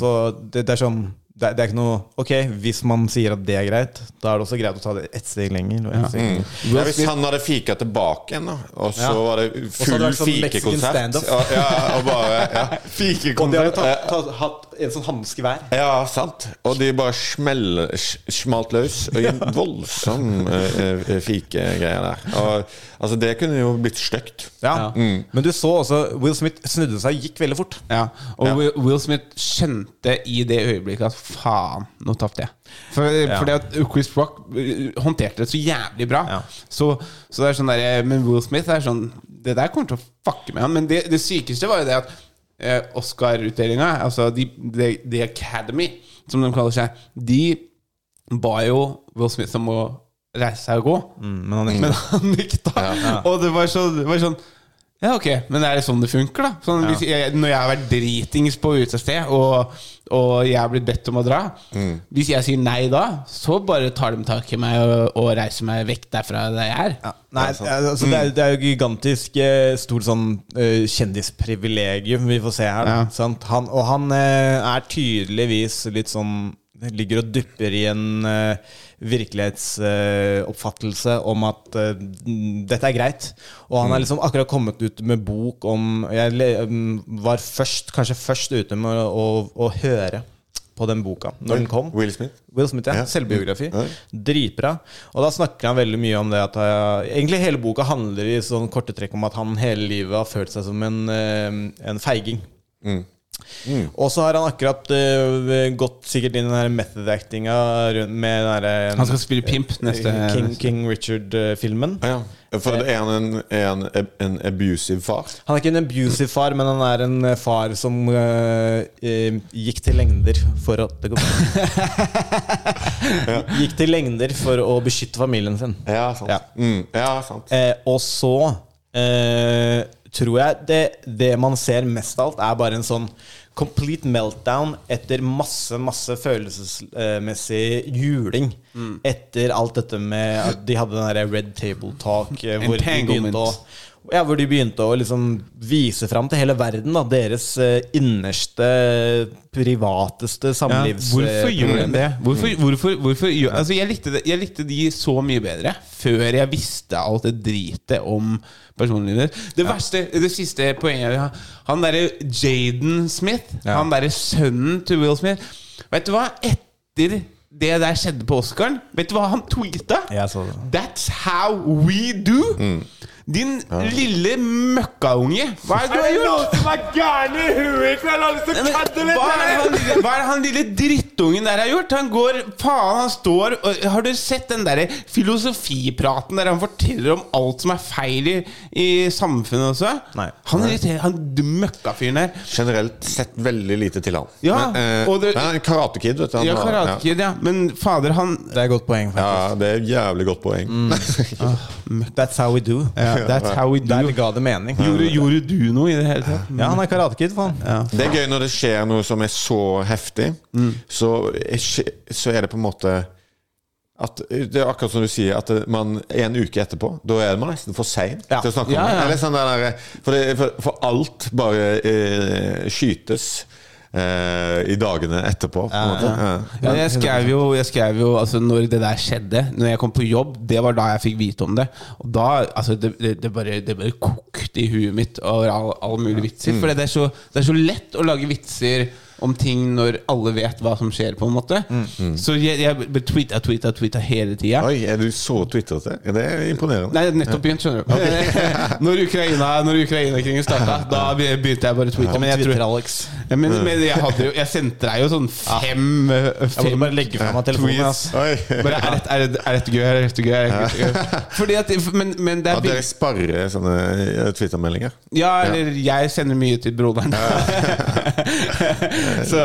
[SPEAKER 2] Så det, det er sånn det, er- det er ikke noe Ok, hvis man sier at det er greit, da er det også greit å ta det ett steg lenger. Og ett steg
[SPEAKER 3] Mm.
[SPEAKER 2] lenger.
[SPEAKER 4] Ja, hvis han hadde fika tilbake igjen, da, og så
[SPEAKER 2] Ja.
[SPEAKER 4] var det
[SPEAKER 2] så hadde
[SPEAKER 4] full
[SPEAKER 2] det vært sånn Mexican
[SPEAKER 4] fikekonsert
[SPEAKER 2] standoff.
[SPEAKER 4] og, ja, og bare ja.
[SPEAKER 2] Og de hadde
[SPEAKER 4] Fikekonsert.
[SPEAKER 2] tatt, tatt, hatt en sånn hanske hver.
[SPEAKER 4] Ja, sant. Og de bare smell, sj- smalt løs. Og i en voldsom eh, eh, fikegreie der. Og, altså, det kunne jo blitt stygt.
[SPEAKER 2] Ja.
[SPEAKER 3] Ja.
[SPEAKER 2] Men du så også Will Smith snudde seg og gikk veldig fort.
[SPEAKER 3] Mm. Ja, og Will- Will Smith skjønte i det øyeblikket at faen, nå tapte jeg. For, eh, Fordi at Chris Rock eh, håndterte det så jævlig bra.
[SPEAKER 2] Ja.
[SPEAKER 3] Så, så det er sånn der, Men Will Smith er sånn Det der kommer til å fucke med han. Men det, det sykeste var jo det at eh, Oscar-utdelinga, altså The de, de Academy, som de kaller seg, de ba jo Will Smith om å reise seg og gå.
[SPEAKER 2] men han nekta.
[SPEAKER 3] Men han nekta. Og det var, så, det var sånn Ja, ok, men er det sånn det funker, da? Sånn, hvis jeg, når jeg har vært dritings på utested, og, og jeg er blitt bedt om å dra Hvis jeg sier nei da, så bare tar de tak i meg og, og reiser meg vekk derfra der jeg er.
[SPEAKER 2] Nei, altså, det, er, det er jo gigantisk eh, stort sånn eh, kjendisprivilegium vi får se her. da, Sant? Han, og han eh, er tydeligvis litt sånn Ligger og dupper i en eh, virkelighetsoppfattelse om at eh, n- dette er greit. Og han er liksom akkurat kommet ut med bok om Jeg le- mm, var først, kanskje først ute med å, å, å høre på den boka når den kom.
[SPEAKER 4] Will Smith.
[SPEAKER 2] Will Smith, ja.
[SPEAKER 4] Ja.
[SPEAKER 2] Selvbiografi.
[SPEAKER 4] Ja.
[SPEAKER 2] Dritbra. Og da snakker han veldig mye om det at eh, Egentlig hele boka handler i sånn korte trekk om at han hele livet har følt seg som en, eh, en feiging. Og så har han akkurat eh, gått sikkert inn i den her method actinga rundt med den her, eh,
[SPEAKER 3] Han skal spille pimp neste
[SPEAKER 2] King, King eh, Richard-filmen.
[SPEAKER 4] For er han en, er han en abusive far?
[SPEAKER 2] Han er ikke en abusive far, men han er en eh, far som eh, eh, gikk til lengder for å det går bra. Gikk til lengder for å beskytte familien sin.
[SPEAKER 4] Ja, sant.
[SPEAKER 2] Ja.
[SPEAKER 4] Mm, ja, sant.
[SPEAKER 2] Eh, og så eh, tror jeg det, det man ser mest av alt, er bare en sånn complete meltdown etter masse, masse følelsesmessig juling.
[SPEAKER 3] Mm.
[SPEAKER 2] Etter alt dette med at de hadde den der Red Table Talk, eh, hvor de
[SPEAKER 3] Entanglement.
[SPEAKER 2] begynte å ja, hvor de begynte å liksom vise fram til hele verden da, deres eh, innerste, privateste
[SPEAKER 3] Ja,
[SPEAKER 2] samlivs... Mm.
[SPEAKER 3] Hvorfor gjør de
[SPEAKER 2] problemer.
[SPEAKER 3] det? Hvorfor, hvorfor, hvorfor gjør, altså jeg, likte det, jeg likte de så mye bedre før jeg visste alt det dritet om personligheter. Det verste, det siste poenget jeg vil ha Han derre Jaden Smith, han derre sønnen til Will Smith Vet du hva? Etter det der skjedde på Oscaren, vet du hva han tweeta?
[SPEAKER 2] Jeg så det. Mm.
[SPEAKER 3] That's how we do! Din lille møkkaunge. Hva er det du har gjort?
[SPEAKER 5] som er gærne i huet i kveld? Har lyst til å kødde
[SPEAKER 3] Hva er, det han, lille- hva er det han lille drittungen der har gjort? Han går, faen, han står og, Har du sett den derre filosofipraten der han forteller om alt som er feil i, i samfunnet også?
[SPEAKER 4] Nei.
[SPEAKER 3] Han irriterer Han d- møkkafyren der.
[SPEAKER 4] Generelt sett veldig lite til han.
[SPEAKER 3] Ja,
[SPEAKER 4] Men, eh,
[SPEAKER 3] og det-
[SPEAKER 4] men han er en karatekid, vet du. Han
[SPEAKER 3] Ja,
[SPEAKER 4] var-
[SPEAKER 3] karatekid, ja. Men fader, han
[SPEAKER 2] Det er et godt poeng.
[SPEAKER 4] ja.
[SPEAKER 2] faktisk.
[SPEAKER 4] ja, det er et jævlig godt poeng.
[SPEAKER 2] That's how we do.
[SPEAKER 3] ja, That's how we do.
[SPEAKER 2] Der ga det mening.
[SPEAKER 3] Gjorde, gjorde du noe i det hele tatt?
[SPEAKER 2] Ja, han er karatekid, faen.
[SPEAKER 4] Det er gøy når det skjer noe som er så heftig, så, er skje- så er det på en måte at Det er akkurat som du sier, at man en uke etterpå Da er man nesten for sein
[SPEAKER 2] Ja.
[SPEAKER 4] til å snakke om
[SPEAKER 3] Ja, ja.
[SPEAKER 4] det. Eller sånn der, der, for, det for, for alt bare eh, skytes eh, i dagene etterpå, på en måte. Ja.
[SPEAKER 3] Ja, jeg skrev jo, jeg skrev jo altså, Når det der skjedde, når jeg kom på jobb, det var da jeg fikk vite om det. Og da, altså, det, det, det, bare, det bare kokte i huet mitt over all, all mulig vitser. For det er, så, det er så lett å lage vitser om ting når alle vet hva som skjer, på en måte. Så jeg, jeg tweeta, tweeta, tweeta hele tida.
[SPEAKER 4] Oi, er du så twitrete? Ja, Det er imponerende.
[SPEAKER 3] Nei, nettopp begynt, skjønner du. når Ukraina Når Ukraina-krigen starta, da be- begynte jeg bare å tweete. Men jeg, tror, Mm.
[SPEAKER 2] Alex.
[SPEAKER 3] Ja, men, men jeg, hadde jo, jeg sendte deg jo sånn fem,
[SPEAKER 2] Jeg må
[SPEAKER 3] fem
[SPEAKER 2] bare legge fra meg telefonen.
[SPEAKER 3] tweets.
[SPEAKER 2] ass.
[SPEAKER 4] Oi.
[SPEAKER 3] Bare, er, dette, er, dette- er dette gøy? Er dette gøy? Er dette gøy? Fordi at, men, men det
[SPEAKER 4] At
[SPEAKER 3] er
[SPEAKER 4] dere
[SPEAKER 3] bilder
[SPEAKER 4] sparer sånne eh, twittermeldinger.
[SPEAKER 3] Ja, eller jeg sender mye til broderen. så,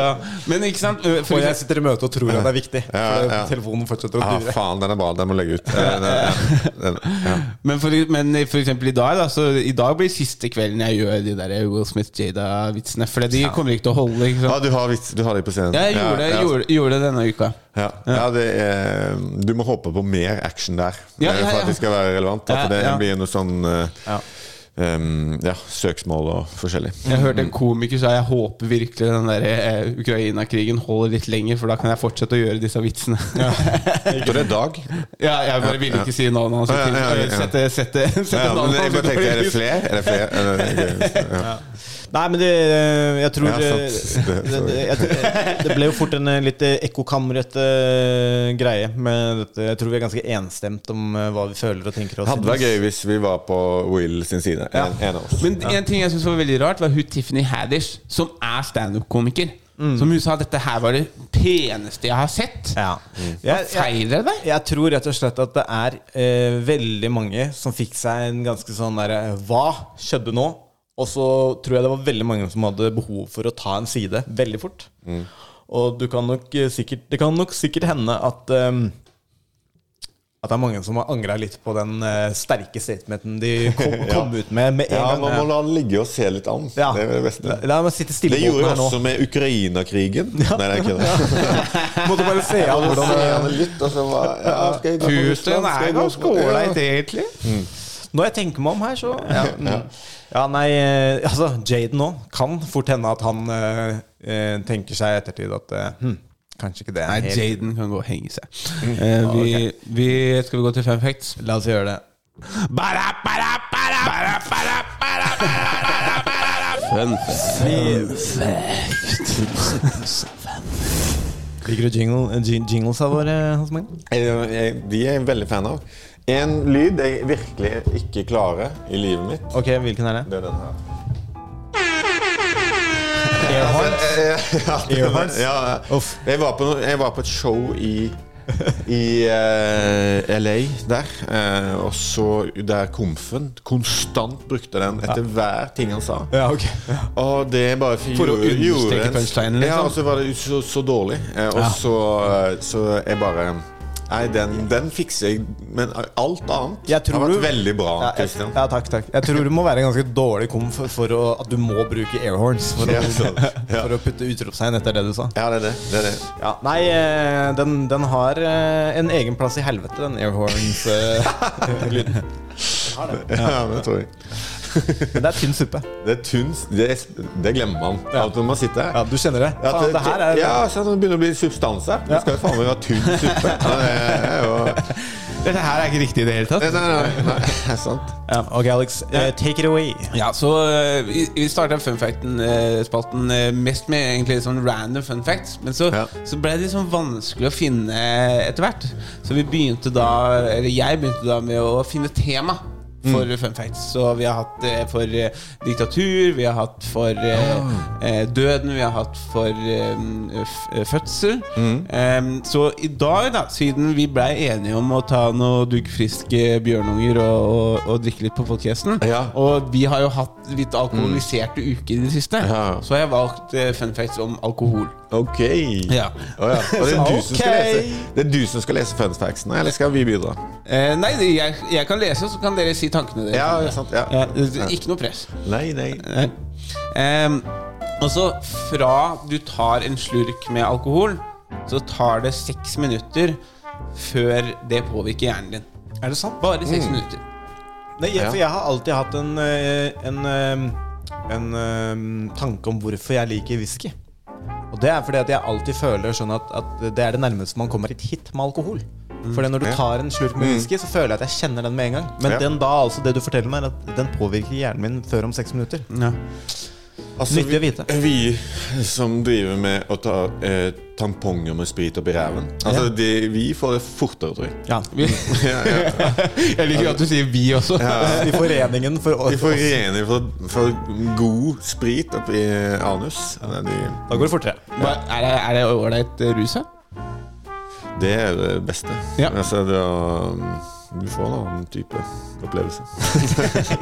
[SPEAKER 3] men ikke sant
[SPEAKER 2] Og
[SPEAKER 3] For
[SPEAKER 2] jeg sitter i møte og tror at det er viktig.
[SPEAKER 4] Ja,
[SPEAKER 2] for
[SPEAKER 4] ja.
[SPEAKER 2] telefonen fortsetter å
[SPEAKER 4] Ja,
[SPEAKER 2] dure.
[SPEAKER 4] Ah, faen, den er bra. Den må legge ut. Eh, Den, den, ja.
[SPEAKER 3] Men for, men for eksempel i dag da, så I dag blir siste kvelden jeg gjør de der Will Smith-Jada-vitsene. For de kommer ikke til å holde. Ikke
[SPEAKER 4] Ja,
[SPEAKER 3] sant?
[SPEAKER 4] du har, vits, du har det på scenen.
[SPEAKER 3] Jeg gjorde,
[SPEAKER 4] ja, ja.
[SPEAKER 3] gjorde, gjorde det denne uka.
[SPEAKER 4] Ja, ja det er, eh, Du må håpe på mer action der
[SPEAKER 3] Ja, ja,
[SPEAKER 4] eh, for
[SPEAKER 3] ja.
[SPEAKER 4] at det skal være relevant. Da,
[SPEAKER 3] Ja,
[SPEAKER 4] for det
[SPEAKER 3] ja.
[SPEAKER 4] blir noe sånn eh,
[SPEAKER 2] Ja.
[SPEAKER 4] em, ja, søksmål og forskjellig.
[SPEAKER 3] Jeg hørte en komiker sa jeg håper virkelig den der eh, Ukraina-krigen holder litt lenger, for da kan jeg fortsette å gjøre disse vitsene.
[SPEAKER 4] Så det er Dag.
[SPEAKER 3] Ja, jeg bare ville ikke si navnet hans.
[SPEAKER 4] Ja, ja, ja, ja.
[SPEAKER 3] Sette, sette, sette
[SPEAKER 4] Ja, men
[SPEAKER 3] navnet
[SPEAKER 4] jeg bare tenkte, er det flere? Er det flere? Er det, ja.
[SPEAKER 2] Nei, men det eh, Jeg tror
[SPEAKER 4] Ja,
[SPEAKER 2] eh,
[SPEAKER 4] sant.
[SPEAKER 2] det, det- jeg- det ble jo fort en eh, litt eh, ekkokamrete eh, greie med dette. Jeg tror vi er ganske enstemt om eh, hva vi føler og tenker.
[SPEAKER 4] Det hadde vært gøy hvis vi var på Will sin side. En, en av oss.
[SPEAKER 3] Men en ting jeg synes var veldig rart, var hun Tiffany Haddish, som er standup-komiker.
[SPEAKER 4] Mm.
[SPEAKER 3] Som hun sa dette her var det peneste jeg har sett.
[SPEAKER 2] Ja.
[SPEAKER 3] Hva
[SPEAKER 4] Mm.
[SPEAKER 2] Jeg, jeg,
[SPEAKER 3] feiler det?
[SPEAKER 2] jeg tror rett og slett at det er eh, veldig mange som fikk seg en ganske sånn derre Hva skjedde nå? Og så tror jeg det var veldig mange som hadde behov for å ta en side veldig fort.
[SPEAKER 4] Mm.
[SPEAKER 2] Og du kan nok eh, sikkert, det kan nok sikkert hende at eh, at det er mange som har angra litt på den eh, sterke statementen de kom,
[SPEAKER 4] Ja.
[SPEAKER 2] kom ut med med en
[SPEAKER 4] Ja,
[SPEAKER 2] gang.
[SPEAKER 4] man må la den ligge og se litt an.
[SPEAKER 2] Ja.
[SPEAKER 4] Det er det beste.
[SPEAKER 2] La meg sitte stille
[SPEAKER 4] Det
[SPEAKER 2] på
[SPEAKER 4] gjorde
[SPEAKER 2] den
[SPEAKER 4] jeg
[SPEAKER 2] her nå.
[SPEAKER 4] også med Ukraina-krigen. Nei, det er ikke det.
[SPEAKER 2] Måtte bare se an
[SPEAKER 4] Jeg måtte
[SPEAKER 2] hvordan
[SPEAKER 4] se an det litt, og så bare, ja, skal jeg gå på Russland? Skal jeg gå på- Ja.
[SPEAKER 2] egentlig. Når jeg tenker meg om her, så Mm. Ja, mm. ja nei, eh, altså Jaden òg. Kan fort hende at han eh, eh, tenker seg i ettertid at eh, hm, Kanskje ikke det er
[SPEAKER 3] Nei,
[SPEAKER 2] helt
[SPEAKER 3] Jaden kan gå og henge seg.
[SPEAKER 2] Mm.
[SPEAKER 3] Eh,
[SPEAKER 2] Ah,
[SPEAKER 3] vi,
[SPEAKER 2] ok.
[SPEAKER 3] vi, skal vi gå til fun facts?
[SPEAKER 2] La oss gjøre det.
[SPEAKER 3] Bara, bara, bara, bara, bara, bara, bara, bara, bara. Fun facts.
[SPEAKER 2] Liker du jingle, eh, jing- jinglesa våre, eh, Hans Magne?
[SPEAKER 4] Jeg- jeg- De er jeg veldig fan av. En lyd jeg virkelig ikke klarer i livet mitt.
[SPEAKER 2] Ok, Hvilken er det?
[SPEAKER 4] Det er den her.
[SPEAKER 2] Airhorns?
[SPEAKER 4] Airhorns? Ja, jeg, var på, noe- jeg var på et show i i eh, LA der. eh, og så der Komfen konstant brukte den etter hver ting han sa.
[SPEAKER 2] Ja, ok
[SPEAKER 4] Og det bare
[SPEAKER 3] For å
[SPEAKER 4] gjorde- gjorde
[SPEAKER 3] understreke
[SPEAKER 4] en-
[SPEAKER 3] punchlinen, liksom.
[SPEAKER 4] Ja, og så var det så, så dårlig. Eh, Og
[SPEAKER 3] Ja.
[SPEAKER 4] så, eh, så jeg bare Nei, den, den fikser jeg. Men alt annet
[SPEAKER 2] Jeg tror
[SPEAKER 4] har vært
[SPEAKER 2] du-
[SPEAKER 4] veldig
[SPEAKER 2] Ja,
[SPEAKER 4] bra.
[SPEAKER 2] jeg,
[SPEAKER 4] Christian.
[SPEAKER 2] ja, takk, takk. Jeg tror du må være en ganske dårlig kom for, for å, at du må bruke airhorns for,
[SPEAKER 4] Ja,
[SPEAKER 2] å-
[SPEAKER 4] sånn.
[SPEAKER 2] for å putte utropstegn etter det du sa.
[SPEAKER 4] Ja, det er det. det, er det.
[SPEAKER 2] Ja, nei, eh, den, den har eh, en egen plass i helvete, den eh, airhorns-lyden.
[SPEAKER 4] Ja, det tror jeg.
[SPEAKER 2] Men det er tynn suppe.
[SPEAKER 4] Det er tynn Det, er- det glemmer man. Alt når man sitter her.
[SPEAKER 2] Ja, Du kjenner det?
[SPEAKER 4] At
[SPEAKER 2] Faen, det her er
[SPEAKER 4] ja, sånn, at det begynner å bli substans her. Det skal jo faen meg være tynn suppe. Ja, det er jo-
[SPEAKER 3] Dette her er ikke riktig i det hele tatt.
[SPEAKER 4] Nei, nei, nei, nei, det er sant.
[SPEAKER 2] ja, Ok, Alex. eh, take it away.
[SPEAKER 3] Ja, så eh, Vi, vi starta fun fact-spalten eh, mest med egentlig sånn random fun facts. Men så, så ble det litt sånn vanskelig å finne etter hvert. Så vi begynte da Eller jeg begynte da med å finne tema. For fun facts Så vi har hatt eh, for eh, diktatur, vi har hatt for eh, eh, døden, vi har hatt for eh, f- eh, fødsel. Eh, så i dag, da siden vi blei enige om å ta noen duggfriske bjørnunger og, og, og drikke litt på podkasten, og vi har jo hatt litt alkoholiserte uker i det siste,
[SPEAKER 4] Ja.
[SPEAKER 3] så har jeg valgt eh, fun facts om alkohol.
[SPEAKER 4] Ok.
[SPEAKER 3] Ja.
[SPEAKER 4] Å ja. Og det er, du som skal
[SPEAKER 3] Ok.
[SPEAKER 4] lese, det er du som skal lese fun factsene, eller skal vi bidra?
[SPEAKER 3] Eh, nei, jeg, jeg kan lese, og så kan dere si tankene deres.
[SPEAKER 4] Ja, det er sant, ja.
[SPEAKER 3] eh, ikke noe press.
[SPEAKER 4] Nei, nei.
[SPEAKER 3] Nei. Ehm, og så fra du tar en slurk med alkohol, så tar det seks minutter før det påvirker hjernen din.
[SPEAKER 2] Er det sant?
[SPEAKER 3] Bare seks minutter.
[SPEAKER 2] Nei, jeg,
[SPEAKER 3] Ja.
[SPEAKER 2] for jeg har alltid hatt en, eh, en, eh, en eh, tanke om hvorfor jeg liker whisky. Og det er fordi at jeg alltid føler sånn at, at det er det nærmeste man kommer et hit med alkohol. Fordi når du
[SPEAKER 4] Mm. Ja.
[SPEAKER 2] tar en slurk med
[SPEAKER 4] Mm.
[SPEAKER 2] whisky, så føler jeg at jeg kjenner den med en gang. Men
[SPEAKER 4] Ja.
[SPEAKER 2] den da, altså det du forteller meg, er at den påvirker hjernen min før om seks minutter.
[SPEAKER 4] Mm. Altså,
[SPEAKER 2] Nyttig å
[SPEAKER 4] vi-
[SPEAKER 2] vite.
[SPEAKER 4] Vi som driver med å ta eh, tamponger med sprit opp i ræven altså,
[SPEAKER 2] Ja.
[SPEAKER 4] det, Vi får det fortere, tror jeg.
[SPEAKER 2] Ja.
[SPEAKER 4] ja, ja.
[SPEAKER 3] Jeg liker at du sier 'vi' også.
[SPEAKER 4] Ja.
[SPEAKER 2] I foreningen for
[SPEAKER 4] Vi får rene for, for god sprit opp i anus. Ja, de-
[SPEAKER 2] Da går det fortere.
[SPEAKER 3] Hva, er det- er det ålreit eh, rus her?
[SPEAKER 4] Det er det beste.
[SPEAKER 3] Ja.
[SPEAKER 4] Altså, det å- du får en annen type opplevelse.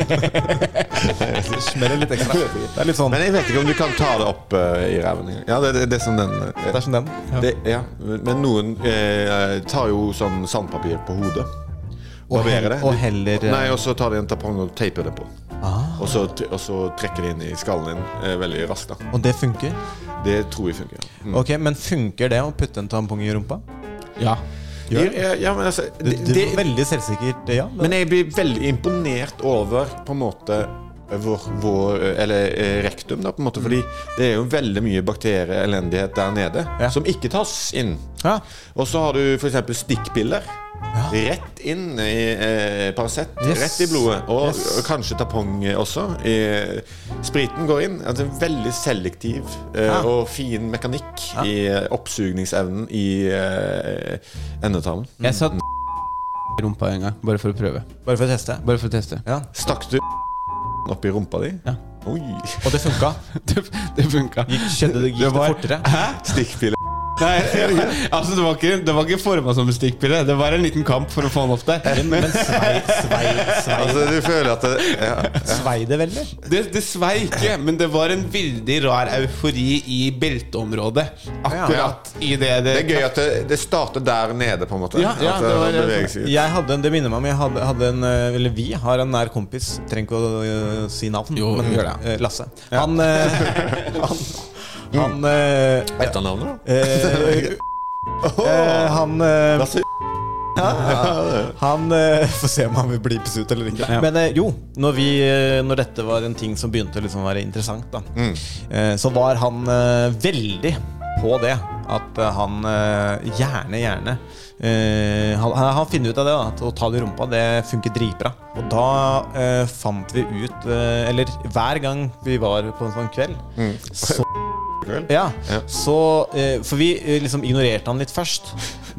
[SPEAKER 2] Det smeller litt ekstra. Det er litt sånn
[SPEAKER 4] Men jeg vet ikke om du kan ta det opp eh, i ræven engang. Ja, det, det, det er som den. eh,
[SPEAKER 2] Det er som den. Ja.
[SPEAKER 4] Det, ja. Men noen eh, tar jo sånn sandpapir på hodet.
[SPEAKER 2] Og hell-
[SPEAKER 4] Barberer det.
[SPEAKER 2] og heller, eh, Ah.
[SPEAKER 4] Nei, og så tar de en tampong og teiper det på. Og, så, t- og så trekker de inn i skallen din eh, veldig raskt. da
[SPEAKER 2] Og det funker.
[SPEAKER 4] Det tror jeg funker. Mm.
[SPEAKER 2] Ok, Men funker det å putte en tampong i rumpa?
[SPEAKER 3] Ja.
[SPEAKER 4] Ja, ja, ja, men altså
[SPEAKER 2] Du,
[SPEAKER 4] det,
[SPEAKER 2] du
[SPEAKER 4] det,
[SPEAKER 2] var veldig selvsikkert, ja. Men,
[SPEAKER 4] Men jeg blir veldig imponert over på en måte vår, vår Eller eh, rektum, da, på en måte. Fordi det er jo veldig mye bakterier elendighet der nede som ikke tas inn.
[SPEAKER 2] Ja.
[SPEAKER 4] Og så har du f.eks. stikkpiller. Rett inn i eh, Paracet.
[SPEAKER 2] Yes.
[SPEAKER 4] Rett i blodet. Og,
[SPEAKER 2] Yes.
[SPEAKER 4] og kanskje tampong også. Eh, spriten går inn. Altså, en veldig selektiv eh,
[SPEAKER 2] Ja.
[SPEAKER 4] og fin mekanikk i eh, oppsugningsevnen i eh, endetarmen.
[SPEAKER 3] Jeg satt i rumpa en gang, bare for å prøve.
[SPEAKER 2] Mm. Bare for å teste.
[SPEAKER 3] Bare for å teste.
[SPEAKER 2] Ja.
[SPEAKER 4] Stakk du oppi rumpa di?
[SPEAKER 3] Ja.
[SPEAKER 4] Oi.
[SPEAKER 2] Og det funka.
[SPEAKER 3] Det, det funka.
[SPEAKER 2] Gikk, skjedde det, gikk det,
[SPEAKER 3] var-
[SPEAKER 2] fortere?
[SPEAKER 3] Hæ?
[SPEAKER 4] Stikkpiller
[SPEAKER 3] Nei, altså Det var ikke, det var ikke forma som en stikkpille. Det var en liten kamp for å få den opp der.
[SPEAKER 2] Men, men svei, svei, svei
[SPEAKER 4] Altså, du føler at det, ja.
[SPEAKER 2] Svei det veldig?
[SPEAKER 3] Det, det svei ikke, men det var en veldig rar eufori i belteområdet. Akkurat i det det
[SPEAKER 4] Det er gøy at det, det starter der nede, på en måte.
[SPEAKER 3] Ja, ja,
[SPEAKER 4] at eh,
[SPEAKER 3] det var-
[SPEAKER 4] man beveger seg ut.
[SPEAKER 2] Jeg hadde en, Det minner meg om jeg hadde, hadde en eh, Eller vi har en nær kompis. Trenger ikke å eh, si navn.
[SPEAKER 3] Jo,
[SPEAKER 2] men,
[SPEAKER 3] vi gjør det.
[SPEAKER 2] eh, Lasse. Han, eh, han, han eh,
[SPEAKER 4] Etternavnet, da?
[SPEAKER 2] eh, eh, Han eh, ja, Han eh, Får se om han vil blipes ut eller ikke.
[SPEAKER 3] Ja.
[SPEAKER 2] Men eh, jo, når, vi, eh, når dette var en ting som begynte å liksom være interessant, da, eh, så var han eh, veldig på det. At eh, han eh, gjerne, gjerne eh, han, han- han finner ut av det, da, at å ta det i rumpa, det funker dritbra. Og da eh, fant vi ut eh, Eller hver gang vi var på en sånn kveld, så ja, så eh, For vi eh, liksom ignorerte han litt først.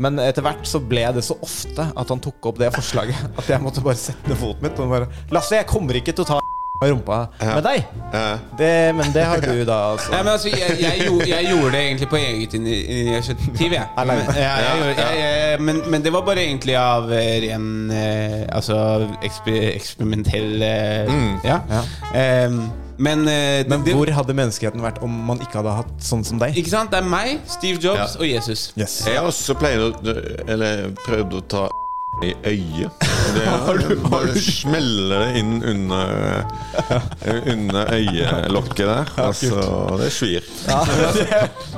[SPEAKER 2] Men etter hvert så ble det så ofte at han tok opp det forslaget at jeg måtte bare sette ned foten min og bare Lasse, jeg kommer ikke til å ta i rumpa med deg.
[SPEAKER 3] eh,
[SPEAKER 2] Det, men det har du, da.
[SPEAKER 3] Nei,
[SPEAKER 2] Altså.
[SPEAKER 3] men altså, jeg, jeg, gjorde, jeg gjorde det egentlig på eget ini- initiativ, jeg. Men,
[SPEAKER 2] Alene.
[SPEAKER 3] ja, jeg, gjorde- jeg, jeg men, men det var bare egentlig av eh, ren eh, Altså eksper, eksperimentell eh,
[SPEAKER 4] Mm.
[SPEAKER 3] Ja.
[SPEAKER 2] Ja.
[SPEAKER 3] Em, men eh, det,
[SPEAKER 2] Men
[SPEAKER 3] det-
[SPEAKER 2] hvor hadde menneskeheten vært om man ikke hadde hatt sånn som deg?
[SPEAKER 3] Ikke sant? Det er meg, Steve Jobs
[SPEAKER 4] Ja.
[SPEAKER 3] og Jesus.
[SPEAKER 2] Yes.
[SPEAKER 4] Jeg har også pleier å Eller prøvd å ta i øyet. Det har du, bare smeller det inn under eh, Under øyelokket der. Altså, det svir.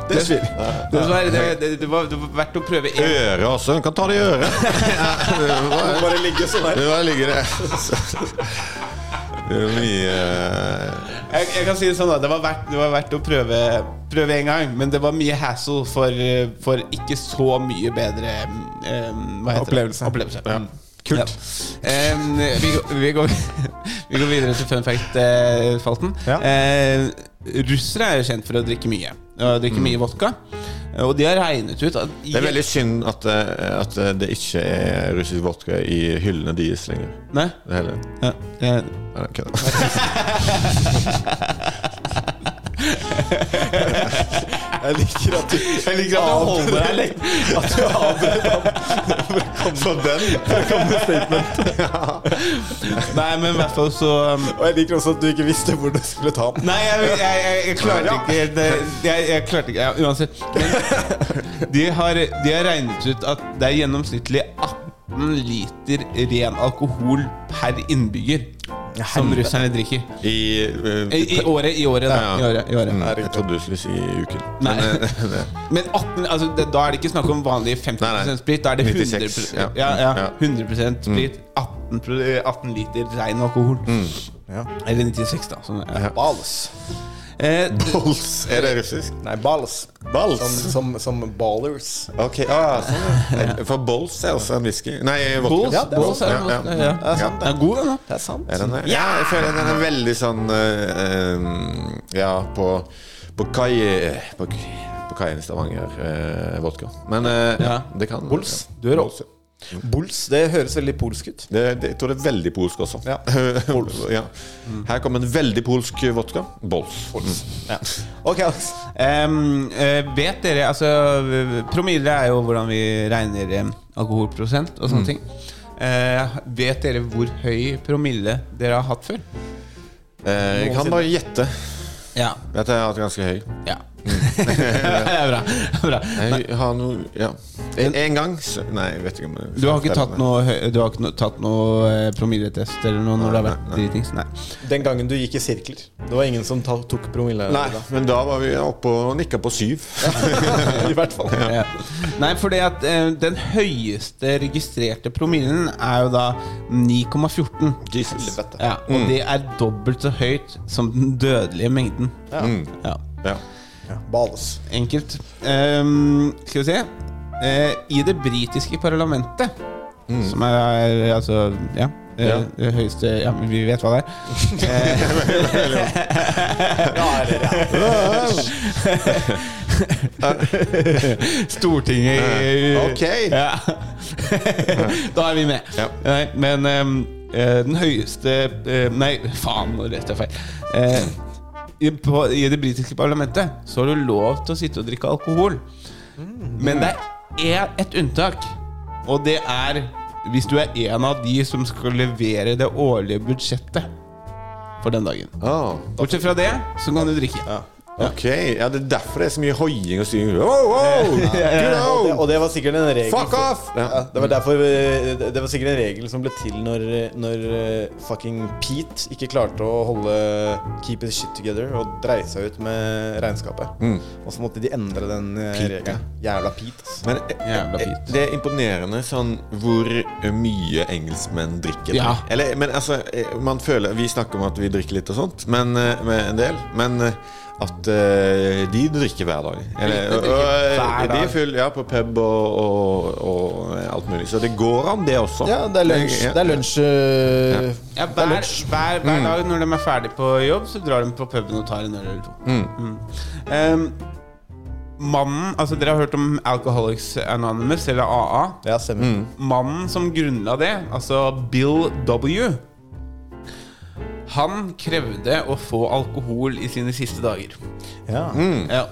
[SPEAKER 4] Det svir.
[SPEAKER 3] Det, var, det, det, det, var, det var verdt å prøve en
[SPEAKER 4] Øret også. Du kan ta det i øret. Det bare ligger sånn her. Det bare ligger der. Det er mye eh,
[SPEAKER 3] jeg, jeg kan si det sånn da, det var verdt, det var verdt å prøve, prøve en gang, men det var mye hassle for, eh, for ikke så mye bedre eh, hva heter
[SPEAKER 2] Opplevelse.
[SPEAKER 3] Det? Opplevelse.
[SPEAKER 2] Kult.
[SPEAKER 3] Ja. Eh, vi, går- vi, går, vi går videre til fun fact-spalten.
[SPEAKER 2] Ja.
[SPEAKER 3] Eh, russere er jo kjent for å drikke mye. Og drikke mye vodka. Og de har regnet ut at
[SPEAKER 4] Det er veldig synd at, eh, at eh, det ikke er russisk vodka i hyllene deres lenger.
[SPEAKER 3] Nei?
[SPEAKER 4] Det hele.
[SPEAKER 3] Ja, eh,
[SPEAKER 4] Nei, det er kødd.
[SPEAKER 2] Jeg liker at du
[SPEAKER 3] jeg liker at du holder deg litt
[SPEAKER 2] At du avbrøt
[SPEAKER 4] For den!
[SPEAKER 3] Nei, men i hvert fall så um,
[SPEAKER 2] Og jeg liker også at du ikke visste hvor du skulle ta den.
[SPEAKER 3] Nei, jeg, jeg, jeg, jeg klarte ikke det, jeg, jeg klarte ikke ja, Uansett. Men de har, de har regnet ut at det er gjennomsnittlig 18 liter ren alkohol per innbygger som russerne drikker.
[SPEAKER 4] I, eh,
[SPEAKER 3] I, i året, i året, da.
[SPEAKER 4] Ja,
[SPEAKER 3] I året, i
[SPEAKER 4] Mm,
[SPEAKER 3] året.
[SPEAKER 4] jeg trodde du skulle si i uken.
[SPEAKER 3] Nei.
[SPEAKER 4] Men, eh, det-
[SPEAKER 3] Men 18, altså, det, da er det ikke snakk om vanlig 50
[SPEAKER 4] Nei, nei.
[SPEAKER 3] sprit. Da er det 100,
[SPEAKER 4] 96, ja.
[SPEAKER 3] ja, ja,
[SPEAKER 4] Ja. Mm.
[SPEAKER 3] 100 sprit. 18, pro- 18 liter ren alkohol.
[SPEAKER 2] Ja.
[SPEAKER 3] Eller 96, da. Sånn, ja.
[SPEAKER 2] Balls.
[SPEAKER 3] Eh,
[SPEAKER 4] Balls! Er det russisk?
[SPEAKER 2] Nei, balls.
[SPEAKER 4] Balls?
[SPEAKER 2] Som, som, som ballers.
[SPEAKER 4] Ok, ah, sånn. ja. For Bolls er også en whisky. Nei, vodka.
[SPEAKER 3] Balls,
[SPEAKER 2] Ja, det er
[SPEAKER 3] balls er,
[SPEAKER 4] ja, ja.
[SPEAKER 3] ja.
[SPEAKER 2] Det er sant,
[SPEAKER 3] Den er god, den. da.
[SPEAKER 2] Det er sant.
[SPEAKER 4] Er den det? Ja, jeg føler den er veldig sånn eh, eh, Ja, på, på kai På, på kaien i Stavanger, eh, vodka. Men eh,
[SPEAKER 3] Ja.
[SPEAKER 4] det kan
[SPEAKER 2] Bols.
[SPEAKER 4] Ja.
[SPEAKER 2] Du er
[SPEAKER 4] Bols, ja.
[SPEAKER 2] Bulls, det høres veldig polsk ut.
[SPEAKER 4] Det, det, jeg tror det er veldig polsk også.
[SPEAKER 2] Ja.
[SPEAKER 4] ja. Her kommer en veldig polsk vodka. Bols. Mm.
[SPEAKER 2] Ok, altså, Alex.
[SPEAKER 3] Em, eh, vet dere Altså, promille er jo hvordan vi regner em, alkoholprosent og sånne ting. Eh, vet dere hvor høy promille dere har hatt før?
[SPEAKER 4] Eh, jeg kan bare gjette.
[SPEAKER 3] Ja.
[SPEAKER 4] Vet du, jeg har hatt ganske høy.
[SPEAKER 3] ja. det er bra. Det er bra. Nei,
[SPEAKER 4] Jeg har noe Ja. En, en gang så, Nei, jeg vet ikke om jeg-
[SPEAKER 3] Du har ikke tatt noe, høy- du har ikke no, tatt noe eh, promilletest eller noe når det har vært
[SPEAKER 4] Nei, nei.
[SPEAKER 3] dritings? Nei.
[SPEAKER 2] Den gangen du gikk i sirkler. Det var ingen som ta, tok promille?
[SPEAKER 4] Nei, men da var vi oppe og nikka på syv.
[SPEAKER 2] I hvert fall.
[SPEAKER 3] Ja. Nei, for det at eh, den høyeste registrerte promillen er jo da 9,14.
[SPEAKER 4] Jesus.
[SPEAKER 3] Ja, og det er dobbelt så høyt som den dødelige mengden. Ja.
[SPEAKER 4] Mm, Ja.
[SPEAKER 2] Balls.
[SPEAKER 3] Enkelt. Ehm, skal vi se Eh, I det britiske parlamentet, som er altså Ja. eh,
[SPEAKER 4] Ja.
[SPEAKER 3] Det høyeste Ja, men vi vet hva det er. Eh, Stortinget i-
[SPEAKER 4] Ok.
[SPEAKER 3] Ja. da er vi med.
[SPEAKER 4] Ja.
[SPEAKER 3] Nei, men ehm, eh, den høyeste eh, Nei, faen, nå leste jeg feil. Eh, i, på, I det britiske parlamentet så har du lov til å sitte og drikke alkohol.
[SPEAKER 4] Mm.
[SPEAKER 3] Men det er e- ett unntak, og det er hvis du er en av de som skal levere det årlige budsjettet for den dagen. Bortsett fra det, så kan du drikke.
[SPEAKER 4] Ah, Ok, ja Det er derfor det er så mye hoiing og styring. Wow, wow, good
[SPEAKER 2] Ja, Eh, og, det,
[SPEAKER 4] old.
[SPEAKER 2] og det var sikkert en regel
[SPEAKER 4] Fuck
[SPEAKER 2] som-
[SPEAKER 4] off!
[SPEAKER 2] Ja. det, var derfor, eh, det det var sikkert en regel som ble til når, når eh, fucking Pete ikke klarte å holde keep his shit together og dreie seg ut med regnskapet.
[SPEAKER 4] Mm.
[SPEAKER 2] Og så måtte de endre den eh,
[SPEAKER 4] Pete, ja.
[SPEAKER 2] regelen. Jævla Pete. ass.
[SPEAKER 4] Men eh, eh, det er imponerende sånn hvor mye engelskmenn drikker.
[SPEAKER 3] Ja.
[SPEAKER 4] Eller, men altså, eh, man føler Vi snakker om at vi drikker litt og sånt, men eh, med en del. Men eh, at eh, de drikker hver dag. Eller,
[SPEAKER 3] De drikker
[SPEAKER 4] og, eh,
[SPEAKER 3] hver
[SPEAKER 4] De
[SPEAKER 3] dag.
[SPEAKER 4] er full, ja, på pub og, og, og eh, alt mulig. Så det går an, det også.
[SPEAKER 2] Ja, det er lunsj.
[SPEAKER 4] Ja.
[SPEAKER 2] Det er lunsj. eh, Det
[SPEAKER 3] Ja,
[SPEAKER 2] er
[SPEAKER 3] hver,
[SPEAKER 2] lunsj.
[SPEAKER 3] hver,
[SPEAKER 4] Mm.
[SPEAKER 3] hver dag når de er ferdig på jobb, så drar de på puben og tar en øl eller to.
[SPEAKER 4] Mm.
[SPEAKER 3] Em, mannen Altså, dere har hørt om Alcoholics Anonymous, eller AA.
[SPEAKER 2] Ja, stemmer.
[SPEAKER 4] Mm.
[SPEAKER 3] Mannen som grunnla det, altså Bill W. Han krevde å få alkohol i sine siste dager.
[SPEAKER 2] Ja.
[SPEAKER 4] Mm.
[SPEAKER 3] Ja.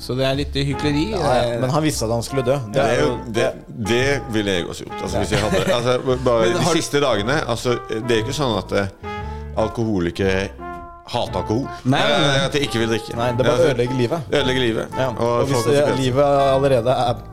[SPEAKER 3] Så det er litt hykleri. Eh,
[SPEAKER 2] Ja, ja. Men han visste at han skulle dø.
[SPEAKER 4] Det, er jo, det, det ville jeg også gjort. Altså, hvis jeg hadde, altså, bare de siste dagene altså, Det er ikke sånn at eh, alkoholikere hater alkohol.
[SPEAKER 3] Nei, nei, nei.
[SPEAKER 4] Eh, At de ikke vil drikke.
[SPEAKER 2] Nei, det bare
[SPEAKER 4] Altså,
[SPEAKER 2] ødelegger livet.
[SPEAKER 4] ødelegger livet.
[SPEAKER 2] Ja. Og
[SPEAKER 4] folk
[SPEAKER 2] hvis
[SPEAKER 4] har
[SPEAKER 2] eh,
[SPEAKER 4] konsekvenser.
[SPEAKER 2] livet allerede er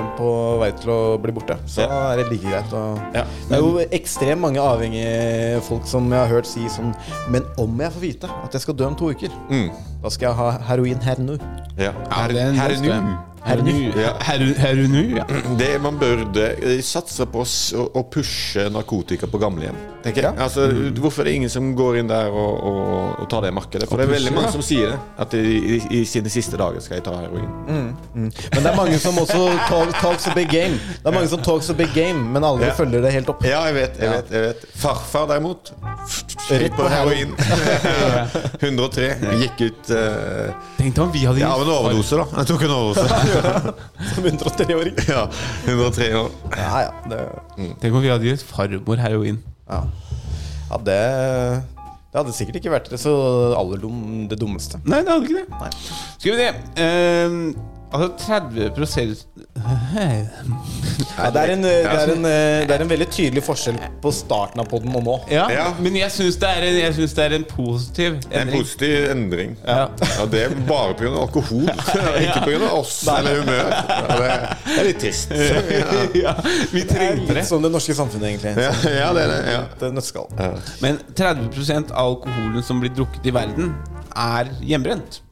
[SPEAKER 2] eh, på vei til å bli borte, så
[SPEAKER 4] Ja.
[SPEAKER 2] er det like greit å
[SPEAKER 4] Ja.
[SPEAKER 2] Det er jo ekstremt mange avhengige folk som jeg har hørt si sånn Men om jeg får vite at jeg skal dø om to uker,
[SPEAKER 4] Mm.
[SPEAKER 2] da skal jeg ha heroin her nå.
[SPEAKER 4] Ja.
[SPEAKER 3] Ja, det er en
[SPEAKER 4] Her
[SPEAKER 3] best,
[SPEAKER 4] nu.
[SPEAKER 3] det. Her nu.
[SPEAKER 4] Ja.
[SPEAKER 3] Her- her nu, ja.
[SPEAKER 4] Det man burde eh, satse på s- å å pushe narkotika på gamlehjem. Tenker jeg altså, Hvorfor er det ingen som går inn der og, og, og tar det markedet? For det er veldig
[SPEAKER 3] pusher, ja.
[SPEAKER 4] mange som sier det. At de, i, i sine siste dager skal jeg ta heroin.
[SPEAKER 2] Men det er mange som også talk, talks a big game. Det er mange som talks a big game, men aldri
[SPEAKER 4] Ja.
[SPEAKER 2] følger det helt opp.
[SPEAKER 4] Ja, jeg vet, jeg vet, jeg vet. Farfar derimot Rett på heroin. 103. Gikk ut eh,
[SPEAKER 3] Tenkte om vi hadde
[SPEAKER 4] ja, av en overdose, da. Han tok en overdose.
[SPEAKER 2] Som 103-åring.
[SPEAKER 4] ja, 103 år.
[SPEAKER 2] Ja, ja. Det,
[SPEAKER 3] Tenk om vi hadde gitt farmor heroin.
[SPEAKER 2] ja. ja det, det hadde sikkert ikke vært det så aller dum, det dummeste.
[SPEAKER 3] Nei, det hadde ikke det.
[SPEAKER 2] Nei.
[SPEAKER 3] Skal vi se ehm, Altså 30
[SPEAKER 2] Ja, det, er en, eh, det, er
[SPEAKER 3] altså,
[SPEAKER 2] en, eh, det er en veldig tydelig forskjell på starten av podden og nå.
[SPEAKER 3] ja,
[SPEAKER 4] Ja.
[SPEAKER 3] men jeg syns det, er en- jeg synes det er en positiv
[SPEAKER 4] En
[SPEAKER 3] endring.
[SPEAKER 4] positiv endring.
[SPEAKER 3] Ja.
[SPEAKER 4] Ja, det er bare pga. alkohol, ikke pga. oss eller humør. Ja, det er- det er litt trist. Ja,
[SPEAKER 3] ja, vi trengte det.
[SPEAKER 2] Litt sånn. som det norske samfunnet, egentlig.
[SPEAKER 4] ja, ja det er det. Ja.
[SPEAKER 2] Et eh, nøtteskall.
[SPEAKER 3] Men 30 av alkoholen som blir drukket i verden, er hjemmebrent.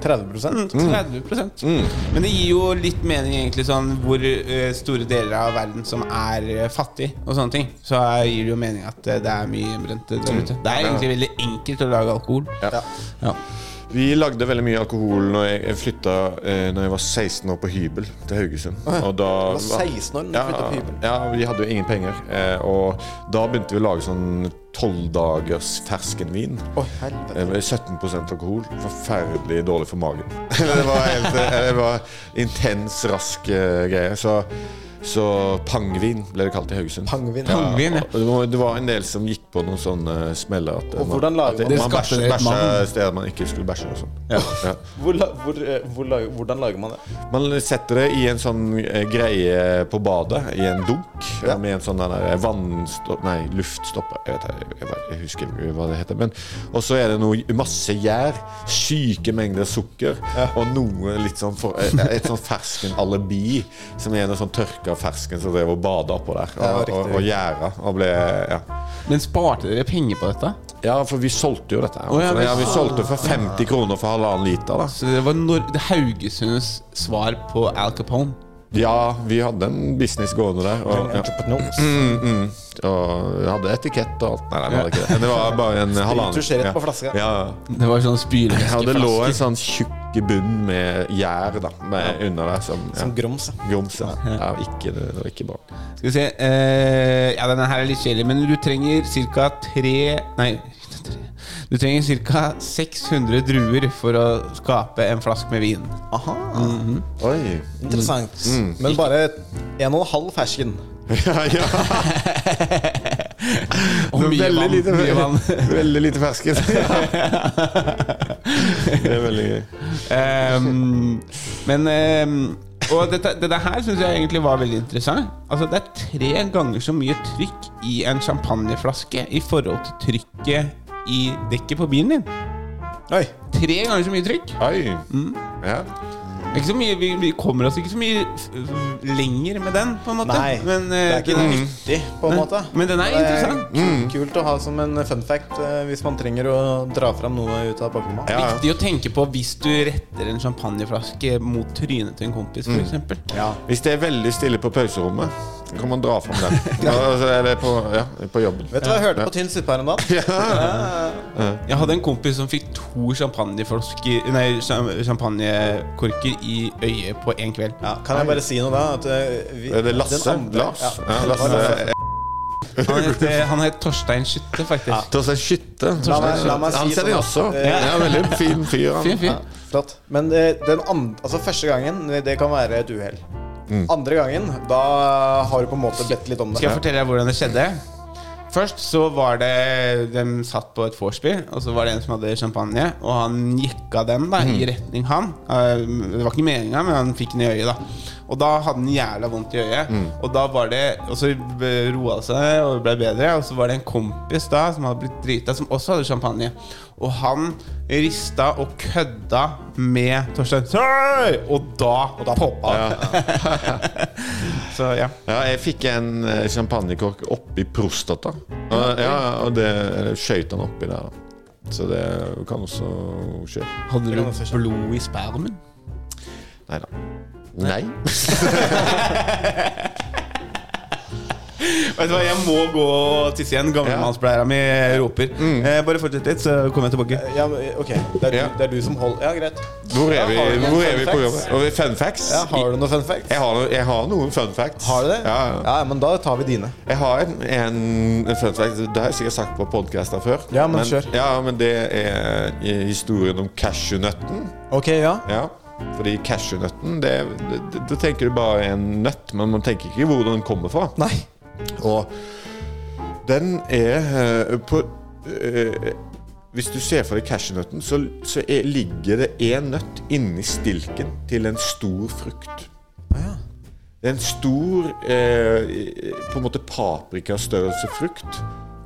[SPEAKER 2] 30
[SPEAKER 3] Mm, 30
[SPEAKER 4] Mm.
[SPEAKER 3] Men det gir jo litt mening egentlig sånn hvor eh, store deler av verden som er eh, fattig og sånne ting. Så eh, gir det jo mening at eh, det er mye hjemmebrent der ute. Det er egentlig veldig enkelt å lage alkohol.
[SPEAKER 4] Mm. Ja.
[SPEAKER 3] Ja.
[SPEAKER 4] Vi lagde veldig mye alkohol når jeg, jeg flytta eh, Når jeg var 16 år på hybel til Haugesund. Og da
[SPEAKER 2] Du var 16 år når du flyttet på hybel?
[SPEAKER 4] Ja, vi hadde jo ingen penger. Eh, og da begynte vi å lage sånn tolvdagers ferskenvin.
[SPEAKER 2] Å, helvete.
[SPEAKER 4] Eh, med 17 alkohol. Forferdelig dårlig for magen. det var helt eh, Det var intens, rask eh, greie. Så, så pangvin ble det kalt i Haugesund.
[SPEAKER 2] Pangvin.
[SPEAKER 3] Pangvin, ja.
[SPEAKER 4] og det, var, det var en del som gikk på noen sånne smeller at eh,
[SPEAKER 2] Og hvordan lager
[SPEAKER 4] at det-
[SPEAKER 2] man-
[SPEAKER 4] man
[SPEAKER 3] Det skapte et
[SPEAKER 4] bæsja
[SPEAKER 3] navn.
[SPEAKER 4] steder man ikke skulle bæsje. og sånn Ja.
[SPEAKER 2] Hvor, la- hvor, eh, hvor, lager- hvordan lager man det?
[SPEAKER 4] Man setter det i en sånn eh, greie på badet, i en dunk,
[SPEAKER 2] Ja.
[SPEAKER 4] med en sånn der der vannstopp... Nei, luftstopper. Jeg, vet, ikke, jeg, bare- jeg husker ikke hva det heter. Men, og så er det noe, masse gjær, syke mengder sukker og noe litt sånn for, eh, et sånn ferskenalibi, som er noe sånn tørka fersken som drev og bada oppå der,
[SPEAKER 2] Ja,
[SPEAKER 4] og,
[SPEAKER 2] riktig,
[SPEAKER 4] og, og gjæra. Og ble ja.
[SPEAKER 3] Men sparte dere penger på dette?
[SPEAKER 4] ja, for vi solgte jo dette. her.
[SPEAKER 3] Å, ja,
[SPEAKER 4] Så,
[SPEAKER 3] vi-
[SPEAKER 4] ja, vi solgte for 50 kroner for halvannen liter. da
[SPEAKER 3] Så Altså, det var Nor det Haugesunds svar på Al Capone.
[SPEAKER 4] Ja, vi hadde en business gående der. Og, ja.
[SPEAKER 2] Entrepreneurs.
[SPEAKER 4] Mm, mm. Og jeg hadde etikett og alt. Nei, nei, vi hadde ikke det. Det var bare en halvannen
[SPEAKER 2] Spiritus rett
[SPEAKER 4] ja.
[SPEAKER 2] på flaska.
[SPEAKER 4] Ja.
[SPEAKER 3] Det var sånn
[SPEAKER 4] ja, det lå en
[SPEAKER 3] spylevæskeflaske.
[SPEAKER 4] sånn tjukk bunn med gjær da, med, under der som, ja.
[SPEAKER 2] Som grums. ja.
[SPEAKER 4] grums. Ja. Ja, ikke, det var ikke bra.
[SPEAKER 3] Skal vi se eh, Ja, denne her er litt kjedelig, men du trenger ca. tre Nei, tre. du trenger ca. 600 druer for å skape en flaske med vin.
[SPEAKER 2] Aha.
[SPEAKER 4] Oi.
[SPEAKER 2] Interessant.
[SPEAKER 3] Mm.
[SPEAKER 2] Men bare en og en halv fersken.
[SPEAKER 4] Ja, ja.
[SPEAKER 3] Og
[SPEAKER 4] Det var
[SPEAKER 3] mye vann.
[SPEAKER 4] lite,
[SPEAKER 3] Mye vann.
[SPEAKER 4] veldig lite fersken. Det er veldig gøy.
[SPEAKER 3] Ehm, men ehm, Og dette, dette her syns jeg egentlig var veldig interessant. Altså Det er tre ganger så mye trykk i en champagneflaske i forhold til trykket i dekket på bilen din.
[SPEAKER 2] Oi
[SPEAKER 3] Tre ganger så mye trykk.
[SPEAKER 4] Oi mm. ja.
[SPEAKER 3] Ikke så mye, vi, vi kommer oss ikke så mye f- f- lenger med den, på en måte.
[SPEAKER 2] Nei,
[SPEAKER 3] Men,
[SPEAKER 2] det er
[SPEAKER 3] eh,
[SPEAKER 2] ikke
[SPEAKER 3] den-
[SPEAKER 2] nyttig, på en
[SPEAKER 3] Nei.
[SPEAKER 2] måte.
[SPEAKER 3] Men den er
[SPEAKER 2] Det
[SPEAKER 3] interessant. Mm.
[SPEAKER 2] k- Kult å ha som en fun fact eh, hvis man trenger å dra fram noe ut av baklomma.
[SPEAKER 3] Mm. Viktig å tenke på hvis du retter en champagneflaske mot trynet til en kompis,
[SPEAKER 4] Mm.
[SPEAKER 3] f.eks.
[SPEAKER 2] Ja.
[SPEAKER 4] Hvis det er veldig stille på pauserommet, så kan man dra fram den. Altså, Eller på, ja, på jobben.
[SPEAKER 2] Vet du hva jeg hørte på Tynn suppe her om dagen?
[SPEAKER 3] Jeg hadde en kompis som fikk to champagneflasker- nei, cham- champagnekorker i øyet på én kveld.
[SPEAKER 2] Kan jeg bare si noe da? At, eh, vi,
[SPEAKER 4] Er det Lasse?
[SPEAKER 2] den andre-
[SPEAKER 4] Lars?
[SPEAKER 2] Ja.
[SPEAKER 4] Ja, Lasse.
[SPEAKER 3] Han het, eh, han het Torstein Skytte, faktisk.
[SPEAKER 4] Torstein Skytte.
[SPEAKER 2] La meg, la meg si
[SPEAKER 4] Han kjenner jeg også.
[SPEAKER 2] sånn at, eh,
[SPEAKER 4] Ja, veldig fin fyr. han.
[SPEAKER 3] Fin fyr.
[SPEAKER 4] Ja.
[SPEAKER 2] Flott. Men eh, den andre, altså første gangen, det kan være et uhell.
[SPEAKER 4] Mm.
[SPEAKER 2] Andre gangen, da har du på en måte bedt litt om det.
[SPEAKER 3] Skal jeg fortelle deg hvordan det skjedde? Først så var det De satt på et vorspiel, og så var det en som hadde champagne, og han jekka den da i retning han. Eh, Det var ikke meninga, men han fikk den i øyet, da. Og da hadde han jævla vondt i øyet. Og da var det Og så b- roa det seg og ble bedre, og så var det en kompis da som hadde blitt drita, som også hadde champagne. Og han rista og kødda med Torstein. «Hei!» Og da, og da poppa han. så ja.
[SPEAKER 4] Ja, jeg fikk en eh, champagnekork oppi prostata. Og- Ja, og det eller skjøt han oppi der. da. Så det kan også skje.
[SPEAKER 3] Hadde du blod i spermen?
[SPEAKER 4] Nei da. Nei.
[SPEAKER 3] Vet du hva, Jeg må gå og tisse igjen. Gamlemannsblæra mi roper. Eh, bare fortsett litt, så kommer jeg tilbake.
[SPEAKER 2] Eh, Ja, men, ok, det er, du, det er du som holder Ja, greit.
[SPEAKER 4] Hvor er vi,
[SPEAKER 2] Ja, har du noen
[SPEAKER 4] hvor
[SPEAKER 2] fun
[SPEAKER 4] er vi på
[SPEAKER 2] facts?
[SPEAKER 4] jobb? Og fun facts?
[SPEAKER 2] Ja, har du noen fun facts?
[SPEAKER 4] Jeg har, jeg har noen fun facts.
[SPEAKER 2] Har du det?
[SPEAKER 4] Ja, ja.
[SPEAKER 2] Ja, men da tar vi dine.
[SPEAKER 4] Jeg har en, en fun fact. Det har jeg sikkert sagt på podkaster før.
[SPEAKER 2] Ja, men kjør.
[SPEAKER 4] Ja, men det er i- historien om cashewnøtten.
[SPEAKER 2] Ok, ja.
[SPEAKER 4] Ja, fordi cashewnøtten det, det, det, Da tenker du bare en nøtt, men man tenker ikke hvor den kommer fra.
[SPEAKER 2] Nei.
[SPEAKER 4] Og den er eh, på eh, Hvis du ser for deg cashewnøtten, så, så er, ligger det én nøtt inni stilken til en stor frukt. Det er en stor eh, på en måte paprikastørrelse frukt.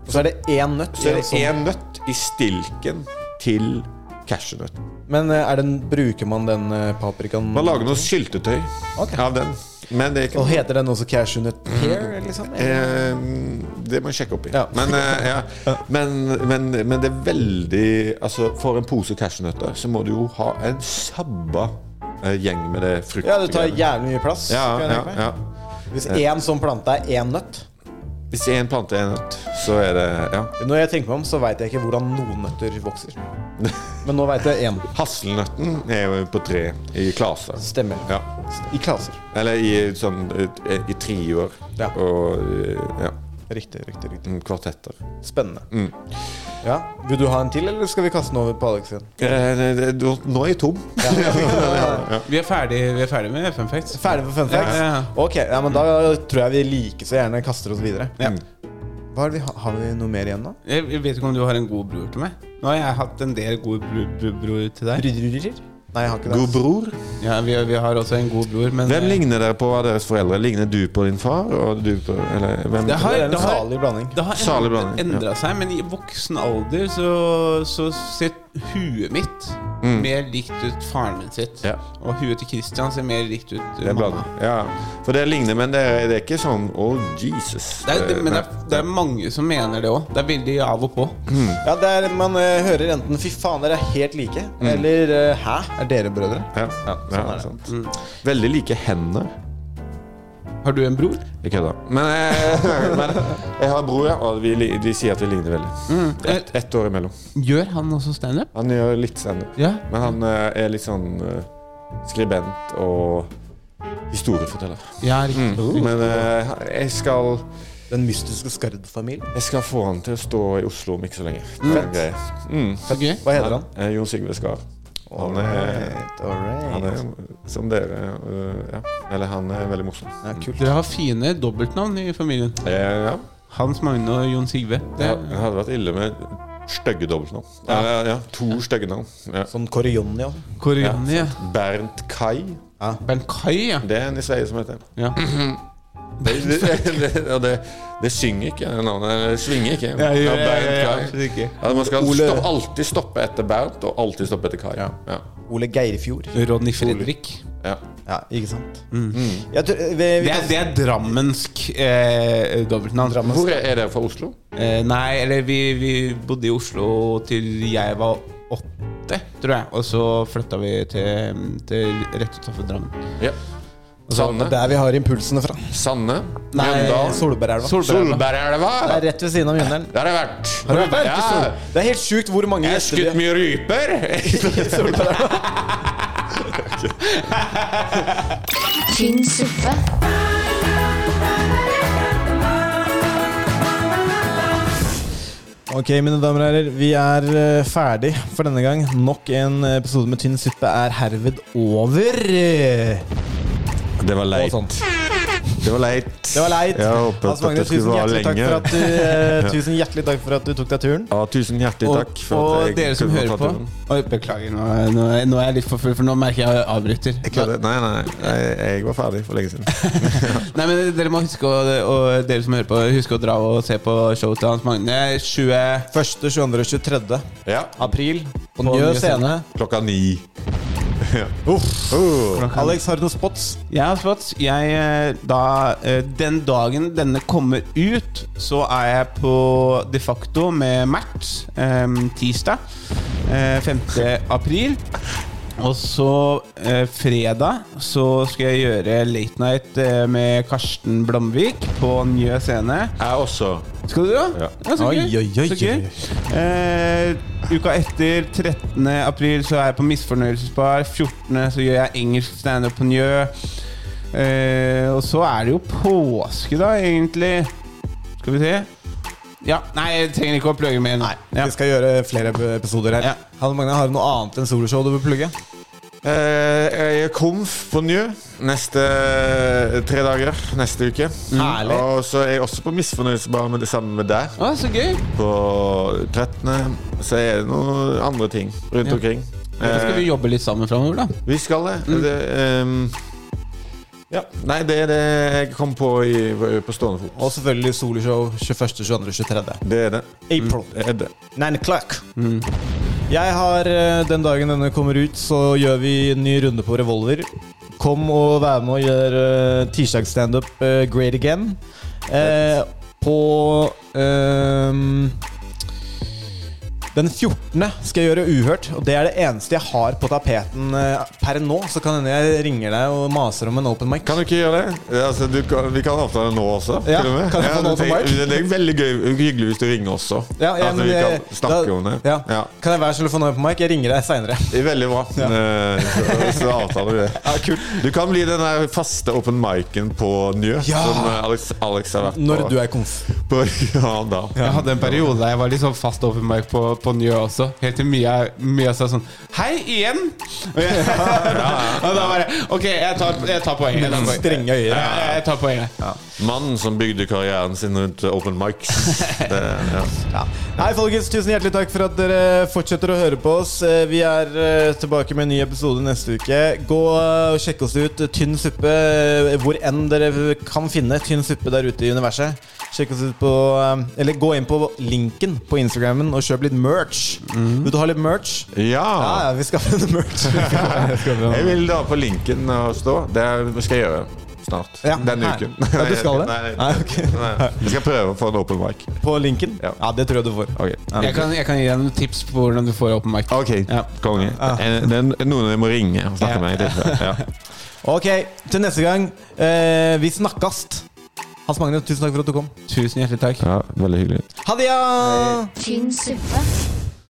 [SPEAKER 2] Og så er det én nøtt.
[SPEAKER 4] Så
[SPEAKER 2] i
[SPEAKER 4] er
[SPEAKER 2] en
[SPEAKER 4] det
[SPEAKER 2] sånn-
[SPEAKER 4] én nøtt i stilken til cashewnøtten.
[SPEAKER 2] Men eh, er den, bruker man den eh, paprikaen
[SPEAKER 4] Man lager noe syltetøy av den. Men det er ikke
[SPEAKER 2] Og heter den også cashewnøtt pear, liksom?
[SPEAKER 4] Eh, det må jeg sjekke opp i. Men, eh, ja. men, men, men det er veldig Altså, for en pose cashewnøtter så må du jo ha en sabba eh, gjeng med det frukt.
[SPEAKER 2] Ja, det tar jævlig mye plass.
[SPEAKER 4] ja,
[SPEAKER 2] kan jeg
[SPEAKER 4] ja,
[SPEAKER 2] tenke meg.
[SPEAKER 4] ja.
[SPEAKER 2] Hvis én sånn plante er én nøtt
[SPEAKER 4] Hvis én plante er en nøtt, så er det Ja.
[SPEAKER 2] Når jeg tenker meg om, så veit jeg ikke hvordan noen nøtter vokser. Men nå veit jeg én.
[SPEAKER 4] Hasselnøtten er jo på tre i klaser.
[SPEAKER 2] Stemmer.
[SPEAKER 4] Ja.
[SPEAKER 2] I klaser.
[SPEAKER 4] Eller i sånn eh, I triår
[SPEAKER 2] Ja.
[SPEAKER 4] og eh, ja.
[SPEAKER 2] Riktig, riktig, riktig.
[SPEAKER 4] Mm, Kvartetter.
[SPEAKER 2] Spennende.
[SPEAKER 4] Mm.
[SPEAKER 2] Ja. Vil du ha en til, eller skal vi kaste den over på Alex igjen?
[SPEAKER 4] Eh, det- det- Nå er jeg tom.
[SPEAKER 3] Eh, Vi er ferdig, vi er ferdig med fun facts.
[SPEAKER 2] Ferdig for fun facts?
[SPEAKER 3] Ja, ja.
[SPEAKER 2] Ok, ja, men da tror jeg vi like så gjerne kaster oss videre. Mm.
[SPEAKER 3] Ja.
[SPEAKER 2] Hva er det vi ha- har vi noe mer igjen nå?
[SPEAKER 3] Jeg jeg vet ikke om du har en god bror til meg. Nå har jeg hatt en del gode bro, bro, bror til deg.
[SPEAKER 2] Nei, jeg har ikke det.
[SPEAKER 4] God bror.
[SPEAKER 3] Ja, vi, vi har også en god bror, men eh,
[SPEAKER 4] Hvem ligner dere på av deres foreldre? Ligner du på din far? Og du på, eller, hvem,
[SPEAKER 3] det har,
[SPEAKER 2] Det er en
[SPEAKER 3] det har,
[SPEAKER 2] salig blanding.
[SPEAKER 3] det har
[SPEAKER 4] Salig
[SPEAKER 3] endra,
[SPEAKER 4] blanding, ja.
[SPEAKER 3] endra seg, men i voksen alder så, så ser huet mitt
[SPEAKER 4] Mm.
[SPEAKER 3] mer likt ut faren min sitt.
[SPEAKER 4] Ja.
[SPEAKER 3] Og huet til Christian ser mer likt ut uh,
[SPEAKER 4] det er
[SPEAKER 3] mamma.
[SPEAKER 4] blandet. Ja. For det ligner, men det er, det er ikke sånn Å, Jesus.
[SPEAKER 3] Det er, det, men det
[SPEAKER 4] Nei.
[SPEAKER 3] er, det er mange som mener det òg. Det er veldig av og på.
[SPEAKER 2] Ja, det er, Man eh, hører enten 'fy faen, dere er helt like',
[SPEAKER 3] Mm.
[SPEAKER 2] eller eh, 'hæ, er dere brødre'?
[SPEAKER 4] ja. Ja,
[SPEAKER 2] sånn er det.
[SPEAKER 4] sant.
[SPEAKER 3] Mm.
[SPEAKER 4] Veldig like hender.
[SPEAKER 3] Har du en bror?
[SPEAKER 4] Jeg kødder. Men, eh, men jeg har en bror, ja, og vi, li- de sier at vi ligner veldig.
[SPEAKER 3] Mm. Eh,
[SPEAKER 4] Ett ett år imellom.
[SPEAKER 3] Gjør han også standup?
[SPEAKER 4] Han gjør litt standup.
[SPEAKER 3] Ja.
[SPEAKER 4] Men han eh, er litt sånn eh, skribent og historieforteller.
[SPEAKER 3] Ja, riktig.
[SPEAKER 4] Men eh, jeg skal
[SPEAKER 2] Den mystiske skardfamilien.
[SPEAKER 4] Jeg skal få han til å stå i Oslo om ikke så lenge. Det er en greie. Mm.
[SPEAKER 3] Så gøy.
[SPEAKER 2] Hva heter han?
[SPEAKER 4] Eh, Jon Sigve Skar. Han er,
[SPEAKER 2] Alright, alright.
[SPEAKER 4] han er som dere. eh, Ja. Eller han er veldig morsom.
[SPEAKER 2] Ja, kult.
[SPEAKER 3] Dere har fine dobbeltnavn i familien.
[SPEAKER 4] Eh, Ja.
[SPEAKER 3] Hans Magne og Jon Sigve.
[SPEAKER 4] Det
[SPEAKER 3] Det,
[SPEAKER 4] hadde vært ille med Stygge dobbeltnavn. Ja. Ja, ja, to stygge navn. Ja.
[SPEAKER 2] Sånn Korionni òg.
[SPEAKER 3] Korionni, ja.
[SPEAKER 4] sant. Bernt Kai.
[SPEAKER 3] Bernt Kai, ja.
[SPEAKER 4] Det er en i Sverige som heter
[SPEAKER 3] Ja.
[SPEAKER 4] det. Det, det, det, og det, det synger ikke, det navnet. Det svinger ikke.
[SPEAKER 3] Ja, ja, ja, ja, ja,
[SPEAKER 4] Bernt
[SPEAKER 3] absolutt
[SPEAKER 4] Kai.
[SPEAKER 3] ikke.
[SPEAKER 4] Ja, man skal
[SPEAKER 2] Ole-
[SPEAKER 4] stopp, alltid stoppe etter Bernt, og alltid stoppe etter Kai. Ja. Ja.
[SPEAKER 2] Ole Geirfjord.
[SPEAKER 4] Mm.
[SPEAKER 3] Ronny Fredrik.
[SPEAKER 2] Ja, ikke sant?
[SPEAKER 3] Mm.
[SPEAKER 2] Jeg tror, vi, vi
[SPEAKER 3] Det er, det er drammensk eh, dobbeltnavn.
[SPEAKER 4] Hvor er, er det fra Oslo?
[SPEAKER 3] Eh, nei, eller vi, vi bodde i Oslo til jeg var åtte, tror jeg. Og så flytta vi til, til rett utenfor Drammen.
[SPEAKER 4] Ja. Sanne.
[SPEAKER 2] der vi har impulsene fra.
[SPEAKER 4] Sanne.
[SPEAKER 2] Nei,
[SPEAKER 4] Mjøndalen.
[SPEAKER 2] Solbergelva.
[SPEAKER 4] Solbergelva.
[SPEAKER 2] Det er rett ved siden av Mjøndalen.
[SPEAKER 4] Der har jeg vært.
[SPEAKER 2] Har du vært i Sol-
[SPEAKER 4] Ja.
[SPEAKER 2] Det er helt sjukt hvor mange
[SPEAKER 4] Jeg har
[SPEAKER 2] gjester vi
[SPEAKER 4] skutt mye ryper.
[SPEAKER 2] Solbergelva.
[SPEAKER 1] Tynn suppe.
[SPEAKER 2] Ok, mine damer og herrer. Vi er eh, ferdig for denne gang. Nok en episode med Tynn suppe er herved over. Det
[SPEAKER 4] Det var
[SPEAKER 2] Og sånt.
[SPEAKER 4] Det var leit.
[SPEAKER 2] var leit.
[SPEAKER 4] Jeg håpet
[SPEAKER 2] Hans Magne,
[SPEAKER 4] at det skulle
[SPEAKER 2] tusen
[SPEAKER 4] vare
[SPEAKER 2] hjertelig, takk for
[SPEAKER 4] lenge.
[SPEAKER 2] at du, eh, tusen hjertelig takk for at du tok deg turen.
[SPEAKER 4] Ja, tusen hjertelig
[SPEAKER 3] Og,
[SPEAKER 4] takk. for at
[SPEAKER 3] og
[SPEAKER 4] jeg
[SPEAKER 3] dere som
[SPEAKER 4] kunne
[SPEAKER 3] hører
[SPEAKER 4] ta
[SPEAKER 3] på
[SPEAKER 4] turen.
[SPEAKER 3] Oi, Beklager, nå, er- nå, er- nå er jeg litt for full, for nå merker jeg at jeg avbryter.
[SPEAKER 4] Jeg kødder. Nei, nei, nei. Jeg, jeg var ferdig for lenge siden.
[SPEAKER 3] Nei, men Dere må huske å, og dere som hører på, huske å dra og se på showet til Hans Magne. 20
[SPEAKER 2] Første, 22. og 23.
[SPEAKER 4] Ja.
[SPEAKER 2] april på Njø scene.
[SPEAKER 4] Klokka ni.
[SPEAKER 2] Uff.
[SPEAKER 4] Oh.
[SPEAKER 2] Alex, har du noen spots?
[SPEAKER 3] Jeg har spott. Jeg, eh, da, eh, den dagen denne kommer ut, så er jeg på De facto med Mert eh, tirsdag eh, 5. april. Og så eh, fredag så skal jeg gjøre Late Night eh, med Karsten Blomvik på Njø scene.
[SPEAKER 4] Jeg også.
[SPEAKER 3] Skal du, da?
[SPEAKER 4] Ja.
[SPEAKER 3] så gøy.
[SPEAKER 2] Oi, oi, oi,
[SPEAKER 3] Så gøy. Eh, uka etter, 13. april, så er jeg på Misfornøyelsesbar. 14. så gjør jeg engelsk standup på Njø. Eh, og så er det jo påske, da, egentlig. Skal vi se. Ja, Nei, jeg trenger ikke å plugge mer.
[SPEAKER 2] Nei,
[SPEAKER 3] Ja.
[SPEAKER 2] vi skal gjøre flere episoder her.
[SPEAKER 3] Ja.
[SPEAKER 2] Hanne Magne, har du noe annet enn soloshow du vil plugge?
[SPEAKER 4] Eh, jeg er komf på Njø neste eh, tre dager neste uke.
[SPEAKER 2] Herlig.
[SPEAKER 4] Og så er jeg også på Misfornøyelsesbar med det samme med deg.
[SPEAKER 3] Å, så gøy!
[SPEAKER 4] På 13. så er det noen andre ting rundt omkring.
[SPEAKER 3] Da skal
[SPEAKER 4] Eh,
[SPEAKER 3] vi jobbe litt sammen framover, da.
[SPEAKER 4] Vi skal det.
[SPEAKER 2] Mm.
[SPEAKER 4] det ehm, ja. Nei, det er det jeg kom på i, på stående fot.
[SPEAKER 2] Og selvfølgelig soloshow 21., 22., 23.
[SPEAKER 4] Det er det.
[SPEAKER 2] April.
[SPEAKER 4] det, er det.
[SPEAKER 2] Nine o'clock. Jeg har eh, Den dagen denne kommer ut, så gjør vi en ny runde på Revolver. Kom og vær med og gjør uh, tirsdagsstandup eh, great again. Eh, på ehm, den 14. skal jeg gjøre Uhørt, og det er det eneste jeg har på tapeten eh, per nå. Så kan hende jeg ringer deg og maser om en open mic.
[SPEAKER 4] Kan du ikke gjøre det? Ja, Altså, du kan, vi kan avtale nå også.
[SPEAKER 2] Ja,
[SPEAKER 4] til og med.
[SPEAKER 2] kan jeg få nå
[SPEAKER 4] du
[SPEAKER 2] på
[SPEAKER 4] trenger-
[SPEAKER 2] mic?
[SPEAKER 4] det er veldig gøy, hyggelig hvis du ringer også.
[SPEAKER 2] Ja, ja,
[SPEAKER 4] At
[SPEAKER 2] men
[SPEAKER 4] Altså, vi
[SPEAKER 2] jeg-
[SPEAKER 4] kan snakke
[SPEAKER 2] da-
[SPEAKER 4] om det.
[SPEAKER 2] Ja. Kan jeg være så snill å få en open mic? Jeg ringer deg seinere.
[SPEAKER 4] Det er veldig bra. Eh, Så, så avtaler vi det. Du kan bli den der faste open mic-en på Njø,
[SPEAKER 2] Ja.
[SPEAKER 4] som eh, Alex, Alex har vært
[SPEAKER 2] Når
[SPEAKER 4] på.
[SPEAKER 2] du er konf.
[SPEAKER 4] på ja, da.
[SPEAKER 3] Jeg hadde en periode der jeg var litt sånn fast open mic på, på Njø også. Helt til Mia, Mia sa sånn Hei, igjen! Og, jeg, og da bare Ok, jeg tar, jeg tar poenget. Jeg tar poenget.
[SPEAKER 2] Strenge øyne.
[SPEAKER 3] Ja, ja, jeg tar poenget.
[SPEAKER 4] Mannen som bygde karrieren sin rundt open mics. Det, ja.
[SPEAKER 2] Nei, folkens, tusen hjertelig takk for at dere fortsetter å høre på oss. Eh, Vi er eh, tilbake med en ny episode neste uke. Gå eh, og sjekk oss ut. Tynn suppe, eh, hvor enn dere kan finne tynn suppe der ute i universet. Sjekk oss ut på eh, Eller gå inn på linken på Instagrammen og kjøp litt merch.
[SPEAKER 4] Mhm.
[SPEAKER 2] Vil du ha litt merch? Ja,
[SPEAKER 4] Ja.
[SPEAKER 2] ja, vi skaffer en merch.
[SPEAKER 4] Jeg vil da på linken og stå. Det skal jeg gjøre snart.
[SPEAKER 2] Ja.
[SPEAKER 4] Denne
[SPEAKER 2] Nei.
[SPEAKER 4] uken.
[SPEAKER 2] Ja, du skal det?
[SPEAKER 4] Nei, nei,
[SPEAKER 2] Nei, ok.
[SPEAKER 4] nei. Jeg skal prøve å få en open mic.
[SPEAKER 2] På linken?
[SPEAKER 4] Ja.
[SPEAKER 2] Ja, det tror jeg du får.
[SPEAKER 4] Ok,
[SPEAKER 3] Jeg kan, jeg kan gi deg noen tips på hvordan du får open mic.
[SPEAKER 4] Ok,
[SPEAKER 3] Ja.
[SPEAKER 4] konge. Eh, Det er noen jeg må ringe og snakke med. i tilfelle. Ja.
[SPEAKER 2] Ok, til neste gang. Eh, vi snakkast. Hans Magne, tusen takk for at du kom.
[SPEAKER 3] Tusen hjertelig takk.
[SPEAKER 4] ja, veldig hyggelig.
[SPEAKER 2] Ha det! ja!
[SPEAKER 1] Tynn suppe.